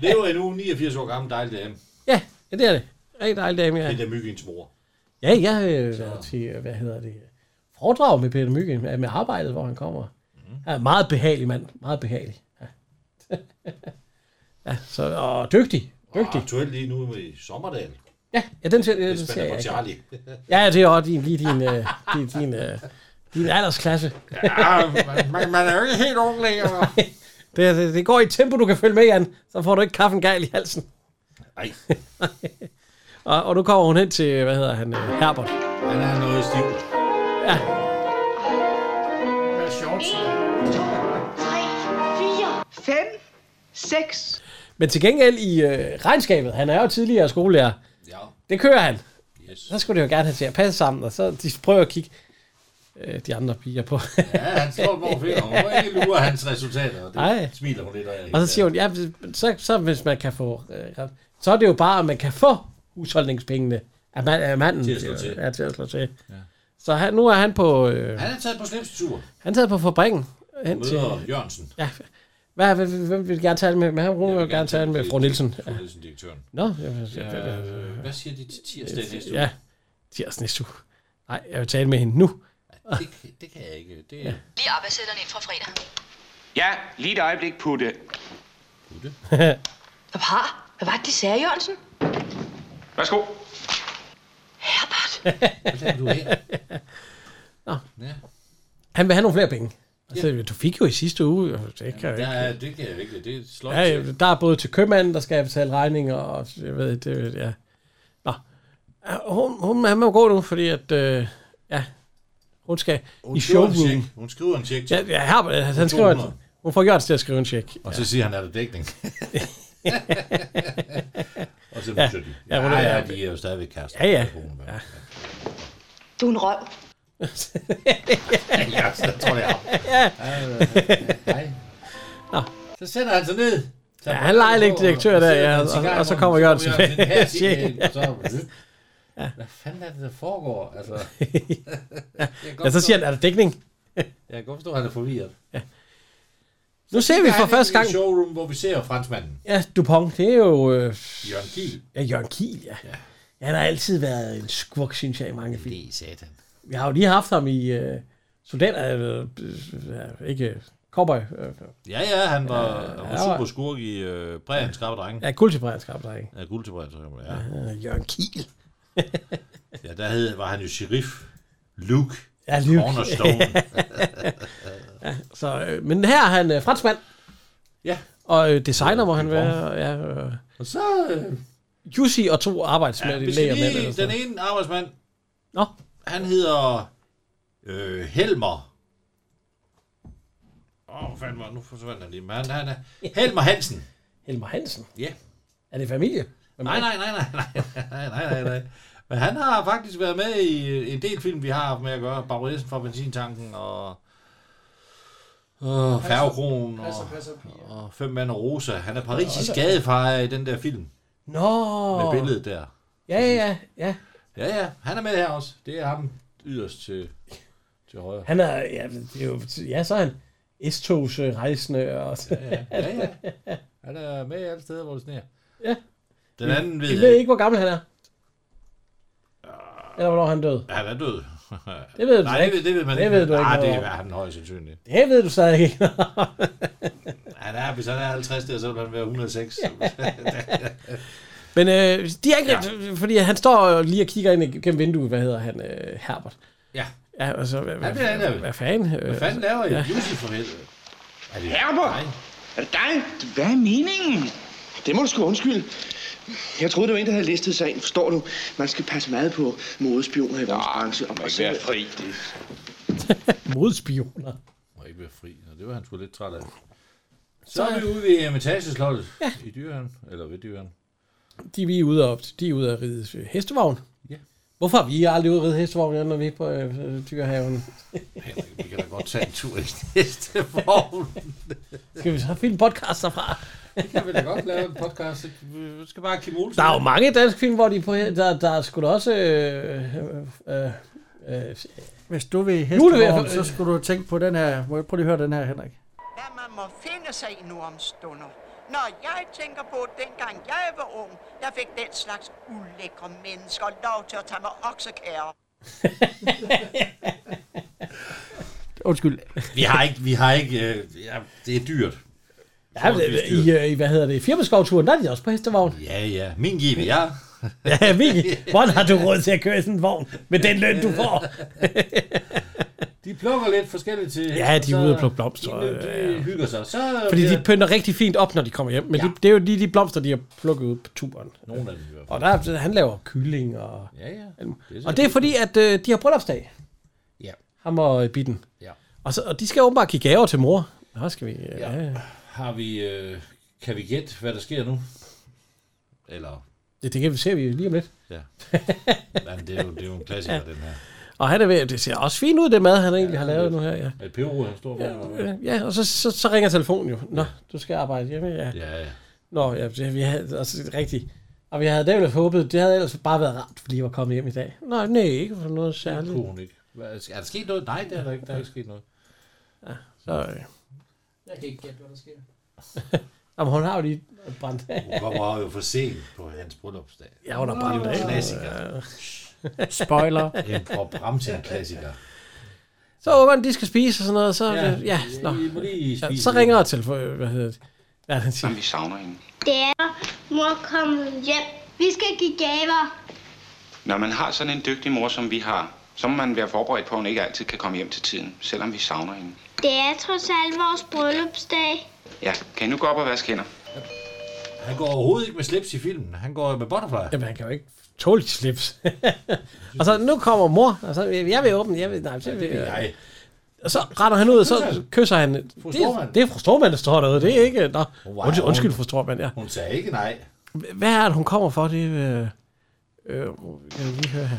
S6: Det er jo en uge 89 år gammel dejlig dame.
S7: Ja, ja, det er det. Rigtig dejlig dame, ja.
S6: Det er myggens mor.
S7: Ja, jeg har øh, været til, øh, hvad hedder det, foredrag med Peter Myggen, øh, med arbejdet, hvor han kommer. Ja, meget behagelig mand, meget behagelig. Ja, ja så, og dygtig,
S6: Og
S7: dygtig.
S6: aktuelt lige nu i Sommerdal.
S7: Ja, ja den ser, den
S6: Det
S7: ser
S6: spænder
S7: jeg
S6: på
S7: ikke.
S6: Charlie.
S7: Ja, det er også din, lige din, øh, din, din, øh, din aldersklasse.
S6: Ja, man, man er jo ikke helt ung længere.
S7: Det, det, det går i et tempo, du kan følge med, Jan. Så får du ikke kaffen gal i halsen.
S6: Nej.
S7: og, og nu kommer hun hen til, hvad hedder han, øh, Herbert.
S6: Han er noget stiv.
S7: Ja.
S3: Med shorts.
S8: 4, 5, 6.
S7: Men til gengæld i øh, regnskabet, han er jo tidligere skolelærer.
S6: Ja.
S7: Det kører han.
S6: Yes.
S7: Så skulle det jo gerne have til at passe sammen, og så de prøver at kigge øh, de andre piger på.
S6: Ja, han slår dem over fingeren. Hun må ikke lure hans resultater. og Det
S7: Nej.
S6: smiler hun lidt af.
S7: og så siger hun, ja, så, så hvis man kan få, øh, ret- så er det jo bare, at man kan få husholdningspengene af, man, af manden.
S6: Til at slå til.
S7: Ja, til at slå til. Ja. Så han, nu er han på, øh,
S6: Han er taget på slipstur.
S7: han tager på fabrikken. Hen til,
S6: Møder Jørgensen.
S7: ja, hvad, hvem, hvem vil gerne tale med? med ham? Hun vil jo gerne tale med fru Nielsen.
S6: Fru Nielsen, direktøren.
S7: Nå, jeg, jeg, jeg, jeg, jeg,
S6: Øh, Hvad siger de til tirsdag næste uge?
S7: Ja, tirsdag næste uge. Nej, jeg vil tale med hende nu.
S6: Det, det kan jeg ikke. Det er...
S11: Lige arbejdsætterne ind fra fredag.
S5: Ja, lige et øjeblik, Putte.
S11: Hvad har? Hvad var det, de sagde, Jørgensen?
S5: Værsgo.
S6: Hvad du her?
S7: Nå.
S6: Ja.
S7: Han vil have nogle flere penge. Altså, du fik jo i sidste uge. og Det kan jeg
S6: Der
S7: ikke.
S6: er, det kan jeg ikke. Det er slot.
S7: Ja, ja, der er både til købmanden, der skal betale regninger, og jeg ved, det, ja. Nå. Ja, Hun, hun, han må gå nu, fordi at, øh, ja, hun skal hun i
S6: skriver en
S7: showroom.
S6: check. Hun skriver en check.
S7: Ja, ja Herbert, altså, han skriver, at Hun får Jørgens til at skrive en check.
S6: Og så siger han, er der dækning? og så
S7: Ja.
S6: ja. de,
S7: Ja,
S6: ja,
S7: hun
S6: ja,
S7: er-
S6: ja, de er jo stadigvæk kærester.
S7: Ja, ja.
S6: ja.
S11: Du er en røv.
S6: ja så tror jeg.
S7: Ja.
S6: Nej. Så sætter han sig ned.
S7: Ja, han leger lidt direktør der, ja, og, og så kommer Jørgen tilbage. Shit.
S6: Ja. Hvad fanden er det, der foregår? Altså,
S7: Ja, så siger han, er der dækning?
S6: Jeg kan godt forstå, at han er forvirret.
S7: Ja. Nu ser vi for første gang...
S6: I showroom, hvor vi ser franskmanden.
S7: Ja, Dupont, det er jo... Øh,
S6: Jørgen Kiel.
S7: Ja, Jørgen Kiel, ja. ja. Han har altid været en skurk, synes jeg, i mange film.
S6: Det er satan.
S7: Vi har jo lige haft ham i øh, soldater... Øh, øh, ikke... øh, Cowboy. Øh,
S6: Ja, ja, han var,
S7: Øh,
S6: han
S7: han
S6: var
S7: var-
S6: super skurk i øh, Brian Skarpe Drenge.
S7: ja, guldtilbrænd skabte ikke?
S6: Ja, guld til Brian Skarpe Drenge, ja.
S7: Øh, Jørgen Kiel.
S6: Ja, der hed, var han jo sheriff Luke.
S7: Ja, Luke.
S6: Cornerstone.
S7: ja, så, øh, men her er han øh, franskmand.
S6: Ja.
S7: Og øh, designer må han være. og Ja, øh.
S6: Og så... Øh,
S7: Jussi og to arbejdsmænd ja,
S6: vi
S7: i
S6: skal
S7: lægermænd. eller
S6: lige,
S7: sådan
S6: den
S7: noget.
S6: ene arbejdsmand,
S7: Nå.
S6: han hedder øh, Helmer. Åh, oh, fanden var nu forsvandt han lige. Men han, han er Helmer Hansen.
S7: Helmer Hansen?
S6: Ja.
S7: Er det familie? Hvem
S6: Nej,
S7: er
S6: nej,
S7: det?
S6: nej, nej, nej, nej, nej, nej, nej. Men han har faktisk været med i øh, en del film, vi har haft med at gøre. Baronessen fra benzintanken og øh, Færgekronen og, og Fem mænd og Rosa. Han er parisisk gadefar i den der film
S7: Nå.
S6: med billedet der.
S7: Ja, ja, ja, ja.
S6: Ja, ja, han er med her også. Det er ham yderst til, til højre.
S7: Han er, ja, det er jo, ja så er han S-togs øh, rejsende. Og,
S6: Ja, ja, ja, ja. Han er med alle steder, hvor det sneer.
S7: Ja.
S6: Den anden ved
S7: jeg
S6: jeg
S7: ved
S6: ikke.
S7: ikke, hvor gammel han er. Eller hvornår han døde.
S6: Han er død.
S7: Det ved du
S6: Nej, det
S7: ikke.
S6: ved, det ved man
S7: Det
S6: ikke.
S7: ved du ikke
S6: Nej,
S7: noget
S6: det er
S7: om.
S6: han højst sandsynligt.
S7: Det ved du stadig ikke.
S6: Han er, hvis han er 50 der, så vil han være 106.
S7: Men øh, de er ikke ja. fordi han står lige og kigger ind gennem vinduet, hvad hedder han, øh, Herbert.
S6: ja.
S7: Ja, altså, hvad, hvad,
S6: bliver
S7: hvad,
S6: anholdt.
S7: hvad fanden?
S6: Hvad fanden laver I? Jussi for helvede. Er det
S15: Herbert!
S6: Nej.
S15: Er det dig? Hvad er meningen? Det må du sgu undskylde. Jeg troede, det var en, der havde listet sig ind. Forstår du? Man skal passe meget på modespioner i vores branche. Og man
S5: ikke være fri. Det
S7: Modspioner.
S6: Må ikke være fri. Og det var han sgu lidt træt af. Så er vi ude ved Hermitageslottet ja. i dyren, eller ved dyren.
S7: De vi er ude og, de er ude at ride øh, hestevogn.
S6: Ja.
S7: Hvorfor er vi aldrig ude at ride hestevogn, når vi er på øh, øh, dyrehaven?
S6: Henrik, vi kan da godt tage en tur i næste vogn.
S7: Skal vi så finde podcast derfra?
S6: Det kan vi da godt lave en podcast. Vi skal bare have Kim Olsen.
S7: Der er jo mange danske film, hvor de er på he- der, der er sgu da også... Øh, øh, øh, øh,
S9: Hvis du vil
S7: Julevejr-
S9: hestevogn, så skulle du tænke på den her. Må jeg prøve lige at høre den her, Henrik?
S2: Hvad man må finde sig i nu om stunder. Når jeg tænker på, dengang jeg var ung, der fik den slags ulækre mennesker lov til at tage mig oksekære.
S9: Undskyld.
S6: Vi har ikke, vi har ikke, øh, ja, det er dyrt.
S7: ja, øh, i, øh, i, hvad hedder det? Firmaskovturen, der er de også på hestevogn.
S6: Ja, ja. Min give, ja.
S7: Ja, Vicky, hvordan har du råd til at køre i sådan en vogn med den løn, du får?
S6: De plukker lidt forskelligt til.
S7: Ja, de er
S6: så-
S7: ude og plukke blomster,
S6: De, de, de hygger sig. Så,
S7: Fordi
S6: bliver-
S7: de pynter rigtig fint op, når de kommer hjem. Men ja. de, det er jo lige de blomster, de har plukket ud på turen.
S6: Nogle af dem i hvert
S7: Og der, er- han laver kylling og...
S6: Ja, ja.
S7: Det og det er fordi, at øh, de har bryllupsdag.
S6: Ja.
S7: Ham og øh, Bitten.
S6: Ja.
S7: Og, så, og de skal åbenbart give gaver til mor. Nå, skal vi... Øh, ja.
S6: Har vi, øh, kan vi gætte, hvad der sker nu? Eller,
S7: Det, det kan vi se vi lige om lidt.
S6: ja. Men det er jo, det er jo en klassiker, den her.
S7: Og han er ved, det ser også fint ud, det mad, han egentlig ja, har lavet nu her. Ja.
S6: Et peru, han står med.
S7: Øh, Ja, og så, så, så ringer telefonen jo. Nå, du skal arbejde hjemme, ja.
S6: Ja, ja.
S7: Nå, ja, det, vi havde altså rigtigt. Og vi havde da ellers håbet, det havde ellers bare været rart, fordi jeg var kommet hjem i dag. Nej, nej, ikke for noget
S6: Det
S7: særligt.
S6: kunne hun ikke. Hvad, er der sket noget? Nej, det er der ikke. Der er ikke sket noget.
S7: Ja, så, øh.
S16: Jeg kan ikke gætte, hvad der sker.
S7: Jamen, hun har jo lige brændt af.
S6: Hun kommer jo for sent på hans bryllupsdag.
S7: Ja, hun har
S6: Det er
S7: brændt
S6: jo
S7: af.
S6: en klassiker.
S9: Spoiler.
S6: En Bob Ramsen-klassiker.
S7: Så ungerne, de skal spise og sådan noget, så...
S6: Ja,
S7: Ja, ja,
S6: I-
S7: nå.
S6: I må lige
S7: ja
S6: spise
S7: så
S6: lidt.
S7: ringer telefonen, hvad hedder det? Ja, den siger.
S5: vi savner hende.
S22: Det er mor kommet hjem. Vi skal give gaver.
S5: Når man har sådan en dygtig mor, som vi har, så må man være forberedt på, at hun ikke altid kan komme hjem til tiden, selvom vi savner hende.
S22: Det er trods alt vores bryllupsdag.
S5: Ja, kan I nu gå op og vaske hænder?
S6: Han går overhovedet ikke med slips i filmen. Han går med butterfly.
S7: Jamen, han kan jo ikke tåle de slips. og så, nu kommer mor, og så, jeg vil åbne, jeg vil... Nej, så vil,
S6: det vil jeg.
S7: Og så retter han ud, og så kysser han. Det,
S6: Stormand.
S7: det er fru Stormand, der står derude. Det er ikke... Nå, wow. undskyld, undskyld, fru Stormand, ja.
S6: Hun sagde ikke nej.
S7: Hvad er det, hun kommer for? Det øh, øh, kan vi lige høre her.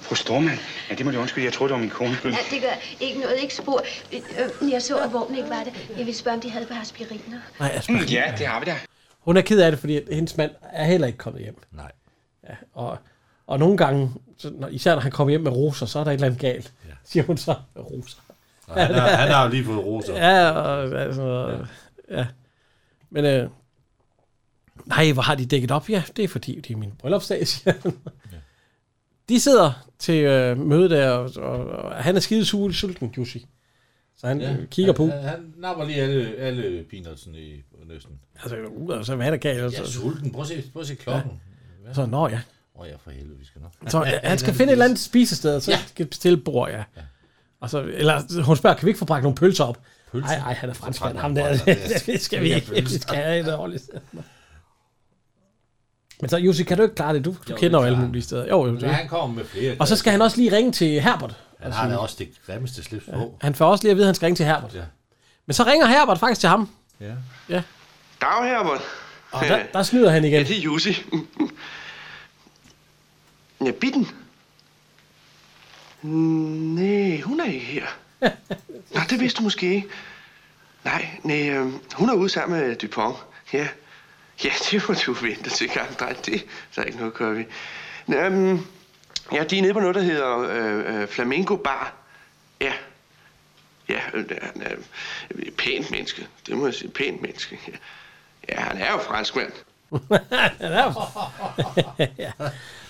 S17: Fru Stormand, ja, det må du undskylde. Jeg troede, det var min kone.
S14: Ja, det gør ikke noget, ikke spor. Øh, øh, Jeg så, at vognen ikke var det. Jeg ville spørge, om de havde på aspiriner.
S7: Nej,
S17: Mm, ja, det har vi da.
S7: Hun er ked af det, fordi at hendes mand er heller ikke kommet hjem.
S6: Nej.
S7: Ja, og, og nogle gange, så, når, især når han kommer hjem med roser, så er der et eller andet galt, ja. siger hun så. Roser.
S6: Og han har- han har jo lige fået roser.
S7: Ja, og, altså, ja. ja. Men øh, nej, hvor har de dækket op? Ja, det er fordi, det er min bryllupsdag, siger han. De sidder til øh, møde der, og, og, og han er skide sulten, Jussi. Så han ja, kigger på.
S6: Han, han napper lige alle, alle peanutsen i næsten.
S7: Altså, uh, altså, hvad er der galt? Altså?
S6: Jeg er sulten. Prøv at se, prøv at se klokken.
S7: Ja. Så, nå ja.
S6: Åh, oh, ja, for helvede, vi skal nok.
S7: Så øh, han skal finde et eller andet spisested, og så
S6: Ja.
S7: ja. skal bestille bord, ja. ja. Og så, eller hun spørger, kan vi ikke få bragt nogle pølser op?
S6: Pølser?
S7: Nej, nej, han er franskmand,
S6: Så
S7: ham
S6: tager
S7: der.
S6: han bare-
S7: det skal vi
S6: Ja,
S7: ikke. Vi
S6: pølser.
S7: skal have et ordentligt sted. Men så, Jussi, kan du ikke klare det? Du, du jo, kender jo alle mulige steder. Jo, jo,
S6: Men
S7: det.
S6: han kommer med flere.
S7: Og så skal han også lige ringe til Herbert.
S6: Han har da også det grimmeste slips på.
S7: Han får også lige at vide, at han skal ringe til Herbert.
S6: Ja.
S7: Men så ringer Herbert faktisk til ham.
S6: Ja.
S7: Ja.
S17: Dag, Herbert.
S7: Og der, der snyder han igen.
S17: Ja, det er Jussi. Ja, bitten. Nej, hun er ikke her. Nå, det vidste du måske ikke. Nej, nej, øh, hun er ude sammen med Dupont. Ja, ja det må du vente til gang, dreng. Det der er ikke noget, gør vi. Nå, øhm, ja, de er nede på noget, der hedder øh, øh, Flamingo Bar. Ja, ja, øh, han er et pænt menneske. Det må jeg sige, pænt menneske. Ja, ja han er jo franskmand.
S7: Han er jo- ja.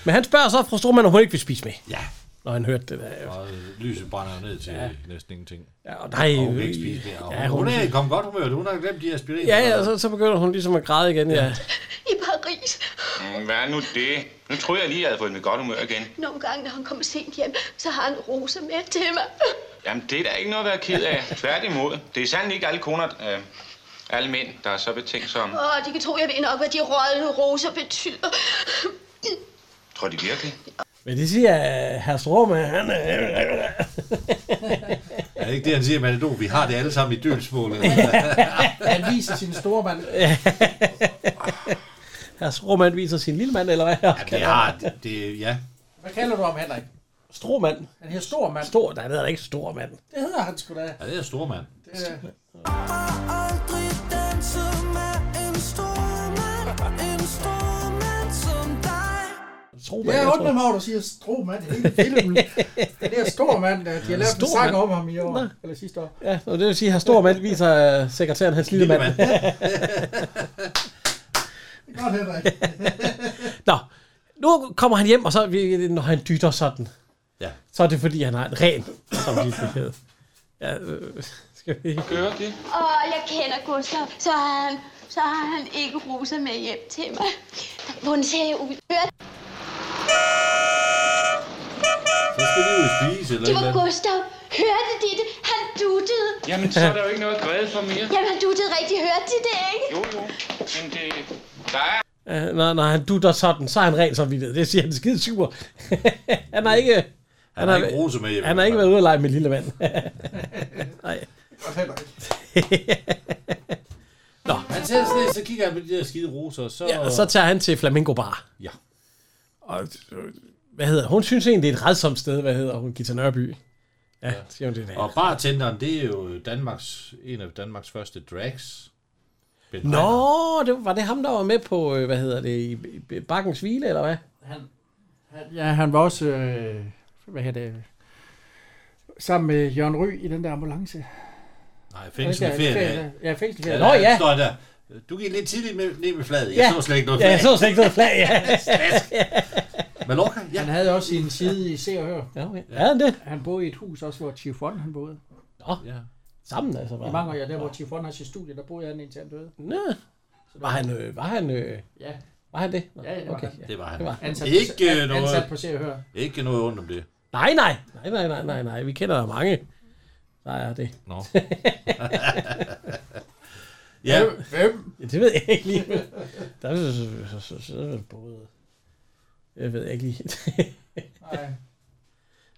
S7: Men han spørger så fru Stormand, om hun ikke vil spise med.
S6: Ja.
S7: Når han hørte det der.
S6: Og øh, lyset brænder jo ned til ja. næsten ingenting.
S7: Ja, og nej,
S6: og hun kan ikke spise mere.
S7: ja,
S6: Ja, hun,
S7: hun-
S6: hun er i kom godt humør. Hun har glemt de her spiriner.
S7: Ja, ja, så, så begynder hun ligesom at græde igen, ja.
S14: I Paris.
S5: Mm, hvad er nu det? Nu troede jeg lige, jeg havde fået mit godt humør igen.
S14: Nogle gange, når han kommer sent hjem, så har han roser med til mig.
S5: Jamen, det er da ikke noget at være ked af. Tværtimod. Det er sandelig ikke alle koner, øh, alle mænd, der er så betænksomme.
S14: Åh, de kan tro, jeg ved nok, hvad de rådne roser betyder.
S5: Tror de virkelig?
S7: Men det siger herr Stormand, han er...
S6: Er det ikke det, han siger, Matador? Vi har det alle sammen i dølsmålet.
S9: Han viser sin store mand.
S7: herr Stormand viser sin lille mand, eller hvad? Ja,
S6: det har det, det, ja.
S9: Hvad kalder du ham, Henrik?
S7: Stormand.
S9: Han hedder stor mand.
S7: Stor, nej, det er da ikke stor mand.
S9: Det hedder han sgu da.
S6: ja, det er stor mand.
S9: Det er...
S7: Stormand,
S9: Jeg
S7: jeg
S9: undrer mig over, at du siger stor mand i hele filmen. Det er stor mand, der de har lavet en
S7: Stor
S9: sang
S7: mand.
S9: om ham i år. Eller sidste år.
S7: Ja, og det vil sige, at herr Stormand viser øh, sekretæren hans lille mand.
S9: Det er godt, Henrik.
S7: Nå, nu kommer han hjem, og så vi- når han dytter sådan,
S6: Ja.
S7: så er det fordi, han har en ren, som de hedder. Ja, øh, skal vi
S5: Gør det.
S22: Åh, jeg kender Gustav. Så har han, så har han ikke roser med hjem til mig. Hvordan ser jeg ud? Hør,
S6: Så skal vi ud og spise eller
S22: det
S6: et
S22: var
S6: eller andet.
S22: Gustav. Hørte de det? Han duttede.
S5: Jamen, så er der jo ikke noget at græde for mere.
S22: Jamen, han duttede rigtig. Hørte de det, ikke?
S5: Jo, jo. Men det... Der er...
S7: Øh, når, når han dutter sådan, så er han ren samvittighed. Det siger han skide super. han har ikke...
S6: Han har ikke rose med hjemme.
S7: Han har ikke været ude at lege med lille mand. Nej. Nå,
S6: Han ser sådan lidt, så kigger han på de der skide roser, og så...
S7: ja, og så tager han til Flamingo Bar.
S6: Ja.
S7: Og, øh, hvad hedder Hun synes egentlig, det er et redsomt sted. Hvad hedder hun? Gita Nørby. Ja, siger hun det i dag.
S6: Og bartenderen, det er jo Danmarks, en af Danmarks første drags. Ben Reiner.
S7: Nå, det, var det ham, der var med på, øh, hvad hedder det, i- i Bakkens Hvile, eller hvad?
S3: Ja, han var også, øh, hvad hedder det, sammen med Jørgen Ry i den der ambulance.
S6: Nej, fængsel i
S3: Ja, det er
S6: ferien.
S3: ferie. Ja, fængsel i
S6: Ja,
S3: ferien.
S6: der,
S3: Nå, ja.
S6: han Står der. Du gik lidt tidligt med, ned med fladet. Jeg
S3: Ja.
S6: så slet ikke noget
S7: Ja,
S6: flag.
S7: jeg så slet ikke noget flag, ja.
S6: Slask. Mallorca? Ja.
S3: Han havde også sin side i Se og Hør.
S7: Ja, okay. Ja, det.
S3: Han boede i et hus også, hvor Chifon han boede.
S7: Nå,
S6: ja.
S7: sammen altså. Var
S3: I mange år, ja, der hvor Chifon har sit studie, der boede han indtil han døde.
S7: Nå, var han, øh, var han, øh,
S3: Ja.
S7: var han det? Nå,
S3: Ja, det var han.
S6: Det var han.
S3: Ansat,
S6: Ikke øh,
S3: ikke an,
S6: noget.
S3: ansat på Se og Hør.
S6: Ikke noget ondt om det.
S7: Nej, nej, nej, nej, nej, nej, nej, vi kender der mange. Der er det.
S6: Nå.
S7: ja.
S6: Ja.
S7: Hvem? Ja, det ved jeg ikke lige. Der er så, så, så, så, så både... Jeg ved ikke lige.
S3: Nej.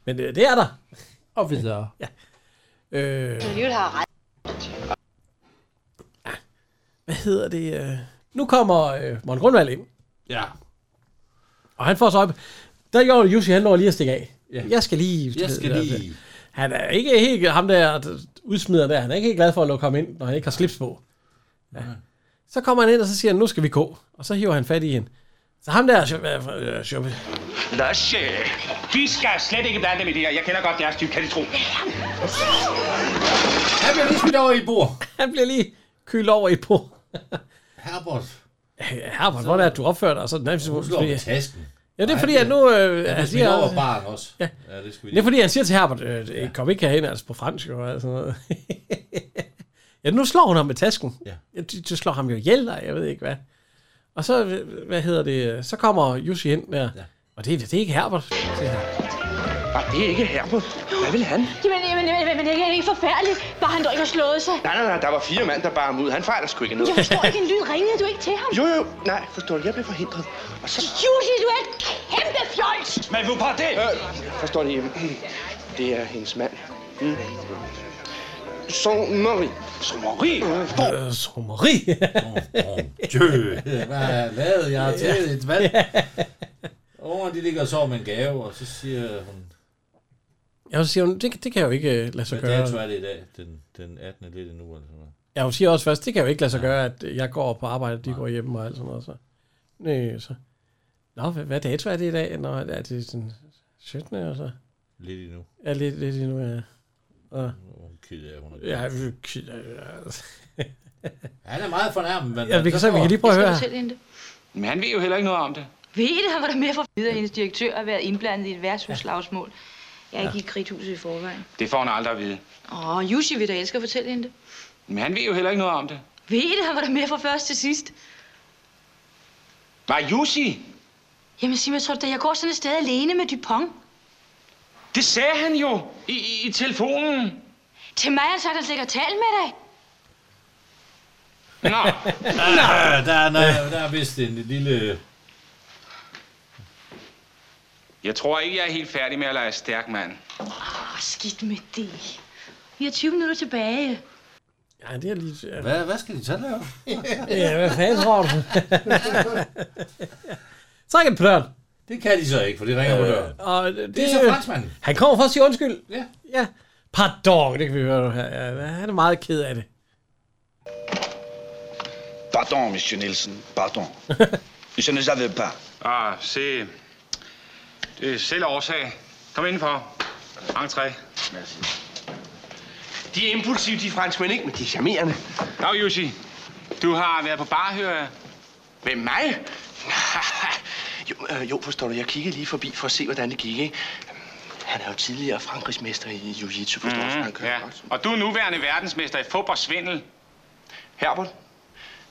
S7: Men øh, det er der.
S3: Og videre.
S7: Ja. Øh,
S10: alligevel har ret.
S7: hvad hedder det? Øh? Nu kommer øh, Morten Grundvald ind.
S6: Ja.
S7: Og han får så op. Der gjorde Jussi, han når lige at stikke af.
S6: Ja.
S7: Jeg skal lige...
S6: Jeg skal lige.
S7: Han er ikke helt ham der der udsmider der. Han er ikke helt glad for at lukke ham ind, når han ikke har slips på. Ja. Så kommer han ind, og så siger han, nu skal vi gå. Og så hiver han fat i hende. Så ham der... øh, øh, øh,
S5: Lasse, de skal slet ikke blande dem i det her. Jeg kender godt jeres type, kan de tro.
S6: Han bliver lige smidt over i et bord.
S7: Han bliver lige kylet over i et bord.
S6: Herbert.
S7: Herbert, hvordan er det, du opfører dig? Og så, nærmest,
S6: Hun slår med tasken.
S7: Ja, det er
S6: Og
S7: fordi,
S6: han
S7: at nu... Øh,
S6: bliver
S7: han
S6: smidt
S7: siger-
S6: over baren også.
S7: Ja.
S6: Ja, det skal
S7: Det er
S6: vi lige.
S7: fordi, han siger til Herbert, øh, ja. kom ikke herhen, altså på fransk og alt sådan noget. ja, nu slår hun ham med tasken.
S6: Ja.
S7: ja du, du slår ham jo ihjel, og jeg ved ikke hvad. Og så, øh, hvad hedder det, øh, så kommer Jussi ind der. Ja. Og det, det er ikke Herbert, siger han.
S15: Nej, det er ikke Herbert. Hvad vil han?
S22: Jamen, jamen, jamen, jamen, det er ikke forfærdeligt. Bare han dog ikke har slået sig.
S15: Nej, nej, nej, der var fire mand, der bar ham ud. Han fejler sgu ikke noget.
S22: Jeg forstår ikke en lyd. Ringede du ikke til ham?
S15: Jo, jo, nej, forstår du, jeg blev forhindret. Og så...
S22: Jussi, du er et kæmpe fjols!
S15: Men vous partez! Øh, forstår du, Jeppe? det er hendes mand. Mm. Son Marie. Son Marie?
S7: Øh, Sommeri.
S6: Djø, hvad lavede jeg til et valg? Åh, de ligger og sover med en gave, og så siger hun,
S7: Jeg siger, hun, det, det kan jeg jo ikke øh, lade sig
S6: hvad dato
S7: gøre.
S6: er det i dag? Den, den 18. lidt endnu, eller sådan noget.
S7: Ja, hun siger også først, det kan jeg jo ikke lade sig gøre, at øh, jeg går på arbejde, de går hjem og alt sådan noget. Så. Nej, så. Nå, hvad, hvad dato er det i dag? Nå, er det sådan 17. og så?
S6: Lidt endnu.
S7: Ja, lidt, lidt endnu, ja. Og,
S6: Hun er ked af, hun er
S7: ja, jeg er ked af det, altså.
S6: Han er meget fornærmet, men... øh,
S7: Ja, vi kan, så, vi kan lige prøve at høre her.
S5: Men han ved jo heller ikke noget om det.
S11: Ved I det, han var der mere for videre, hendes direktør har været indblandet i et værtshusslagsmål. Jeg er ikke i et krigthus i forvejen.
S5: Det får han aldrig at vide.
S11: Åh, Jussi vil da elske at fortælle hende det.
S5: Men han ved jo heller ikke noget om det.
S11: Ved I det, han var der mere fra først til sidst?
S5: Var Jussi?
S11: Jamen sig mig, tror du da, jeg går sådan et sted alene med Dupont?
S5: Det sagde han jo i, i, i telefonen.
S11: Til mig altså, har han sagt, at han slet ikke har talt med dig.
S5: Nå.
S6: Ah, der, er, noget- der er vist en lille...
S5: Jeg tror ikke, jeg er helt færdig med at lege stærk mand.
S11: Åh, Ah, skidt med det. Vi har 20 minutter tilbage.
S7: Ja, det er lige... Ja.
S6: Hvad, hvad skal de så lave?
S7: Ja, hvad fanden tror du? Træk en pløn.
S6: Det kan de så ikke, for det ringer på døren.
S7: Øh, Og det,
S6: Det er så franskmanden.
S7: Han kommer for at sige undskyld.
S6: Ja.
S7: ja. Pardon, det kan vi høre nu her. Ja, han er meget ked af det.
S19: Pardon, Monsieur Nielsen. Pardon. Je ne savais pas.
S5: Ah, se. Det er selv årsag. Kom indenfor. Entré. Merci.
S17: De er impulsive, de franskmænd, ikke? Men de er charmerende.
S5: Nå, Jussi. Du har været på bar, hører jeg.
S17: Hvem mig? jo, øh, jo, forstår du, jeg kiggede lige forbi for at se, hvordan det gik, ikke? Han er jo tidligere Frankrigs mester i jiu-jitsu, forstår du?
S5: Mhm,
S17: Frank?
S5: ja. Og du er nuværende verdensmester i fodboldsvindel.
S17: Herbert,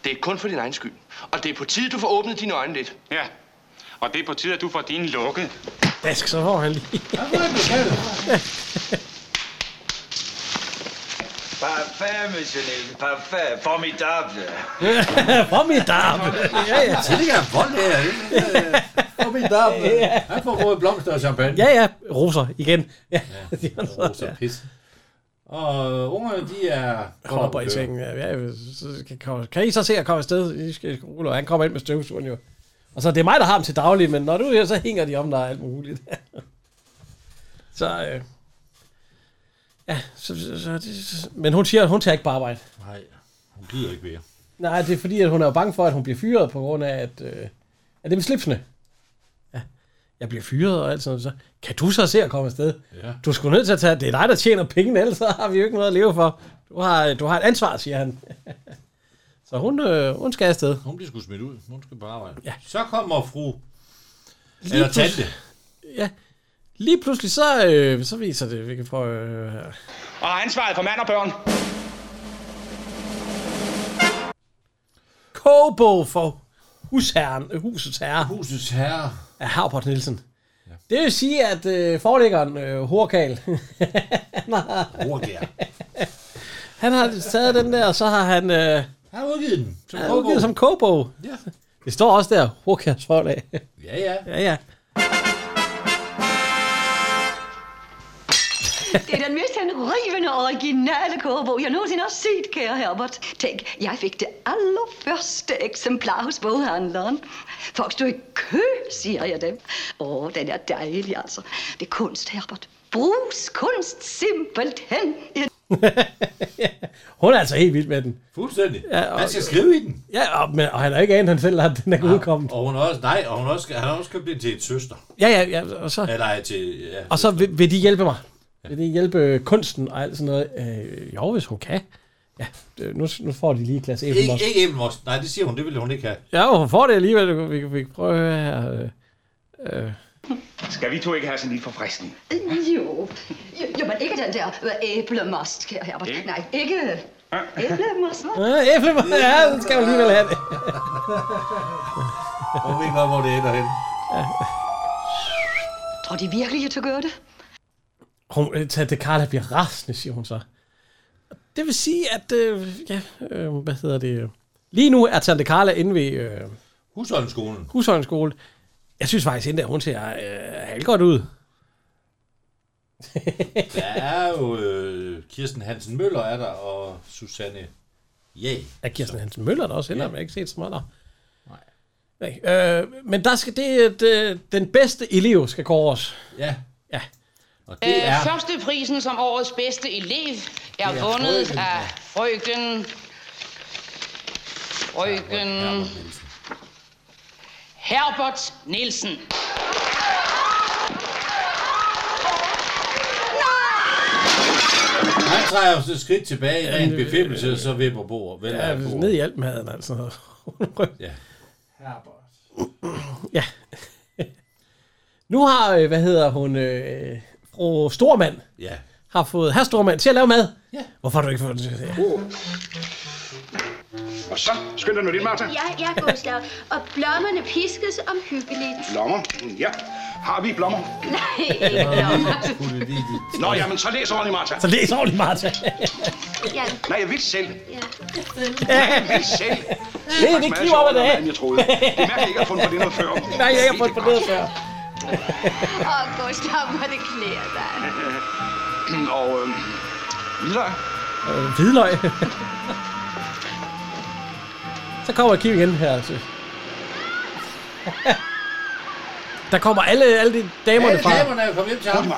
S17: det er kun for din egen skyld. Og det er på tide, du får åbnet dine øjne lidt.
S5: Ja. Og det er på tide, at du får dine lukket.
S7: Dask, så får han lige.
S19: Parfait, Monsieur Nielsen. Parfait. Formidable.
S7: Formidable. Ja, ja.
S6: Tidligere vold her. Formidable. Han får både blomster og champagne.
S7: Ja, ja. Roser igen. Ja.
S6: Roser pis. Og ungerne, de er...
S7: Hopper i sengen. Ja, ja, så kan, kan- kan I så se, at jeg kommer afsted? I skal rulle, og han kommer ind med støvsugeren jo. Og så det er mig, der har ham til daglig, men når du er her, så hænger de om dig og alt muligt. så, øh, ja, så, så, så, det- men hun siger, at hun tager ikke på arbejde.
S6: Nej, hun gider ikke mere.
S7: Nej, det er fordi, at hun er jo bange for, at hun bliver fyret på grund af, at, øh, at det med slipsene. Ja, jeg bliver fyret og alt sådan noget. Så kan du så se at komme afsted?
S6: Ja.
S7: Du skulle nødt til at tage, det er dig, der tjener pengene, ellers så har vi jo ikke noget at leve for. Du har, du har et ansvar, siger han. så hun, øh, hun skal afsted.
S6: Hun bliver sgu smidt ud. Hun skal på arbejde. Ja. Så kommer fru...
S7: Lige
S6: Eller tante.
S7: pludselig- Ja. Lige pludselig så, øh, så viser det, vi kan prøve øh, her.
S5: Og har ansvaret for mand og børn.
S7: Kobo for husherren, øh, husets herre.
S6: Husets herre.
S7: Af Harport Nielsen. Ja. Det vil sige, at øh, forlæggeren øh, Horkal, han har,
S6: Horkal.
S7: han har taget den der, og så har han... Øh,
S6: Han har udgivet den
S7: som
S6: som
S7: han har
S6: kobo.
S7: udgivet som Kobo.
S6: Ja.
S7: Det står også der, Horkals forlag.
S6: Ja, ja.
S7: ja, ja.
S4: Det er den mest henrivende originale kogebog, jeg nogensinde har set, kære Herbert. Tænk, jeg fik det allerførste eksemplar hos boghandleren. Folk stod i kø, siger jeg dem. Åh, den er dejlig, altså. Det er kunst, Herbert. Brugs kunst simpelthen. En
S7: Hun er altså helt vild med den.
S6: Fuldstændig.
S7: Ja, og-
S6: Han skal skrive i den.
S7: Ja, og, men, og han har ikke anet, han selv har den er udkommet.
S6: Og hun har også, Altså, nej, og hun har også, han har også købt den til en søster.
S7: Ja, ja, ja, og så...
S6: Eller ja, til, ja.
S7: Og så vil, vil de hjælpe mig. Vil de hjælpe øh, kunsten og alt sådan noget? Øh, jo, hvis hun kan. Ja, øh, nu, nu får de lige et glas
S6: Ikke,
S7: æblemost.
S6: ikke æblemost. Nej, det siger hun, det ville hun ikke have.
S7: Ja, hun får det alligevel. Vi, vi, vi kan prøve at høre her. øh, Øh,
S5: Skal vi to ikke have sådan en lille forfriskning?
S4: Jo, jo, jo men ikke den der øh, æblemost, kære Herbert.
S5: Ikke?
S4: Nej, ikke æblemost. hva'?
S7: øh, æblemost, ja, den skal hun alligevel have det.
S6: Hun ved godt, hvor det ender hen.
S4: Tror de virkelig, jeg tør gøre det?
S7: Hun, øh, Tante Carla bliver rasende, siger hun så. Det vil sige, at... Øh, ja, øh, hvad hedder det? øh, Lige nu er Tante Carla inde ved... Øh,
S6: Husholdensskolen.
S7: Husholdensskole. Jeg synes faktisk, at hun ser øh, halvgodt godt ud.
S6: Der er jo øh, Kirsten Hansen Møller er der, og Susanne Ja.
S7: Er Kirsten Hansen Møller der også heller, ja. jeg har ikke set så meget der. Nej. Øh, men der skal det, øh, det, den bedste elev skal kåres.
S6: Ja.
S7: Ja.
S6: Og
S18: Øh, Første prisen som årets bedste elev er
S7: Det er
S18: vundet
S7: frøken,
S18: af frøken... Frøken... Herbert Nielsen.
S6: Han træder jo så et skridt tilbage i ren befimmelse, og så vipper bordet. Vel,
S7: Ja,
S6: er bordet.
S7: ned i alt maden, altså.
S6: ja.
S7: ja. nu har, øh, hvad hedder hun, øh, fru Stormand,
S6: Ja.
S7: har fået herr Stormand til at lave mad. Ja. Hvorfor har du ikke fået den til det?
S5: Uh. Og så skynd dig nu lidt, Martha.
S14: Ja, ja, Gustav. Og blommerne piskes omhyggeligt.
S5: Blommer. Ja. Har vi blommer?
S14: Nej, ikke blommer.
S5: Nå, jamen, så læs ordentligt, Martha.
S7: Så læs ordentligt, Martha.
S14: Ja,
S5: Nej, jeg vil selv.
S14: ja.
S5: Jeg vil selv.
S7: Det er det
S5: faktisk
S7: kniv op ad
S5: meget sjovere,
S7: det.
S5: end jeg troede. Det mærker jeg ikke, at jeg har fundet på det noget før.
S7: Nej, jeg har ikke fået på det før.
S14: Åh, Gustav, hvor det klæder dig.
S5: Og øh, hvidløg.
S7: Øh, hvidløg. Så kommer Kim igen her. Altså. Der kommer alle, alle de damerne
S6: Alle
S7: fra.
S6: damerne er jo kommet hjem til ham.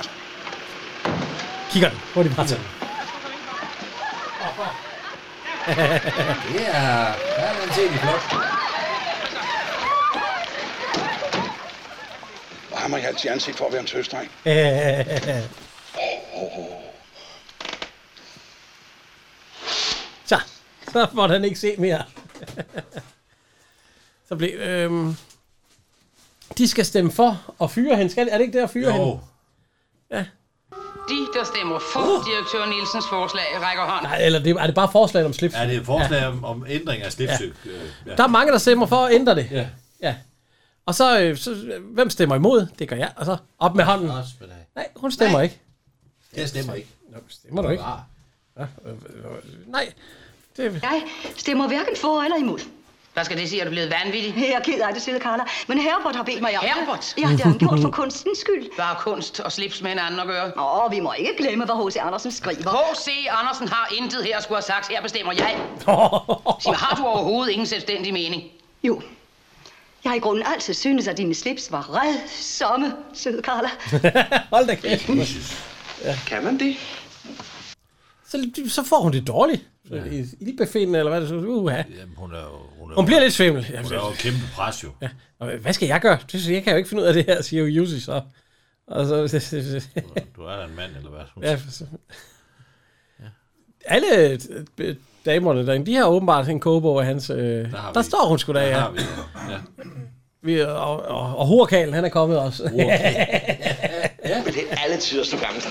S7: Kigger den. Hurtigt bare til.
S6: Det er... Der er den ting, flot.
S5: Og ham har jeg altid anset for at være en tøsdreng.
S7: Så. Så får han ikke se mere. Så blev... Øhm, de skal stemme for og fyre hende. Skal, er det ikke det at fyre hende?
S18: De, der stemmer for direktør Nielsens forslag, rækker hånd.
S7: Nej, eller det, er det bare forslaget om slips?
S6: Ja, det er et forslag om, om ændring af slipsyk. Ja.
S7: Der er mange, der stemmer for at ændre det.
S6: Ja.
S7: ja. Og så, øh, så, øh, hvem stemmer imod? Det gør jeg. Og så op med hånden. Nej, hun stemmer Nej. ikke.
S6: Jeg stemmer ikke.
S7: Nå, stemmer du ikke? Ja, øh, øh, Nej. Det...
S4: Jeg stemmer hverken for eller imod.
S18: Hvad skal det sige? Er du blevet vanvittig?
S4: Jeg er ked af det, Sille Carla, men Herbert har bedt mig om det.
S18: Herbert?
S4: Ja, det har han gjort for kunstens skyld.
S18: Bare kunst og slips med hinanden at gøre.
S4: Åh, vi må ikke glemme, hvad H.C. Andersen skriver.
S18: H.C. Andersen har intet her at skulle have sagt. Her bestemmer jeg. Sig mig, har du overhovedet ingen selvstændig mening?
S4: Jo. Jeg har i grunden altid syntes, at dine slips var redsomme, søde Carla.
S7: Hold da kæft.
S5: Kan man det?
S7: Så, så får hun det dårligt. Ja. Ildbefindende, eller hvad det så uh, ja.
S6: Jamen, hun er jo... Hun, er,
S7: Hun bliver lidt svimmel.
S6: hun er jo kæmpe pres, jo.
S7: Ja. Og hvad skal jeg gøre? Det, jeg kan jo ikke finde ud af det her, siger jo Jussi så. Og så
S6: Du er da en mand, eller hvad? Hun
S7: Ja, for så. Alle øh, øh, damerne derinde, de har åbenbart en kogebog af hans... Øh, der, der
S6: vi-
S7: står hun sgu da,
S6: der
S7: ja.
S6: har vi det. Ja.
S7: Vi, øh, og, og, og Hurkalen, han er kommet også.
S13: Men det er alle tider, du gammel.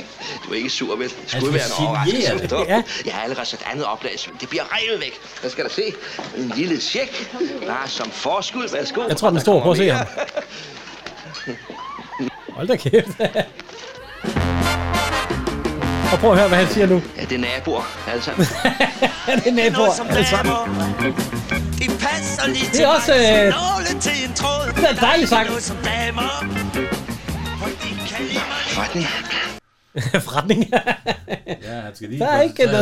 S13: Du er ikke sur, vel? Det
S7: Altså,
S13: skulle være en
S7: generer det.
S13: overraskelse.
S7: Ja.
S13: Ja. Jeg har allerede sat andet oplag, men det bliver revet væk. Hvad skal der se? En lille tjek. Bare som forskud. Værsgo.
S7: Jeg tror, den er stor. Prøv at se ham. Hold da kæft. og prøv at høre, hvad han siger nu.
S13: Ja, det er naboer, alle sammen.
S7: Han er med på.
S8: Noget som
S7: Altså,
S8: damer. Det passer lige
S7: Det er
S8: til
S7: også,
S8: mig, som
S7: øh,
S8: nåle til en tråd.
S7: det er en dejlig sang.
S8: Noget som damer. Og de kan lide mig.
S13: Forretning.
S7: Forretning.
S6: Ja, han skal lige...
S7: der er ikke
S6: koncentrere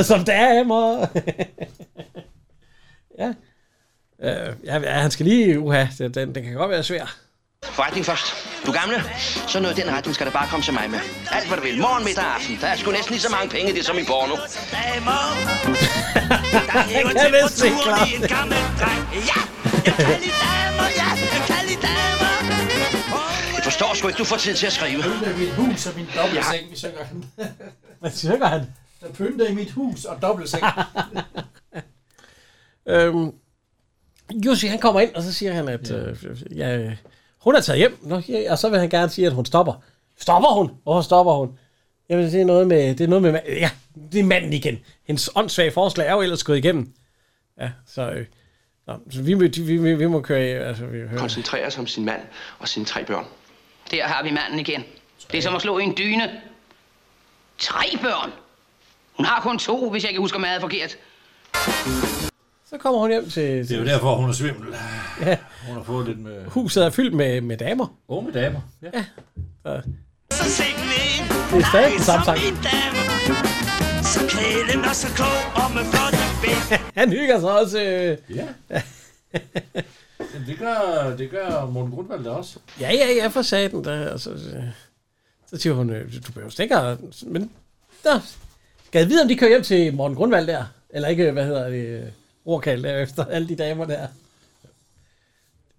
S7: noget
S6: sig.
S7: som damer. ja. Øh, ja, ja, han skal lige... Uha, den, den den kan godt være svær.
S13: Forretning først. Du gamle, så noget i den retning skal der bare komme til mig med. Alt hvad du vil. Morgen, middag og aften. Der er sgu næsten lige så mange penge i det som i porno.
S8: hæver
S13: kan næsten ikke klare
S8: temperaturen i en
S13: det.
S8: gammel dreng. Ja, jeg kan lide damer, ja, jeg kan lide damer.
S13: Jeg forstår sgu ikke, du får tid til at skrive.
S3: Pynte mit hus og min dobbeltseng, ja. synger han.
S7: Hvad synger han?
S3: Der pynte i mit hus og dobbeltseng.
S7: Øhm, Jussi, han kommer ind, og så siger han, at øh, ja, øh, hun er taget hjem, Nå, ja, og så vil han gerne sige, at hun stopper. Stopper hun? Hvorfor stopper hun? Jamen, det er noget med, det er noget med, ma- ja, det er manden igen. Hendes åndssvage forslag er jo ellers gået igennem. Ja, så, øh, nå, så vi, må- vi, vi, vi må køre, i- altså, vi hører.
S17: Koncentrerer sig om sin mand og sine tre børn.
S18: Der har vi manden igen. Det er som at slå i en dyne. Tre børn. Hun har kun to, hvis jeg ikke husker meget forkert.
S7: Så kommer hun hjem til...
S6: Det er jo derfor, hun er svimmel.
S7: Ja.
S6: Hun har fået lidt med...
S7: Huset er fyldt med, med damer.
S6: Unge damer. Ja.
S7: ja.
S8: Så
S7: Så,
S8: sæt den ind,
S7: Det er stadig den samme
S8: som
S7: sang.
S8: en dame. Så kælen og så kog og med flotte ben.
S7: han hygger sig også. Øh,
S6: Ja. Jamen, det gør, det gør Morten Grundvald da også.
S7: Ja, ja, ja, for satan. Der, og så, så, så siger hun, øh, du behøver ikke at- Men der, skal jeg vide, om de kører hjem til Morten Grundvald der? Eller ikke, hvad hedder det, øh, ordkald der efter alle de damer der?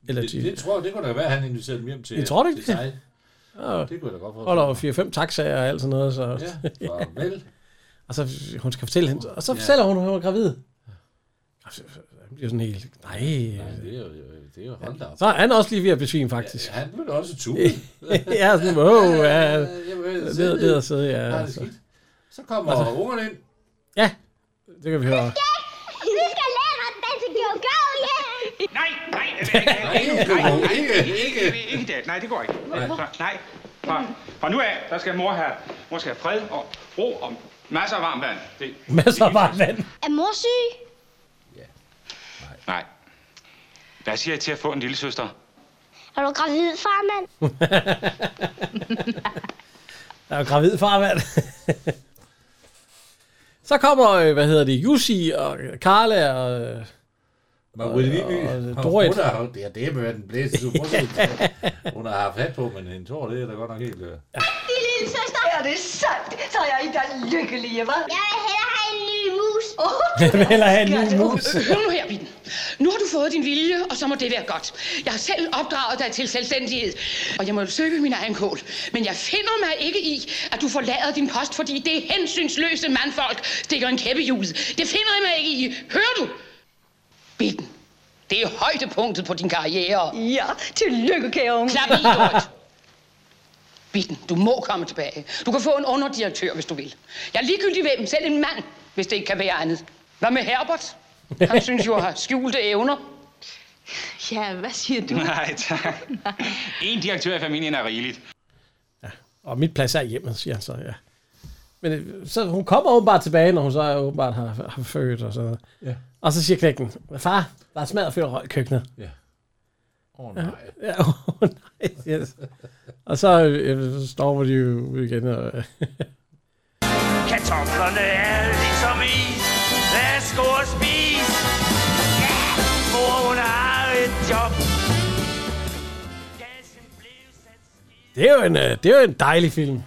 S7: Eller
S6: det,
S7: til-
S6: det, tror jeg, det kunne da være, at han inviterede dem hjem til,
S7: Jeg tror det
S6: til
S7: ikke.
S6: sig.
S7: Og-
S6: Det kunne jeg da godt forstå.
S7: Holder over 4-5 taxaer og alt sådan noget. Så,
S6: Ja, farvel.
S7: og så hun skal fortælle hende, og så
S6: Ja.
S7: fortæller hun, at hun er gravid. Og så- så- så bliver sådan helt, nej.
S6: Nej, det er jo, det er jo hold da op.
S7: Så er han også lige ved at besvime, faktisk.
S6: Han ville også tue.
S7: ja, altså, sådan, wow, ja.
S6: Jeg vil
S7: Det,
S6: sidde.
S7: det, det er sidde, ja.
S6: Nej, det er
S7: altså.
S6: skidt. Så kommer
S7: Altså-
S6: ungerne ind.
S7: Ja, det kan vi høre.
S8: Du skal lære at danse go-go, ja! Nej, nej, det vil jeg
S5: Nej,
S8: ikke.
S5: nej, nej,
S8: Ikke,
S5: ikke, ikke, ikke, ikke det. Nej, det går ikke. Nej. Så, nej. Fra, fra nu af, der skal mor have, mor skal have fred og ro og masser af varmt vand. Det,
S7: Masser af varmt vand.
S14: Er mor syg?
S5: nej. Hvad siger I til at få en lille søster?
S14: Er du gravid, farmand?
S7: Der er jo gravid farvand. så kommer, øh, hvad hedder det, Jussi og Karla og... øh,
S6: Marie
S7: og-
S6: Viby.
S7: og- og
S6: Dorit.
S7: Dorit.
S6: Hun har, det er det med den blæste supersøgelse. Hun har haft hat på, men hendes hår, det er da godt nok helt... øh,
S4: Din lille søster. Er det sandt? Så er I da lykkelige, hva'? Jeg vil hellere have en ny mus. Oh,
S7: Jeg vil hellere have en lille mus.
S18: Nu nu her, Bitten. Nu har du fået din vilje, og så må det være godt. Jeg har selv opdraget dig til selvstændighed, og jeg må jo søge min egen kål. Men jeg finder mig ikke i, at du forlader din post, fordi det hensynsløse mandfolk stikker en kæppe i hjulet. Det finder jeg mig ikke i. Hører du? Bitten, det er højdepunktet på din karriere.
S4: Ja, tillykke, kære unge.
S18: Klap i, Dorit. Bitten, du må komme tilbage. Du kan få en underdirektør, hvis du vil. Jeg er ligegyldig hvem, selv en mand, hvis det ikke kan være andet. Hvad med Herbert? Han synes jo at have skjulte evner.
S11: Ja, hvad siger du?
S5: Nej, tak. En direktør i familien er rigeligt.
S7: Og mit plads er hjemme, siger han så, ja. Men øh, så hun kommer åbenbart tilbage, når hun så åbenbart har, har født og sådan noget.
S6: Ja.
S7: Og så siger knækken, far, der er smadret før røg i køkkenet.
S6: Ja. Åh, nej.
S7: Ja, åh oh, nej. Yes. og så, øh, så står de jo ud igen. Og,
S8: Kartoflerne er ligesom is. Værsgo og spis. Ja, mor hun har et job.
S7: det, er jo en, øh, det er jo en dejlig film.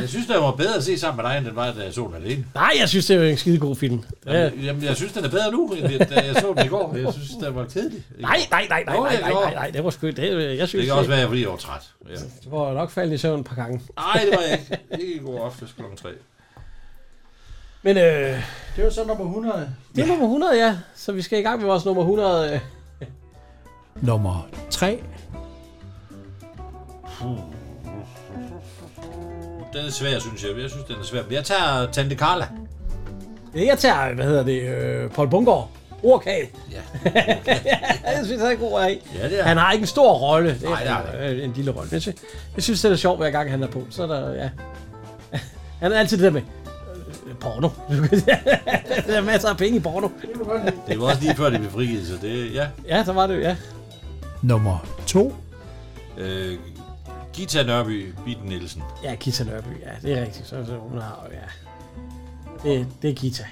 S6: Jeg synes, den var bedre at se sammen med dig, end den var, da jeg så den alene.
S7: Nej, jeg synes, det er jo en skide god film. Ja.
S6: Jamen, jamen, jeg synes, den er bedre nu, end da jeg så den i går. Jeg synes, den var kedelig.
S7: Nej, nej, nej, nej,
S6: Jo,
S7: nej,
S6: jeg
S7: nej,
S6: gjorde.
S7: nej, nej, det var sgu, det, øh, jeg synes,
S6: Det kan også være, fordi jeg var træt. Ja.
S7: Du var nok faldet i søvn et par gange.
S6: Nej, det var jeg ikke. Ikke i går aftes kl. 3.
S7: Men øh,
S3: Det var så nummer 100.
S7: det er nummer 100, ja. Så vi skal i gang med vores nummer 100. Øh.
S3: Nummer 3.
S6: Den er svær, synes jeg. Jeg synes, den er svær. Men jeg tager Tante Carla.
S7: Jeg tager, hvad hedder det, øh, Paul Bungård. Ordkage.
S6: Ja.
S7: jeg synes, han er god af.
S6: Ja, det er
S7: Han har ikke en stor rolle. Det er
S6: Nej, det har
S7: han, øh, en lille rolle. Men Jeg synes, jeg synes, det er sjovt, hver gang han er på. Så er der, ja. Han er altid det der med øh, porno. der er masser af penge i porno.
S6: Det var også lige før, det blev frigivet, så det... Ja.
S7: Ja, så var det jo, ja.
S3: Nummer 2.
S6: Øh, Gita Nørby, Bitten Nielsen.
S7: Ja, Gita Nørby, ja, det er rigtigt. Så, så hun har, ja. Det, det er Gita.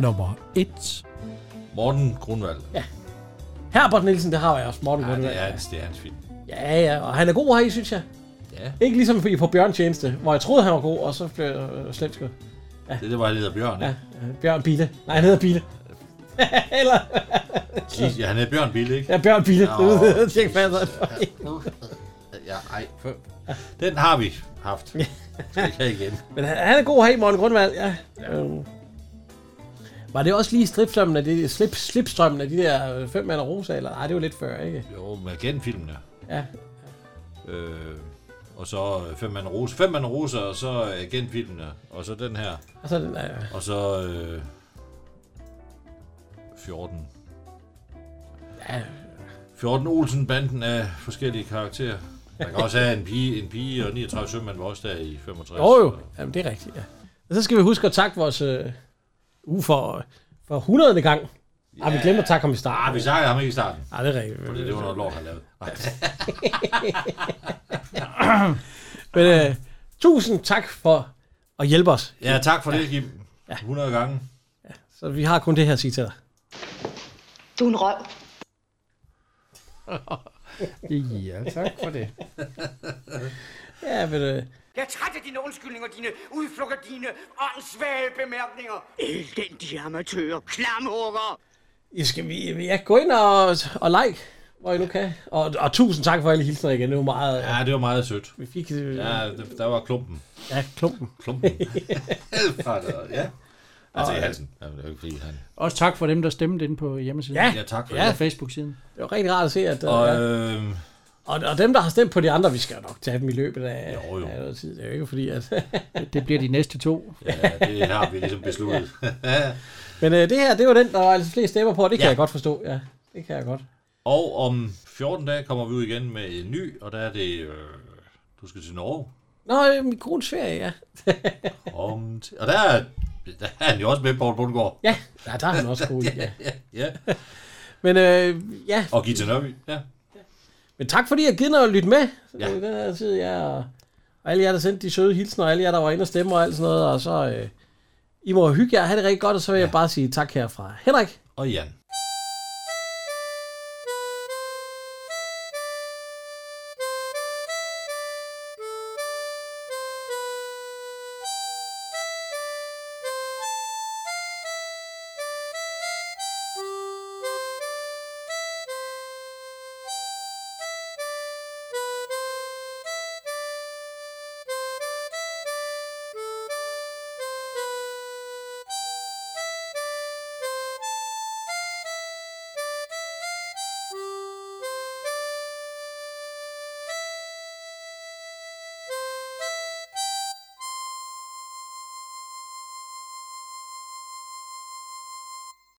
S3: Nummer 1.
S6: Morten Grundvald.
S7: Ja. Herbert Nielsen, det har jeg også. Morten
S6: Ja,
S7: Grundvald.
S6: det er hans, det er hans film.
S7: Ja, ja, og han er god her i, synes jeg.
S6: Ja.
S7: Ikke ligesom i på Bjørn Tjeneste, hvor jeg troede, han var god, og så blev jeg øh, slemt skudt.
S6: Ja. Det er det, hvor han hedder Bjørn,
S7: Ja,
S6: ikke?
S7: øh, Bjørn Bille. Nej, han hedder Bille. Eller...
S6: Ja, ja han hedder Bjørn Bille, ikke?
S7: Ja, Bjørn Bille.
S6: Nå,
S7: Det ved jeg ikke, hvad han
S6: Ja, ej. før- Den har vi haft. Skal ikke have igen.
S7: Men han, han er god her i Morten Grundvald, ja. ja. Øhm. Var det også lige stripstrømmen af de, slip, slipstrømmen af de der øh, fem mand og rosa, eller? Nej, det var lidt før, ikke?
S6: Jo, med genfilmene.
S7: Ja.
S6: Øh, og så øh, Fem Mand og Rose. Fem Mand og Rose, og så øh, genfilmene. Og så den her.
S7: Og så den der, ja.
S6: Og så... Øh, 14.
S7: Ja.
S6: 14 Olsen-banden af forskellige karakterer. Man kan også have en pige, en pige og 39 sømand var også der i 65.
S7: Jo, jo. Jamen, det er rigtigt, ja. Og så skal vi huske at takke vores øh, u for, for 100. gang. Ja. Ej, vi glemmer at takke ham i starten.
S6: Ah, vi sagde ham ikke i starten.
S7: Ej, det er rigtigt.
S6: Fordi det var noget lort, han lavede.
S7: Men øh, tusind tak for at hjælpe os.
S6: Ja, tak for det, Kim. 100 gange.
S7: Så vi har kun det her at sige til dig.
S4: Du er en røv.
S3: Ja, tak for det.
S7: Ja, men øh,
S8: Jeg er træt af dine undskyldninger, dine udflugter, dine åndssvage bemærkninger. Elendige amatører, klamhugger.
S7: I skal vi, ja, gå ind og, og like, hvor I nu kan. Og, og tusind tak for alle hilsner igen. Det var meget...
S6: Ja, det var meget sødt.
S7: Vi fik... Øh,
S6: Ja, der- der var klumpen.
S7: ja, klumpen.
S6: Klumpen. ja. Altså i halsen. Ja, men det er jo ikke fordi, han...
S3: Også tak for dem, der stemte ind på hjemmesiden.
S7: Ja.
S6: Ja, tak for
S3: Ja.
S7: Ja.
S6: det.
S3: Facebook-siden.
S7: Det var rigtig rart at se, at...
S6: Og,
S7: Og,
S6: øh,
S7: og, og dem, der har stemt på de andre, vi skal jo nok tage dem i løbet af,
S6: Jo, jo.
S7: af noget tid. Det er jo ikke fordi, at...
S3: Det bliver de næste to.
S6: ja, det har vi ligesom besluttet.
S7: Men øh, det her, det var den, der var altså flest stemmer på, og det kan
S6: Ja.
S7: jeg godt forstå. Ja, det kan jeg godt.
S6: og om 14 dage kommer vi ud igen med en ny, og der er det... Øh, du skal til Norge.
S7: Nå, øh, min kones ferie, ja.
S6: Om til, og der er, der er han jo også med, Poul Bundgaard.
S7: Ja, ja der er han også god i, ja.
S6: Ja.
S7: Men øh, ja,
S6: Og Gita Nørby. Ja.
S7: men tak fordi jeg gider at lytte med.
S6: Ja.
S7: Ja. Den her tid, ja, og, og alle jer, der sendte de søde hilsner, og alle jer, der var inde og stemme og alt sådan noget, og så... Øh, I må hygge jer, have det rigtig godt, og så vil ja. jeg bare sige tak herfra. Henrik,
S6: Og Jan.